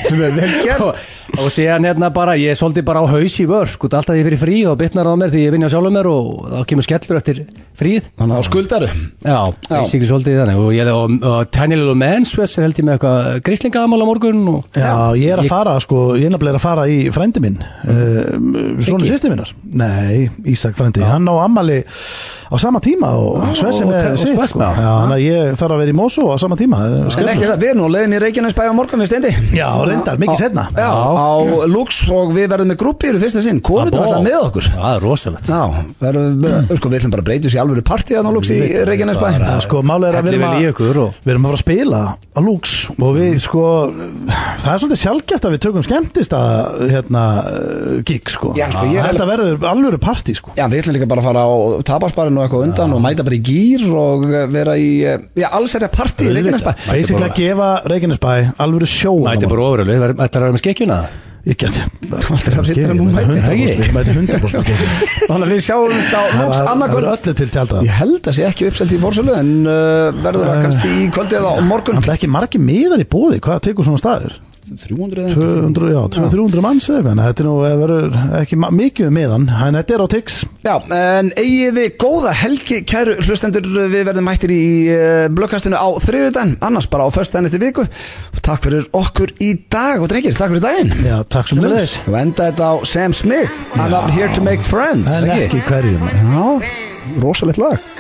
sem er vel gert Og Og síðan hérna bara, ég er svolítið bara á haus í vör sko, alltaf ég fyrir frí og bitnar á mér því ég vinja sjálfur mér og þá kemur skellur eftir fríð Þannig að skuldaru Já, basically svolítið þannig og ég og, og Tiny Little Manswess er held ég með eitthvað gríslingaðamál á morgun og Já, ég er að fara, sko, ég er nefnilega að fara í frændi minn, uh, svona Siggi? sýsti minnar. Nei, Ísak frændi, hann á ammali á sama tíma og Svessi og te- með og sitt, Svess sko. með hann. Já, þannig að ég þarf að vera í Mosó á sama tíma. það er En skemmtilegt. ekki það, við erum nú á leiðin í Reykjanesbæ á morgun við steindi Já, reyndar, mikið setna. Já, á Lux og við verðum með grúpi í fyrsta sinn, konundur Abó. alltaf með okkur Já, það er rosalegt Já, verðum, við- sko, við ætlum bara að breyta sér alveg partí að ná Lux í Reykjanesbæ Já, sko, málið er að við Hellið erum vel í ykkur að, og- Mhm. við erum að fara að spila á Lux og við sko, það er svolítið sjálfgæft að við tökum skemmtist að hérna, eh, gig sko. Já, sko, ég er Þetta verður alveg partí sko. Já, við ætlum líka bara að fara á tabarsbarinn og eitthvað undan og mæta bara í gýr og eh, vera í, eh, já, alls er það partí í Reykjanesbæ Basically að gefa Reykjanesbæ alveg sjó Mæti bara ofurölu, ætlar að vera með skekkjuna Ég get aldrei haft hittir en hún mætir. Ég mæti hundarbost Þannig að við sjáumst á Lux Það er annarkvöld öllu til tjálta Ég held að sé ekki uppselt í fórsölu en uh, verður það kannski í kvöldi eða á morgun Það er ekki margi miðar í bóði, hvað tekur svona staður? 300 eða 200, já, 200 manns eða eitthvað, en þetta er nú eh, verður ekki ma- mikið um miðan, en þetta er á Tix Já, en eigið þið góða helgi kæru hlustendur, við verðum mættir í uh, blökkastinu á þriðudaginn annars bara á föstudaginn eftir viku og takk fyrir okkur í dag og drengir, takk fyrir daginn Já, takk sem leðis og enda þetta á Sam Smith I'm not here to make friends En ekki hverjum Já, rosalegt lag